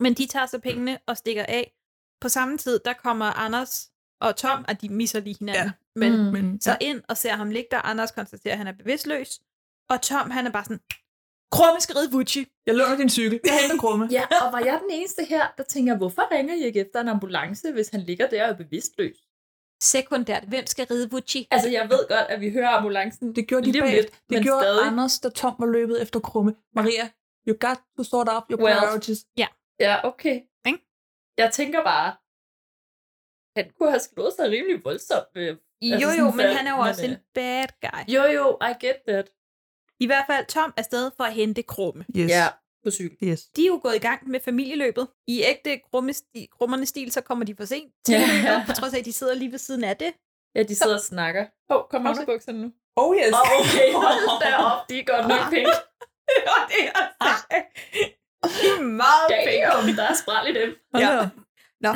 Speaker 8: Men de tager så pengene og stikker af. På samme tid, der kommer Anders og Tom, og de misser lige hinanden. Ja. Men,
Speaker 10: Mm. Men-
Speaker 8: mm. Så ind og ser ham ligge der. Anders konstaterer, at han er bevidstløs. Og Tom, han er bare sådan, Krumme skal ride Vucci.
Speaker 10: Jeg låner din cykel. Jeg henter Krumme.
Speaker 9: Ja, og var jeg den eneste her, der tænker, hvorfor ringer I ikke efter en ambulance, hvis han ligger der og er bevidstløs?
Speaker 8: Sekundært, hvem skal ride Vucci?
Speaker 9: Altså, jeg ved godt, at vi hører ambulancen.
Speaker 10: Det gjorde de
Speaker 9: lige om
Speaker 10: bag.
Speaker 9: lidt,
Speaker 10: Det
Speaker 9: men
Speaker 10: gjorde
Speaker 9: stadig.
Speaker 10: Anders, da Tom var løbet efter Krumme. Maria, you got to sort out your
Speaker 9: Well.
Speaker 10: priorities.
Speaker 8: Ja.
Speaker 9: Ja, okay.
Speaker 8: Ikke?
Speaker 9: Jeg tænker bare, han kunne have slået sig rimelig voldsomt. Øh,
Speaker 8: Jo, jo,
Speaker 9: sådan
Speaker 8: men
Speaker 9: før,
Speaker 8: han er jo også
Speaker 9: øh,
Speaker 8: en bad guy.
Speaker 9: Jo, jo, I get that.
Speaker 8: I hvert fald Tom er stadig for at hente krumme.
Speaker 10: Yes. Ja,
Speaker 9: på cykel.
Speaker 10: Yes.
Speaker 8: De er jo gået i gang med familieløbet. I ægte grummesti- grummerne stil, så kommer de for sent til
Speaker 9: Ja.
Speaker 8: løbet, på trods af, at de sidder lige ved siden af det.
Speaker 9: Ja, de sidder og snakker. Åh, oh, kom
Speaker 8: Pause.
Speaker 9: underbukserne nu.
Speaker 10: Oh yes.
Speaker 9: Åh, oh, okay, hold da op, de er godt <laughs> nok pink.
Speaker 8: De Ah. er meget
Speaker 9: pink.
Speaker 8: pæne.
Speaker 9: der er spræl i dem.
Speaker 8: <laughs>
Speaker 10: Ja.
Speaker 8: Nå.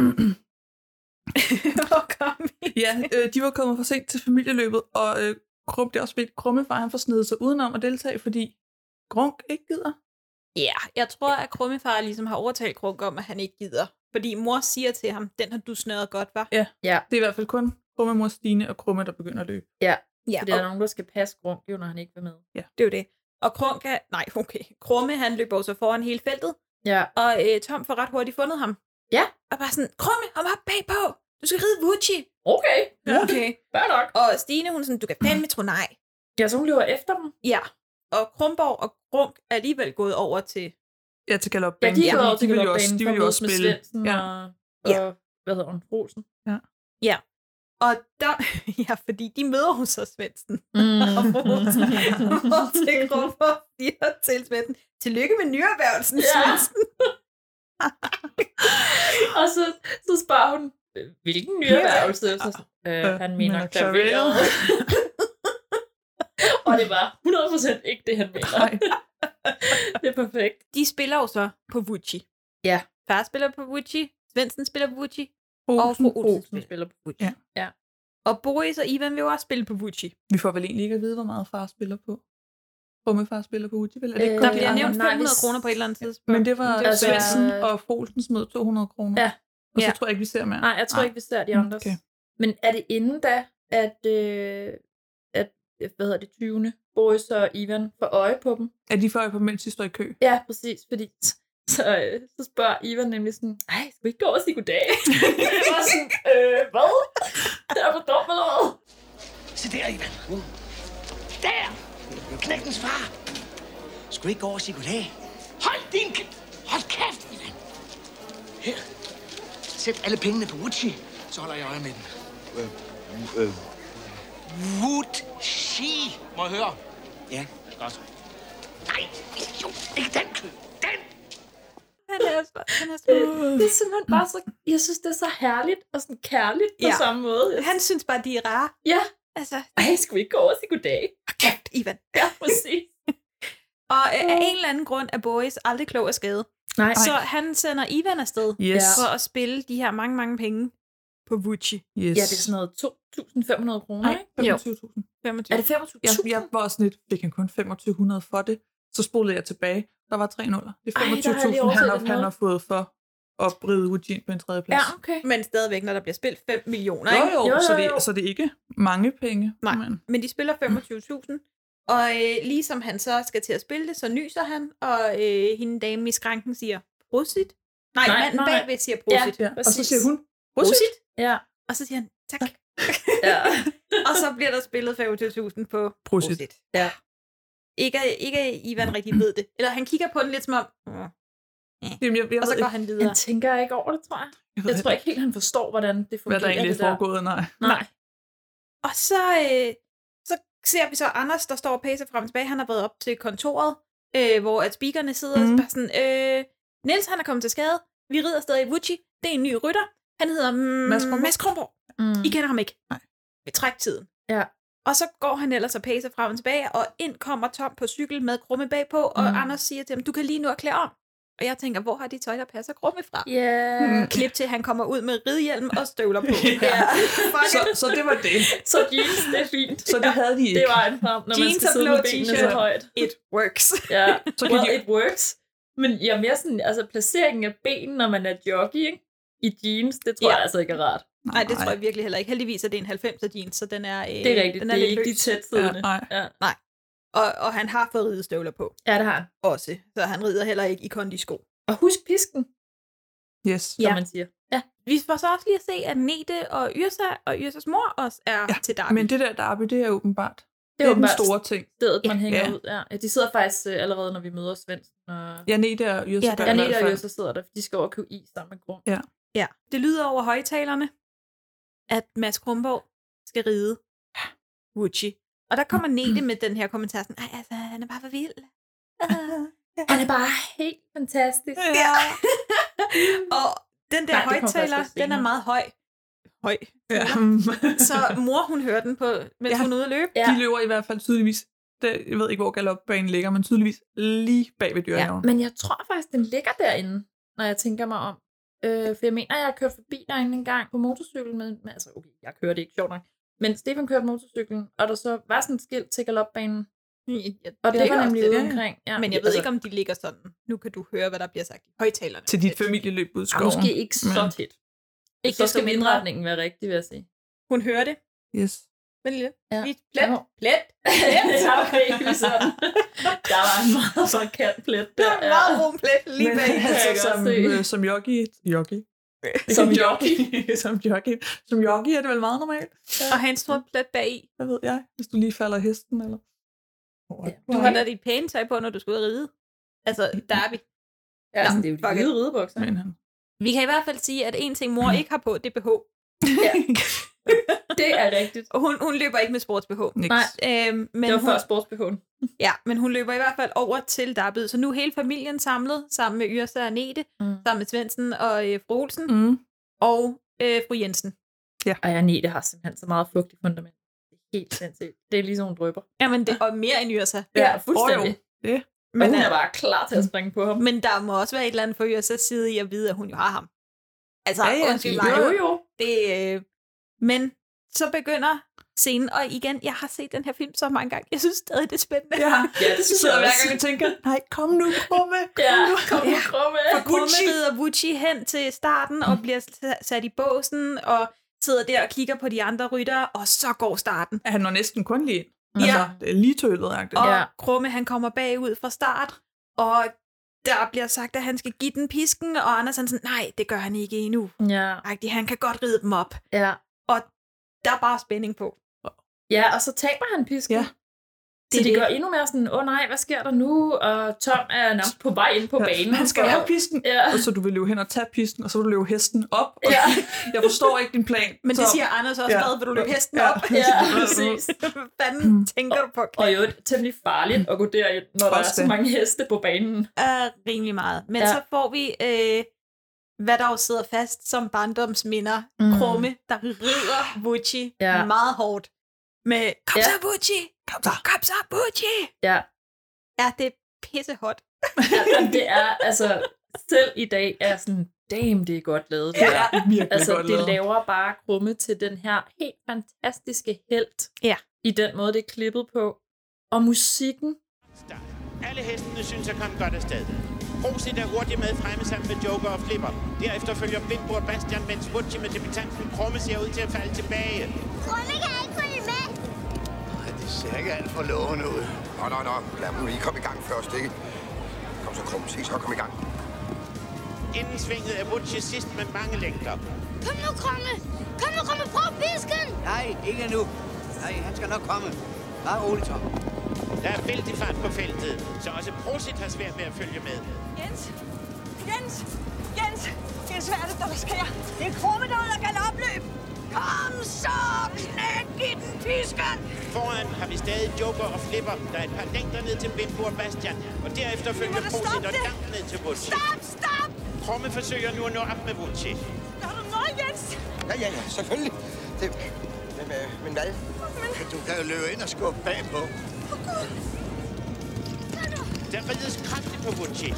Speaker 8: Hvor kom
Speaker 10: ja, øh, de var kommet for sent til familieløbet, og øh, Krum, det er også vildt. Krummefar, han får snedet sig udenom at deltage, fordi Grunk ikke gider.
Speaker 8: Ja, jeg tror, at Krummefar ligesom har overtalt Krunk om, at han ikke gider. Fordi mor siger til ham, den har du snøret godt, var.
Speaker 10: Ja.
Speaker 9: ja.
Speaker 10: Det er i hvert fald kun Krumme, mor Stine og Krumme, der begynder at løbe.
Speaker 9: Ja,
Speaker 8: ja
Speaker 9: for der er nogen, der skal passe grund, jo, når han ikke vil med.
Speaker 10: Ja.
Speaker 8: Det er jo det. Og Krunk er, nej, okay. Krumme, han løber jo så foran hele feltet.
Speaker 9: Ja.
Speaker 8: Og øh, Tom får ret hurtigt fundet ham.
Speaker 9: Ja.
Speaker 8: Og bare sådan, Krumme, kom op bagpå. Du skal ride Vucci.
Speaker 9: Okay.
Speaker 8: Okay.
Speaker 9: Fair nok.
Speaker 8: Og Stine, hun er sådan, du kan fandme tro nej.
Speaker 9: Ja, så hun løber efter dem.
Speaker 8: Ja. Og Krumborg og Grunk er alligevel gået over til...
Speaker 10: Ja, til Galop
Speaker 9: Ja, de er gået over til
Speaker 10: vil jo
Speaker 9: galopbanen
Speaker 10: også, de
Speaker 9: for
Speaker 10: vil jo
Speaker 9: at
Speaker 10: også
Speaker 9: mødes med
Speaker 10: spille.
Speaker 9: Svendsen
Speaker 10: Ja.
Speaker 9: og, og, hvad hedder hun, Rosen.
Speaker 8: Ja. Og der... <laughs> Ja, fordi de møder hun så Svendsen.
Speaker 9: Mm. <laughs>
Speaker 8: og Rosen. Hvor <laughs> til Krumborg siger til Svendsen, tillykke med nyerhvervelsen,
Speaker 9: Ja.
Speaker 8: Svendsen.
Speaker 9: Og så, så spørger hun, øh, hvilken ny erhvervelse? Så, øh, han mener
Speaker 10: mener
Speaker 9: klaveret.
Speaker 10: klaveret.
Speaker 9: <laughs> og det var 100% ikke det, han mener. <laughs> det er perfekt.
Speaker 8: De spiller jo så på Vucci.
Speaker 9: Ja.
Speaker 8: Far spiller på Vucci, Svendsen spiller på Vucci, og
Speaker 10: Olsen,
Speaker 8: fru Olsen,
Speaker 10: Olsen.
Speaker 9: spiller på
Speaker 8: Vucci.
Speaker 10: Ja.
Speaker 9: ja.
Speaker 8: Og Boris og Ivan vil jo også spille på Vucci.
Speaker 10: Vi får vel egentlig ikke at vide, hvor meget far spiller på. Krummefar spiller på Uti, vel? Er det
Speaker 8: Øh,
Speaker 10: ikke kun
Speaker 8: der
Speaker 10: de
Speaker 8: bliver
Speaker 10: andre?
Speaker 8: nævnt
Speaker 10: Nej,
Speaker 8: 500
Speaker 10: hvis-
Speaker 8: kroner på et eller andet tidspunkt.
Speaker 10: Men det var
Speaker 8: Det var
Speaker 10: Svendsen
Speaker 9: svært.
Speaker 10: og Folsen smed 200 kroner.
Speaker 9: Ja.
Speaker 10: Og så
Speaker 9: Ja.
Speaker 10: tror jeg ikke, vi ser mere.
Speaker 9: Nej, jeg tror ikke, vi ser de andres.
Speaker 10: Okay.
Speaker 9: Men er det inden da, at, øh, at hvad hedder det, 20. Boris og Ivan får øje på dem?
Speaker 10: Er de før på, mens de står i kø?
Speaker 9: Ja, præcis, fordi så, øh, så spørger Ivan nemlig sådan, ej, skal vi ikke gå over og sige goddag? Jeg var sådan, øh, hvad? Det er for dumt, eller hvad?
Speaker 4: Se der, Ivan. Der! Knægtens far. Skulle ikke gå over og sige goddag? Hold din... k- Hold kæft, Ivan. Her. Sæt alle pengene på Wuchi, så holder jeg øje med dem.
Speaker 14: Øh,
Speaker 4: Wuchi, må jeg høre? Ja. Godt. Nej, idiot. Ikke den kø. Den!
Speaker 8: Han er, han er
Speaker 9: Øh, Det er simpelthen bare så, jeg synes, det er så herligt og sådan kærligt på
Speaker 8: Ja.
Speaker 9: samme måde.
Speaker 8: Han synes bare, de er rare.
Speaker 9: Ja.
Speaker 8: Altså.
Speaker 9: Ej, skal vi ikke gå over og sige goddag? <laughs>
Speaker 8: Kæft, Ivan.
Speaker 9: Ja, præcis.
Speaker 8: Og øh, af en eller anden grund er Boris aldrig klog af skade.
Speaker 9: Nej.
Speaker 8: Så han sender Ivan afsted
Speaker 10: Yes.
Speaker 8: for at spille de her mange, mange penge på Vucci.
Speaker 10: Yes.
Speaker 9: Ja, det er sådan noget 2.500 kroner,
Speaker 10: Nej,
Speaker 9: ikke?
Speaker 10: 25.000.
Speaker 8: 25.
Speaker 9: Er det 25.000?
Speaker 10: Jeg, jeg var også lidt, fik han kun 2500 for det? Så spolede jeg tilbage. Der var tre nuller. Det er
Speaker 9: Ej, der har jeg
Speaker 10: 25.000, han,
Speaker 9: lige overset
Speaker 10: har,
Speaker 9: den
Speaker 10: han
Speaker 9: måde.
Speaker 10: har fået for at bride Eugene på en tredje plads.
Speaker 9: Ja, okay.
Speaker 8: Men stadigvæk, når der bliver spillet 5 millioner,
Speaker 10: Jo,
Speaker 8: ikke?
Speaker 10: jo, jo, jo, jo. Så, det, så det er ikke mange penge.
Speaker 8: Nej,
Speaker 10: men
Speaker 8: men de spiller 25.000. Og øh, ligesom han så skal til at spille det, så nyser han, og øh, hende dame i skranken siger, prosit. Nej,
Speaker 9: Nej,
Speaker 8: nej manden
Speaker 9: nej.
Speaker 8: bagved siger prosit.
Speaker 9: Ja, ja. Og så siger hun,
Speaker 8: prosit.
Speaker 9: "Prosit." Ja.
Speaker 8: Og så siger han, tak.
Speaker 9: Ja.
Speaker 8: <laughs> og så bliver der spillet 25.000 på
Speaker 10: Prosit.
Speaker 9: Ja.
Speaker 8: Ikke, ikke Ivan rigtig ved det. Eller han kigger på den lidt som om, "Åh."
Speaker 10: Jamen, jeg, jeg
Speaker 8: og så går
Speaker 10: ved ikke,
Speaker 8: han videre.
Speaker 9: Han tænker ikke over det, tror jeg.
Speaker 10: ved
Speaker 9: Jeg tror
Speaker 10: heller
Speaker 9: ikke helt, han forstår, hvordan det fungerer.
Speaker 10: hvad der egentlig
Speaker 9: det
Speaker 10: er foregået. Nej.
Speaker 9: Nej.
Speaker 8: Og så, øh, så ser vi så Anders, der står og pacer frem og tilbage. Han har været op til kontoret, øh, hvor at speakerne sidder mm. og bare sådan, øh, Niels han er kommet til skade. Vi rider stadig i Vucci. Det er en ny rytter. Han hedder mm,
Speaker 10: Mads Kronborg."
Speaker 8: Mads Kronborg. Mhm.
Speaker 9: Mm.
Speaker 8: I kender ham ikke.
Speaker 10: Nej.
Speaker 8: Vi træk tiden.
Speaker 9: Ja.
Speaker 8: Og så går han ellers og pacer frem og tilbage, og ind kommer Tom på cykel med krumme bagpå, og
Speaker 9: Mm.
Speaker 8: mm. Anders siger til ham, du kan lige nu at klæde om. Og jeg tænker, hvor har de tøj, der passer krumme fra?
Speaker 9: Ja.
Speaker 8: Mm. Klip til, at han kommer ud med ridhjelm og støvler på.
Speaker 10: <laughs> Ja. Så, så det var det.
Speaker 9: <laughs> Så jeans, det er fint.
Speaker 10: Så det havde de ikke.
Speaker 9: Det var en frem, når man
Speaker 8: Jeans
Speaker 9: skal
Speaker 8: og
Speaker 9: sidde
Speaker 8: blå
Speaker 9: med benene så
Speaker 8: t-shirt.
Speaker 9: højt.
Speaker 8: It works.
Speaker 9: Ja,
Speaker 10: Så
Speaker 9: så
Speaker 10: kan
Speaker 9: well,
Speaker 10: de-
Speaker 9: it works. Men jeg er mere sådan, altså placeringen af benene, når man er jockey, ikke? I jeans, det tror
Speaker 8: Ja.
Speaker 9: jeg altså ikke er rart.
Speaker 8: Nej, det tror jeg virkelig heller ikke. Heldigvis er det en 90'er jeans, så den er øh,
Speaker 9: Det er rigtigt.
Speaker 8: Den
Speaker 9: det er
Speaker 8: lidt
Speaker 9: ikke de
Speaker 8: løs.
Speaker 9: tætsiddende.
Speaker 10: Ja, nej.
Speaker 9: Ja.
Speaker 8: Nej. Og, og han har fået ridestøvler på
Speaker 9: ja, det har han.
Speaker 8: også, så han rider heller ikke i kondisko.
Speaker 9: Og husk pisken,
Speaker 10: Yes.
Speaker 9: som man siger. Ja.
Speaker 8: Vi får så også lige at se, at Nete og Yrsa og Yrsas mor også er ja, til Derby.
Speaker 10: Men det der derby, det er åbenbart. Det er, den
Speaker 9: åbenbart
Speaker 10: store ting.
Speaker 9: stedet, man hænger
Speaker 10: Ja.
Speaker 9: ud. Ja. Ja, de sidder faktisk øh, allerede, når vi møder Svendsen. Og...
Speaker 10: Ja, Nete og Jøsberg.
Speaker 9: Ja, Anita og Jøsse sidder der, for de skal over og købe is sammen med Grum.
Speaker 10: Ja.
Speaker 8: Ja, det lyder over højtalerne.
Speaker 12: at Mads Kronborg skal ride Gucci. Og der
Speaker 10: <clears throat>
Speaker 12: kommer Nete med den her kommentar, sådan, Ej, altså, han er bare for
Speaker 10: <laughs>
Speaker 12: vild.
Speaker 9: Han er bare helt fantastisk.
Speaker 12: Ja. <laughs> og den der
Speaker 9: Nej, det kommer først
Speaker 12: højtaler,
Speaker 9: lidt
Speaker 12: den er
Speaker 9: senere.
Speaker 12: meget høj. Høj.
Speaker 10: <laughs> Ja.
Speaker 12: Så mor, hun hører den på, mens <laughs> ja. hun er ude at løbe.
Speaker 10: Ja. Øhm, De løber i hvert fald tydeligvis. Det, jeg ved ikke, hvor galopbanen ligger, men tydeligvis lige bag ved
Speaker 9: Ja,
Speaker 10: dyrehaven.
Speaker 9: men jeg tror faktisk, den ligger derinde, når jeg tænker mig om. Øh, for jeg mener, jeg har kørt forbi derinde en gang på motorcykel med, med altså okay, jeg kørte ikke, sjovt nok. Men Stefan kørte motorcyklen, og der så var sådan et skilt til galopbanen. Og det,
Speaker 12: Det er
Speaker 9: var
Speaker 12: også
Speaker 9: nemlig altså-
Speaker 12: det,
Speaker 9: ude
Speaker 12: ja.
Speaker 9: omkring. Ja.
Speaker 12: Men jeg ved ikke, om de ligger sådan. Nu kan du høre, hvad der bliver sagt i højtalerne.
Speaker 10: Til dit familieløb ud i
Speaker 9: Ja,
Speaker 10: skoven.
Speaker 9: måske ikke så
Speaker 10: Men-
Speaker 9: tæt. Ikke
Speaker 12: Så
Speaker 9: så skal
Speaker 12: skal
Speaker 9: indretningen være rigtig, vil jeg sige.
Speaker 12: Hun hører det.
Speaker 10: Yes.
Speaker 12: Men lille.
Speaker 9: Ja.
Speaker 12: Lige plet.
Speaker 9: Ja.
Speaker 12: Plet. <laughs> Plet.
Speaker 9: <laughs> Det var
Speaker 12: <laughs>
Speaker 9: ikke sådan. Der var en meget forkert plet. Der,
Speaker 12: Der var meget brun plet lige
Speaker 10: Men
Speaker 12: bag.
Speaker 10: altså, som, øh, som jockey... Jockey?
Speaker 9: Som
Speaker 10: jockey. <laughs> som jockey. Som jockey er det vel meget normalt?
Speaker 12: Og have en stor plet bag i.
Speaker 10: Hvad ved jeg? Hvis du lige falder af hesten, eller...
Speaker 12: Du har da dit pæne tøj på, når du skal ud og ride. Altså, derby.
Speaker 9: Ja, altså, det er jo de hvide ridebukser.
Speaker 12: Vi kan i hvert fald sige, at en ting, mor ikke har på, det er BH. <laughs>
Speaker 9: Det er rigtigt.
Speaker 12: Og hun, hun løber ikke med sports-BH.
Speaker 9: Nej.
Speaker 12: Øhm, men
Speaker 9: Det var
Speaker 12: hun,
Speaker 9: før sportsbehoven.
Speaker 12: Ja, men hun løber i hvert fald over til Dabbed. Så nu er hele familien samlet, sammen med Yrsa og Nete,
Speaker 9: mm.
Speaker 12: sammen med Svendsen og øh, fru Olsen, mm. og øh, fru Jensen.
Speaker 10: Ja.
Speaker 9: Og Anette har simpelthen så meget fugtigt fundament. Det er helt sindssygt. Det er ligesom, hun drøber.
Speaker 12: Jamen, det, og mere end Yrsa.
Speaker 9: Ja, øh, fuldstændig.
Speaker 12: Åh,
Speaker 10: jo. Det.
Speaker 9: Og hun er bare klar til at springe på ham.
Speaker 12: Men der må også være et eller andet for Yrsas side i at vide, at hun jo har ham. Altså,
Speaker 9: Ja, ja,
Speaker 12: undskyld
Speaker 9: jo,
Speaker 12: mig.
Speaker 9: jo, jo.
Speaker 12: Det, øh, men så begynder scenen, og igen, jeg har set den her film så mange gange. Jeg synes stadig, det er spændende.
Speaker 10: Ja,
Speaker 12: <laughs>
Speaker 9: ja det synes
Speaker 10: Sidder
Speaker 9: jeg
Speaker 10: hver
Speaker 9: også.
Speaker 10: gang og tænker, nej, kom nu, krumme.
Speaker 9: Ja, kom nu, krumme.
Speaker 12: Og Krumme rider Wuchi hen til starten og
Speaker 9: Mm.
Speaker 12: bliver sa- sat i båsen og sidder der og kigger på de andre ryttere, og så går starten.
Speaker 10: Han når næsten kun lige ind.
Speaker 9: Mm.
Speaker 12: Ja.
Speaker 10: Altså, det er lige tølet, agtigt.
Speaker 12: Og ja. Krumme, han kommer bagud fra start, og der bliver sagt, at han skal give den pisken, og Anders han sådan, nej, det gør han ikke endnu.
Speaker 9: Ja.
Speaker 12: Agtig, han kan godt ride dem op.
Speaker 9: Ja.
Speaker 12: Og der er bare spænding på.
Speaker 9: Ja, og så taber han pisken. Ja. Det, så
Speaker 12: Det er
Speaker 9: det, det
Speaker 12: det.
Speaker 9: gør endnu mere sådan, åh oh, nej, hvad sker der nu? Og Tom er nærmest på vej ind på banen.
Speaker 10: Han skal
Speaker 9: for-
Speaker 10: have pisken,
Speaker 9: Ja.
Speaker 10: og så du vil løbe hen og tage pisken, og så vil du løbe hesten op. Og
Speaker 9: Ja.
Speaker 10: <laughs> Jeg forstår ikke din plan.
Speaker 12: Men det
Speaker 10: så-
Speaker 12: siger Anders også, hvad vil du løbe hesten op? <laughs>
Speaker 9: Ja, præcis. Mm.
Speaker 12: Hvad fanden tænker du på?
Speaker 9: Og jo, det er temmelig farligt at gå derind, når der
Speaker 12: Også
Speaker 9: er så
Speaker 12: det.
Speaker 9: mange heste på banen.
Speaker 12: er rimelig meget. Men
Speaker 9: Ja.
Speaker 12: ja. så får vi, øh, hvad der jo sidder fast som barndomsminder.
Speaker 9: Mm.
Speaker 12: Mm. Krumme, der rider Vucci
Speaker 9: Ja.
Speaker 12: ja. meget hårdt. Med, kom
Speaker 9: Ja.
Speaker 12: så Vucci! Kom så! Kom så Vucci!
Speaker 9: Ja.
Speaker 12: Ja, det er pissehot.
Speaker 9: Jamen, det er, altså, selv i dag er jeg sådan, damn, det er godt lavet.
Speaker 12: <laughs>
Speaker 9: Det
Speaker 12: Ja,
Speaker 9: der."
Speaker 12: virkelig
Speaker 9: altså,
Speaker 12: godt
Speaker 9: det
Speaker 12: lavet.
Speaker 9: laver bare krumme til den her helt fantastiske held.
Speaker 12: Ja.
Speaker 9: I den måde, det er klippet på. Og musikken.
Speaker 8: Alle hestene synes at komme godt afsted. Prosit er hurtigt med fremme sammen med Joker og Flipper. Derefter følger Blindbord Bastian, mens Butchie med debutanten Krumme ser ud til at falde tilbage.
Speaker 5: Krumme kan ikke følge med.
Speaker 17: Det ser ikke alt for lovende ud.
Speaker 7: Nå, nå, nå. Lad dem nu lige komme i gang først, ikke? Kom så, Krum. Se så, kom i gang.
Speaker 8: Inden svinget er Butchie sidst med mange længder.
Speaker 5: Kom nu, Krumme. Kom nu, Krumme. Prøv pisken.
Speaker 14: Nej, ikke nu. Nej, han skal nok komme. Bare roligt, Tom.
Speaker 8: Der er vældig fart på feltet, så også Prosit har svært ved at følge med.
Speaker 18: Jens! Jens! Jens! Jens, hvad er det, der sker? Det er krumme, der holder galopløb! Kom så, knæk i den pisken!
Speaker 8: Foran har vi stadig Joker og Flipper. Der er et par længder ned til Blindbord Bastian. Og derefter
Speaker 18: Vi må
Speaker 8: følger
Speaker 18: da
Speaker 8: Prosit
Speaker 18: stoppe
Speaker 8: og
Speaker 18: det!
Speaker 8: langt ned til Butchie.
Speaker 18: Stop, stop!
Speaker 8: Krumme forsøger nu at nå op med Butchie.
Speaker 18: Gør du noget, Jens?
Speaker 17: Ja, ja, ja, selvfølgelig. Det, men, øh, men hvad? Du kan jo løbe ind og skubbe bagpå.
Speaker 8: Der rides kraftigt på Butchie.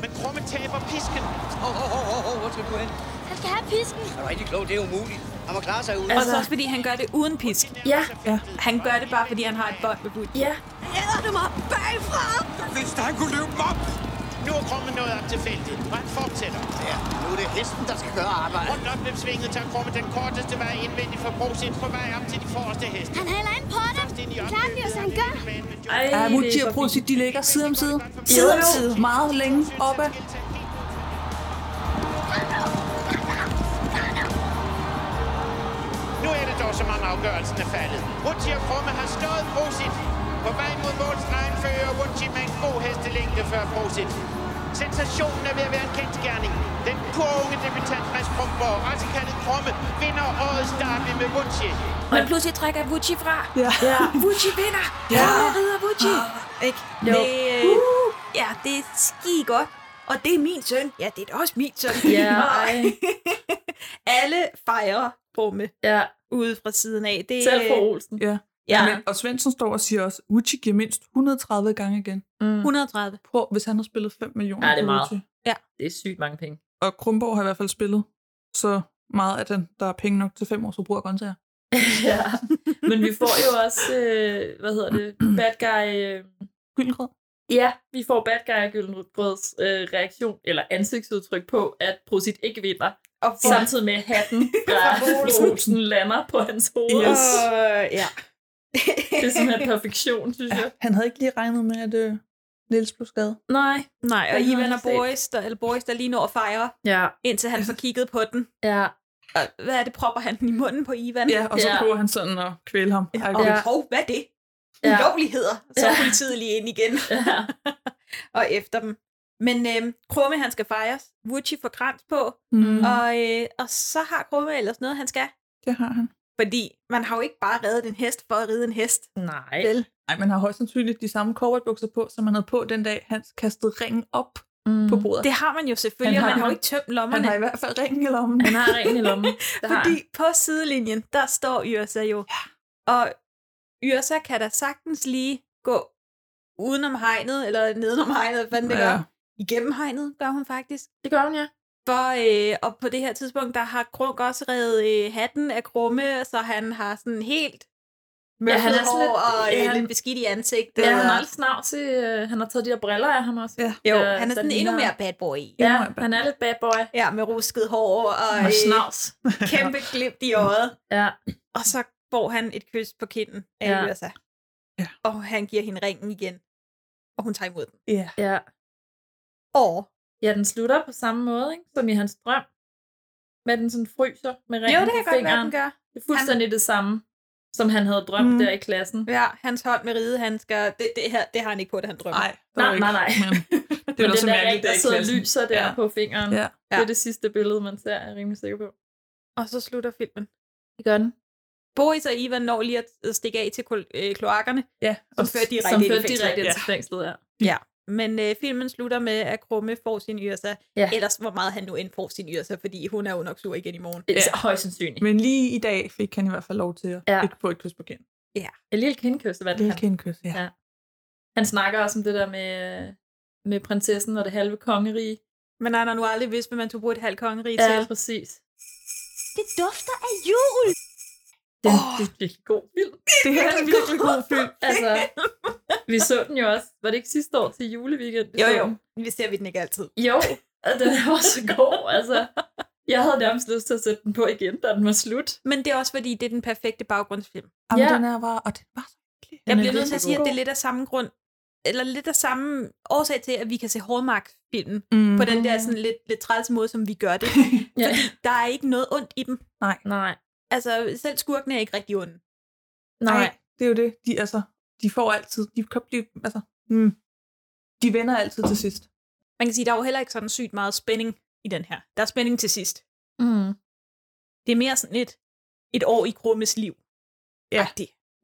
Speaker 8: Men Krumme taber pisken.
Speaker 14: Hov, hov, hov, hov, hov, hvor skal du hen?
Speaker 5: Han skal have pisken.
Speaker 14: Er du rigtig klog? Det er umuligt. Han må klare sig ud.
Speaker 12: Altså, og så også fordi han gør det uden pisk.
Speaker 9: Ja.
Speaker 12: ja. Han gør det bare, fordi han har et bånd med Vucci.
Speaker 9: Ja.
Speaker 18: Æder du mig bagfra?
Speaker 8: Hvis han kunne løbe op! Nu er Krumme nået op til feltet, og han fortsætter. Ja, nu er det hesten, der skal gøre arbejdet. Rundt opløbssvinget tager Krumme den korteste vej indvendig fra Brosit på vej op til de forreste heste.
Speaker 5: Han hælder ind på dig. Det klarer vi, hvis han gør.
Speaker 9: Ej,
Speaker 10: Ja, Mutti og Prosit, de ligger side om side. Side om side. Meget længe oppe.
Speaker 8: Nu er det dog, som om afgørelsen er faldet. Ruti og Krumme har slået Brosit. På vej mod målstregen fører Ruti med en god hestelængde før Brosit. Sensationen er ved at være en kendskærning. Den unge debutant Mads Brumborg, også kaldet Krumme, vinder årets derby med Vucci.
Speaker 12: Men pludselig trækker Vucci fra.
Speaker 10: Ja. ja.
Speaker 12: Vucci vinder.
Speaker 10: Ja.
Speaker 12: Krumme rider Vucci. Ah, Ikke?
Speaker 10: Jo.
Speaker 12: Det, øh, ja, det er skide godt. Og det er min søn. Ja, det er da også min søn. <laughs>
Speaker 9: Ja, ej.
Speaker 12: Alle fejrer Brumme
Speaker 9: ja.
Speaker 12: ude fra siden af. Det, øh,
Speaker 10: Selv for
Speaker 9: Olsen.
Speaker 10: Ja.
Speaker 12: Ja.
Speaker 10: Men, og Svendsen står og siger også, Uchi giver mindst 130 gange igen.
Speaker 9: Mm.
Speaker 12: 130.
Speaker 10: På, hvis han har spillet 5 millioner.
Speaker 9: Ja, det er
Speaker 10: på
Speaker 9: meget.
Speaker 10: Uchi.
Speaker 12: Ja.
Speaker 9: Det er sygt mange penge.
Speaker 10: Og Krumborg har i hvert fald spillet så meget af den, der er penge nok til 5 års forbrug af grøntsager.
Speaker 9: <laughs> Men vi får jo også, øh, hvad hedder det, bad guy... Øh...
Speaker 10: Gyldengrød?
Speaker 9: Ja, vi får bad guy Gyldengrøds øh, reaktion, eller ansigtsudtryk på, at Prosit ikke vinder.
Speaker 12: Og
Speaker 10: får-
Speaker 9: samtidig med at hatten <laughs> fra Olsen lander på hans hoved.
Speaker 10: Yes.
Speaker 12: Øh, ja.
Speaker 9: det er simpelthen perfektion, synes jeg.
Speaker 10: Han havde ikke lige regnet med, at øh, Niels blev skadet.
Speaker 9: Nej.
Speaker 12: <laughs> Nej, og
Speaker 10: Den har
Speaker 12: Ivan
Speaker 10: jeg
Speaker 12: og
Speaker 10: set.
Speaker 12: Boris, der, eller Boris, der lige når at fejre,
Speaker 9: ja.
Speaker 12: indtil han får kigget på den.
Speaker 9: Ja.
Speaker 12: Og hvad er det, propper han den i munden på Ivan?
Speaker 10: Ja, og så prøver han sådan at kvæle ham. Ja,
Speaker 12: Og, ja. hov, hvad er det?
Speaker 10: Ja.
Speaker 12: Ulovligheder. Så er
Speaker 10: Ja.
Speaker 12: politiet lige ind igen.
Speaker 9: Ja.
Speaker 12: <laughs> og efter dem. Men øhm, Krumme, han skal fejres. Vucci får krans på.
Speaker 10: Mm.
Speaker 12: Og, øh, og så har Krumme ellers noget, han skal.
Speaker 10: Det har han.
Speaker 12: Fordi man har jo ikke bare reddet en hest for at ride en hest.
Speaker 9: <laughs> Nej.
Speaker 12: Vel?
Speaker 10: Nej, man har højst sandsynligt de samme cowboybukser på, som man havde på den dag, han kastede ringen op
Speaker 9: mm.
Speaker 10: på bordet.
Speaker 12: Det har man jo selvfølgelig,
Speaker 10: Han
Speaker 12: og
Speaker 10: har-
Speaker 12: man har jo ikke tømt lommerne.
Speaker 10: Han har i hvert fald ringen i lommen.
Speaker 9: Han har ringen i lommen.
Speaker 12: Fordi på sidelinjen, der står Yrsa jo. Og Yrsa kan da sagtens lige gå udenom hegnet, eller nedenom hegnet, hvad fanden det
Speaker 9: Ja.
Speaker 12: gør. Igennem hegnet gør hun faktisk.
Speaker 9: Det gør hun, ja.
Speaker 12: For, øh, og på det her tidspunkt, der har Krunk også revet øh, hatten af Krumme, så han har sådan helt mørkt ja,
Speaker 9: han er sådan
Speaker 12: hår
Speaker 9: lidt-
Speaker 12: og øh,
Speaker 9: ja, han-
Speaker 12: lidt beskidt i ansigtet.
Speaker 9: Ja, han
Speaker 12: og-
Speaker 9: har lidt snavs til, øh, han har taget de her briller af ham også. Ja.
Speaker 12: Jo, han er sådan endnu mere bad boy.
Speaker 9: Ja, han er lidt bad boy.
Speaker 12: Ja, med rusket hår og,
Speaker 9: Og
Speaker 12: øh,
Speaker 9: snavs.
Speaker 12: kæmpe glimt i øjet.
Speaker 9: Ja.
Speaker 12: Og så får han et kys på kinden af
Speaker 9: Ja.
Speaker 12: ja. Yrsa.
Speaker 10: Ja.
Speaker 12: Og han giver hende ringen igen. Og hun tager imod den.
Speaker 10: Ja.
Speaker 9: Ja.
Speaker 12: Og?
Speaker 9: Ja, den slutter på samme måde, ikke? som i hans drøm. Men den sådan fryser med ringen
Speaker 12: det kan
Speaker 9: på
Speaker 12: godt være,
Speaker 9: fingeren.
Speaker 12: den gør.
Speaker 9: Det er fuldstændig han... det samme, som han havde drømt
Speaker 12: Mm.
Speaker 9: mm. der i klassen.
Speaker 12: Ja, hans hånd med ridehandsker, det, det, her, det har han ikke på, da han drømmer.
Speaker 10: Nej,
Speaker 9: Nej, nej, nej. <laughs>
Speaker 10: Det
Speaker 9: Men
Speaker 10: var
Speaker 9: den
Speaker 10: så
Speaker 9: der ring,
Speaker 10: mærkeligt,
Speaker 9: der
Speaker 10: det er i
Speaker 9: sidder og
Speaker 10: klassen.
Speaker 9: lyser der ja. på fingeren.
Speaker 10: Ja.
Speaker 9: Det er det sidste billede, man ser, er jeg rimelig sikker på.
Speaker 12: Og så slutter filmen.
Speaker 9: Det gør den.
Speaker 12: Boris og Ivan når lige at øh, stikke af til kol- øh, kloakkerne,
Speaker 10: ja.
Speaker 12: som fører direkte
Speaker 9: som
Speaker 12: ind i
Speaker 9: fører
Speaker 12: fængslet.
Speaker 9: direkte
Speaker 12: ja.
Speaker 9: til fængslet, ja.
Speaker 12: ja. Men øh, filmen slutter med, at Krumme får sin yrsa.
Speaker 9: Ja.
Speaker 12: Ellers hvor meget han nu end får sin yrsa, fordi hun er jo nok sur igen i morgen.
Speaker 9: Ja. Højst sandsynligt.
Speaker 10: Men lige i dag fik han i hvert fald lov til at
Speaker 9: Ja.
Speaker 10: ikke få et kys på kinden.
Speaker 12: Ja.
Speaker 9: Et lille kindkys, hvad det
Speaker 10: Lille kindkys, ja.
Speaker 9: ja. Han snakker også om det der med, med prinsessen og det halve kongerige.
Speaker 12: Men han har nu aldrig vidst, hvad man skulle bruge et halvt kongerige
Speaker 9: Ja,
Speaker 12: til.
Speaker 9: præcis.
Speaker 19: Det dufter af jul.
Speaker 9: Den, oh, det er virkelig god film.
Speaker 10: Det er en virkelig god film.
Speaker 9: altså, vi så den jo også. Var det ikke sidste år til juleweekend? vi
Speaker 12: Jo,
Speaker 9: så
Speaker 12: jo.
Speaker 9: den?
Speaker 12: Vi ser vi den ikke altid.
Speaker 9: Jo, og den er også god. Altså, jeg havde nærmest lyst til at sætte den på igen, da den var slut.
Speaker 12: Men det er også fordi, det er den perfekte baggrundsfilm.
Speaker 10: Jamen, den er bare, og den var så hyggelig.
Speaker 12: Jeg bliver nødt til at sige, at det er lidt af samme grund, eller lidt af samme årsag til, at vi kan se Hallmark-filmen
Speaker 10: Mm.
Speaker 12: mm. på den der sådan lidt, lidt trælse måde, som vi gør
Speaker 10: <laughs>
Speaker 12: det.
Speaker 9: ja.
Speaker 12: Fordi der er ikke noget ondt i dem.
Speaker 10: Nej.
Speaker 9: Nej.
Speaker 12: Altså, selv skurkene er ikke rigtig onde.
Speaker 10: Nej, det er jo det. De, altså, de får altid, de kan blive, altså, mm, de vender altid til sidst.
Speaker 12: Man kan sige, der er jo heller ikke sådan sygt meget spænding i den her. Der er spænding til sidst.
Speaker 10: Mhm.
Speaker 9: Mm.
Speaker 12: Det er mere sådan et, et år i Krummes liv.
Speaker 10: Ja.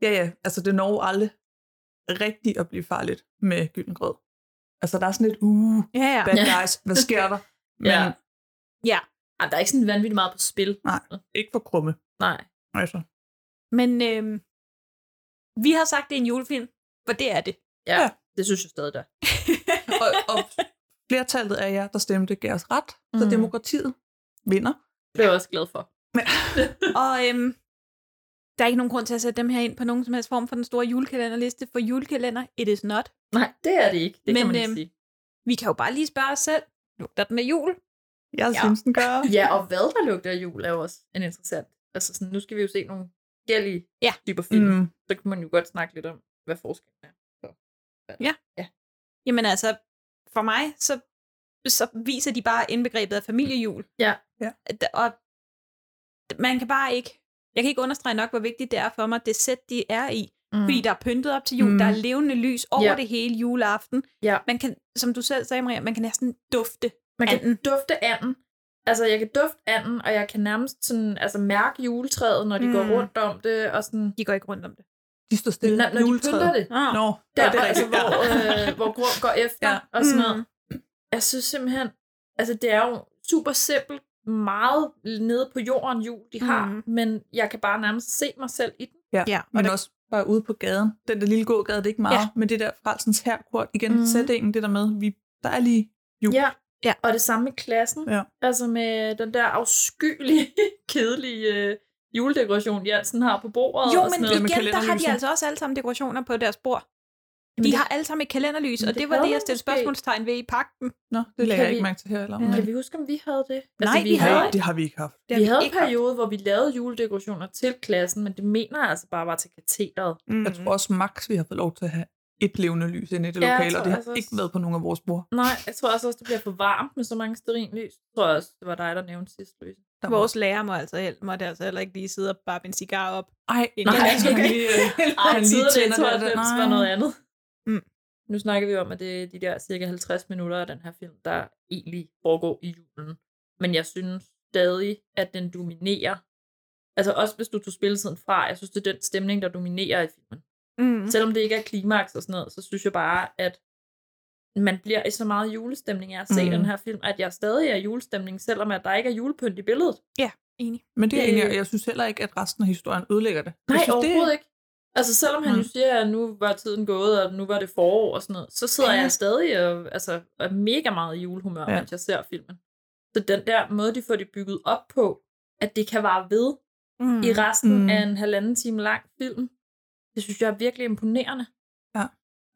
Speaker 10: ja, ja. Altså, det når jo aldrig rigtigt at blive farligt med gyldengrød. Altså, der er sådan lidt, uh,
Speaker 12: ja, ja.
Speaker 10: bad
Speaker 9: Ja.
Speaker 10: guys, hvad sker der? Men
Speaker 9: <laughs> Ja.
Speaker 10: ja.
Speaker 12: Ja.
Speaker 9: Jamen, der er ikke sådan vanvittigt meget på spil.
Speaker 10: Nej, ikke for krumme.
Speaker 9: Nej.
Speaker 10: Altså.
Speaker 12: Men øhm, vi har sagt, det er en julefilm, for det er det.
Speaker 9: Ja, det synes jeg stadig der.
Speaker 10: og, og flertallet af jer, der stemte, gav os ret, så
Speaker 9: Mm.
Speaker 10: demokratiet vinder.
Speaker 9: Det er jeg også glad for.
Speaker 12: Og øhm, der er ikke nogen grund til at sætte dem her ind på nogen som helst form for den store julekalenderliste, for julekalender, it is not.
Speaker 9: Nej, det er det ikke. Det
Speaker 12: Men,
Speaker 9: kan man ikke
Speaker 12: øhm,
Speaker 9: sige.
Speaker 12: Vi kan jo bare lige spørge os selv, lugter den af jul?
Speaker 10: Jeg
Speaker 12: Ja.
Speaker 10: synes, den gør.
Speaker 9: Ja, og hvad der lugter af jul er jo også en interessant. Altså sådan, nu skal vi jo se nogle forskellige
Speaker 12: ja.
Speaker 9: typer film.
Speaker 10: Mm.
Speaker 9: Så kan man jo godt snakke lidt om, hvad forskellen er. Så.
Speaker 12: Ja.
Speaker 9: ja.
Speaker 12: Jamen altså, for mig, så, så viser de bare indbegrebet af familiejul.
Speaker 9: Ja.
Speaker 10: ja.
Speaker 12: Og man kan bare ikke, jeg kan ikke understrege nok, hvor vigtigt det er for mig, det sæt, de er i. Mm. Fordi der er pyntet op til jul,
Speaker 9: Mm.
Speaker 12: mm. der er levende lys over
Speaker 9: Ja.
Speaker 12: det hele juleaften.
Speaker 9: Ja.
Speaker 12: Man kan, som du selv sagde, Maria, man kan næsten dufte
Speaker 9: Man kan dufte anden. Altså, jeg kan dufte anden, og jeg kan nærmest sådan, altså, mærke juletræet, når de mm. går
Speaker 12: Mm.
Speaker 9: rundt om det. Og sådan,
Speaker 12: de går ikke rundt om det.
Speaker 10: De står stille.
Speaker 9: Når, når de
Speaker 10: Juletræet.
Speaker 9: pynter det.
Speaker 10: Ah. Nå, ja,
Speaker 9: der,
Speaker 10: det er
Speaker 9: altså,
Speaker 10: rigtigt.
Speaker 9: hvor,
Speaker 10: Ja.
Speaker 9: øh, hvor Grum går efter ja.
Speaker 10: Ja.
Speaker 9: og sådan
Speaker 10: Mm.
Speaker 9: noget. Jeg synes simpelthen, altså det er jo super simpelt, meget nede på jorden jul, de har, mm.
Speaker 10: Mm.
Speaker 9: men jeg kan bare nærmest se mig selv i den.
Speaker 10: Ja, ja men det... også bare ude på gaden. Den der lille gågade, det er ikke meget,
Speaker 9: Ja.
Speaker 10: ja. men det der Frelsens Herkort, igen,
Speaker 9: Mhm.
Speaker 10: mm. sætningen, det der med, vi, der er lige jul.
Speaker 9: Ja. ja, og det samme med klassen.
Speaker 10: Ja.
Speaker 9: Altså med den der afskyelige, <laughs> kedelige øh, juledekoration, Jansen har på bordet.
Speaker 12: Jo,
Speaker 9: og
Speaker 12: men
Speaker 9: sådan noget.
Speaker 12: igen, der har de altså også alle sammen dekorationer på deres bord.
Speaker 9: Jamen,
Speaker 12: De
Speaker 9: det-
Speaker 12: har alle sammen et kalenderlys,
Speaker 9: Men
Speaker 12: og
Speaker 9: det
Speaker 12: det var
Speaker 9: havde
Speaker 12: det, jeg
Speaker 9: man
Speaker 12: stillede
Speaker 9: måske.
Speaker 12: spørgsmålstegn ved i pakken.
Speaker 10: Nå, det lagde
Speaker 9: Kan
Speaker 10: jeg ikke
Speaker 9: vi-
Speaker 10: mærke til her. Eller?
Speaker 9: Ja.
Speaker 10: Nej.
Speaker 9: Kan vi huske, om vi havde det? Altså,
Speaker 12: Nej,
Speaker 9: vi
Speaker 12: vi
Speaker 9: havde,
Speaker 10: Nej, det har vi ikke haft.
Speaker 9: vi havde en periode, hvor vi lavede juledekorationer til klassen, men det mener jeg altså bare var til katedret.
Speaker 10: Mm. Jeg tror også max, vi har fået lov til at have et levende lys inde i det
Speaker 9: Ja, jeg
Speaker 10: lokale,
Speaker 9: tror
Speaker 10: og det har altså
Speaker 9: altså også-
Speaker 10: ikke været på nogen af vores bord.
Speaker 9: Nej, jeg tror altså også, det bliver for varmt med så mange sterinlys. Jeg tror også, det var dig, der nævnte sidst, Louise.
Speaker 12: Vores lærer må altså, hel- måtte altså heller ikke lige sidde og bare en cigar op.
Speaker 10: Ej, <laughs> altså,
Speaker 9: Nej,
Speaker 12: øh,
Speaker 9: okay. Ej, tidligere i 92 var noget andet.
Speaker 12: Mm.
Speaker 9: Nu snakker vi om, at det er de der cirka 50 minutter af den her film, der egentlig foregår i julen. Men jeg synes stadig, at den dominerer. Altså også hvis du tog spilletiden fra, jeg synes, det er den stemning, der dominerer i filmen.
Speaker 12: Mm.
Speaker 9: Selvom det ikke er klimaks og sådan noget, så synes jeg bare, at man bliver i så meget julestemning af at se mm.
Speaker 10: Mm.
Speaker 9: den her film, at jeg stadig er i julestemning, selvom at der ikke er julepynt i billedet.
Speaker 12: Ja, enig.
Speaker 10: Men det er
Speaker 9: Øh.
Speaker 10: egentlig, og jeg synes heller ikke, at resten af historien ødelægger det. Jeg
Speaker 9: Nej,
Speaker 10: synes,
Speaker 9: overhovedet det... ikke. Altså selvom han
Speaker 10: Mm.
Speaker 9: jo siger, at nu var tiden gået, og nu var det forår og sådan noget, så sidder
Speaker 10: Ja.
Speaker 9: jeg stadig og, altså, er mega meget i julehumør, ja.
Speaker 10: Ja.
Speaker 9: mens jeg ser filmen. Så den der måde, de får det bygget op på, at det kan vare ved mm.
Speaker 10: Mm.
Speaker 9: i resten mm.
Speaker 10: Mm.
Speaker 9: af en halvanden time lang film, det synes jeg er virkelig imponerende.
Speaker 10: Ja.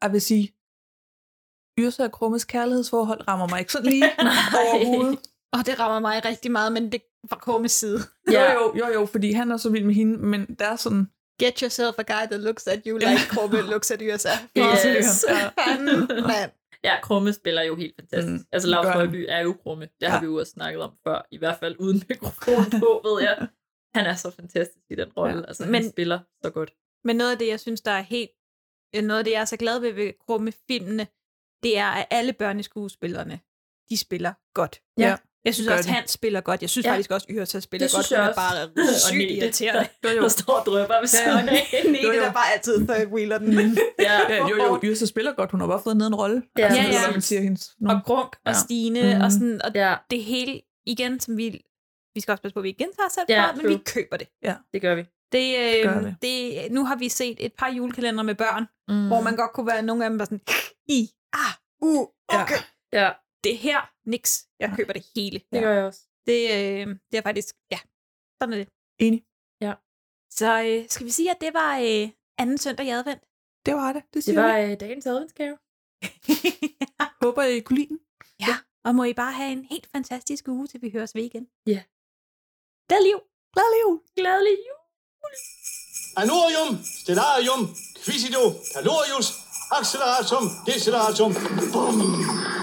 Speaker 10: Jeg vil sige, Yrsa og Krummes kærlighedsforhold rammer mig ikke sådan lige overhovedet.
Speaker 12: Og det rammer mig rigtig meget, men det var Kormes side.
Speaker 10: Jo, jo, jo, jo, fordi han er så vild med hende, men der er sådan...
Speaker 12: Get yourself a guy that looks at you <laughs> like Korme looks at USA. <laughs>
Speaker 9: Yes.
Speaker 12: Fanden, mm, mand.
Speaker 9: Ja, Krumme spiller jo helt fantastisk. Mm, altså, Lars
Speaker 12: gør han.
Speaker 9: Højby er jo Krumme. Det ja. har vi jo også snakket om før. I hvert fald uden mikrofon på, ved jeg. Han er så fantastisk i den rolle. Ja.
Speaker 12: Ja.
Speaker 9: Altså, han
Speaker 12: Men-
Speaker 9: spiller så godt.
Speaker 12: Men noget af det, jeg synes, der er helt... øh, Noget af det, jeg er så glad ved ved Krumme-filmene, det er, at alle børneskuespillerne, de spiller godt.
Speaker 9: Ja, Ja,
Speaker 12: Jeg synes
Speaker 9: det gør
Speaker 12: også,
Speaker 9: de.
Speaker 12: han spiller godt. Jeg synes
Speaker 9: Ja.
Speaker 12: ja. faktisk også, Yrsa spiller
Speaker 9: Det
Speaker 12: godt.
Speaker 9: synes jeg
Speaker 12: Hun er
Speaker 9: også.
Speaker 12: bare
Speaker 9: <laughs> Og
Speaker 12: sygt
Speaker 9: Nete, <laughs>
Speaker 12: irriterende.
Speaker 9: der- der står og drøber ved siden af.
Speaker 12: Nete,
Speaker 10: Jo, jo.
Speaker 12: der bare altid third wheeler <laughs> den.
Speaker 9: ja.
Speaker 10: ja, jo, jo, Yrsa spiller godt. Hun har bare fået ned en rolle.
Speaker 12: Ja.
Speaker 10: Altså,
Speaker 12: Ja,
Speaker 10: det er,
Speaker 12: ja.
Speaker 10: hvad man siger hendes.
Speaker 12: Og Grunk og Stine
Speaker 10: Mhm.
Speaker 12: og sådan. Og
Speaker 9: Mm. ja.
Speaker 12: det hele, igen, som vi... Vi skal også passe på, at vi ikke gentager os selv,
Speaker 9: Ja,
Speaker 12: ja, men vi
Speaker 9: true.
Speaker 12: køber det.
Speaker 10: Ja.
Speaker 9: Det gør vi.
Speaker 12: Det,
Speaker 9: Gør
Speaker 12: øh,
Speaker 9: det.
Speaker 12: det. det. Nu har vi set et par julekalendere med børn,
Speaker 9: Mm.
Speaker 12: mm. hvor man godt kunne være, nogle af dem var sådan, i, ah, uh, okay.
Speaker 9: Mm. Ja.
Speaker 12: Det her, niks. Jeg køber det hele.
Speaker 9: Det gør jeg også.
Speaker 12: Det, øh, det er faktisk, ja, sådan er det.
Speaker 10: Enig.
Speaker 9: Ja.
Speaker 12: Så øh, skal vi sige, at det var øh, anden søndag i advent?
Speaker 10: Det var det. Det,
Speaker 9: Det var øh, dagens adventsgave.
Speaker 10: Håber I kunne lide den.
Speaker 12: Ja, og må I bare have en helt fantastisk uge, til vi høres ved igen.
Speaker 9: Ja.
Speaker 12: Glad liv!
Speaker 10: Glad liv!
Speaker 9: Glædelig jul!
Speaker 8: Anorium, stellarium, quisido, calorius, acceleratum, deceleratum. Bum.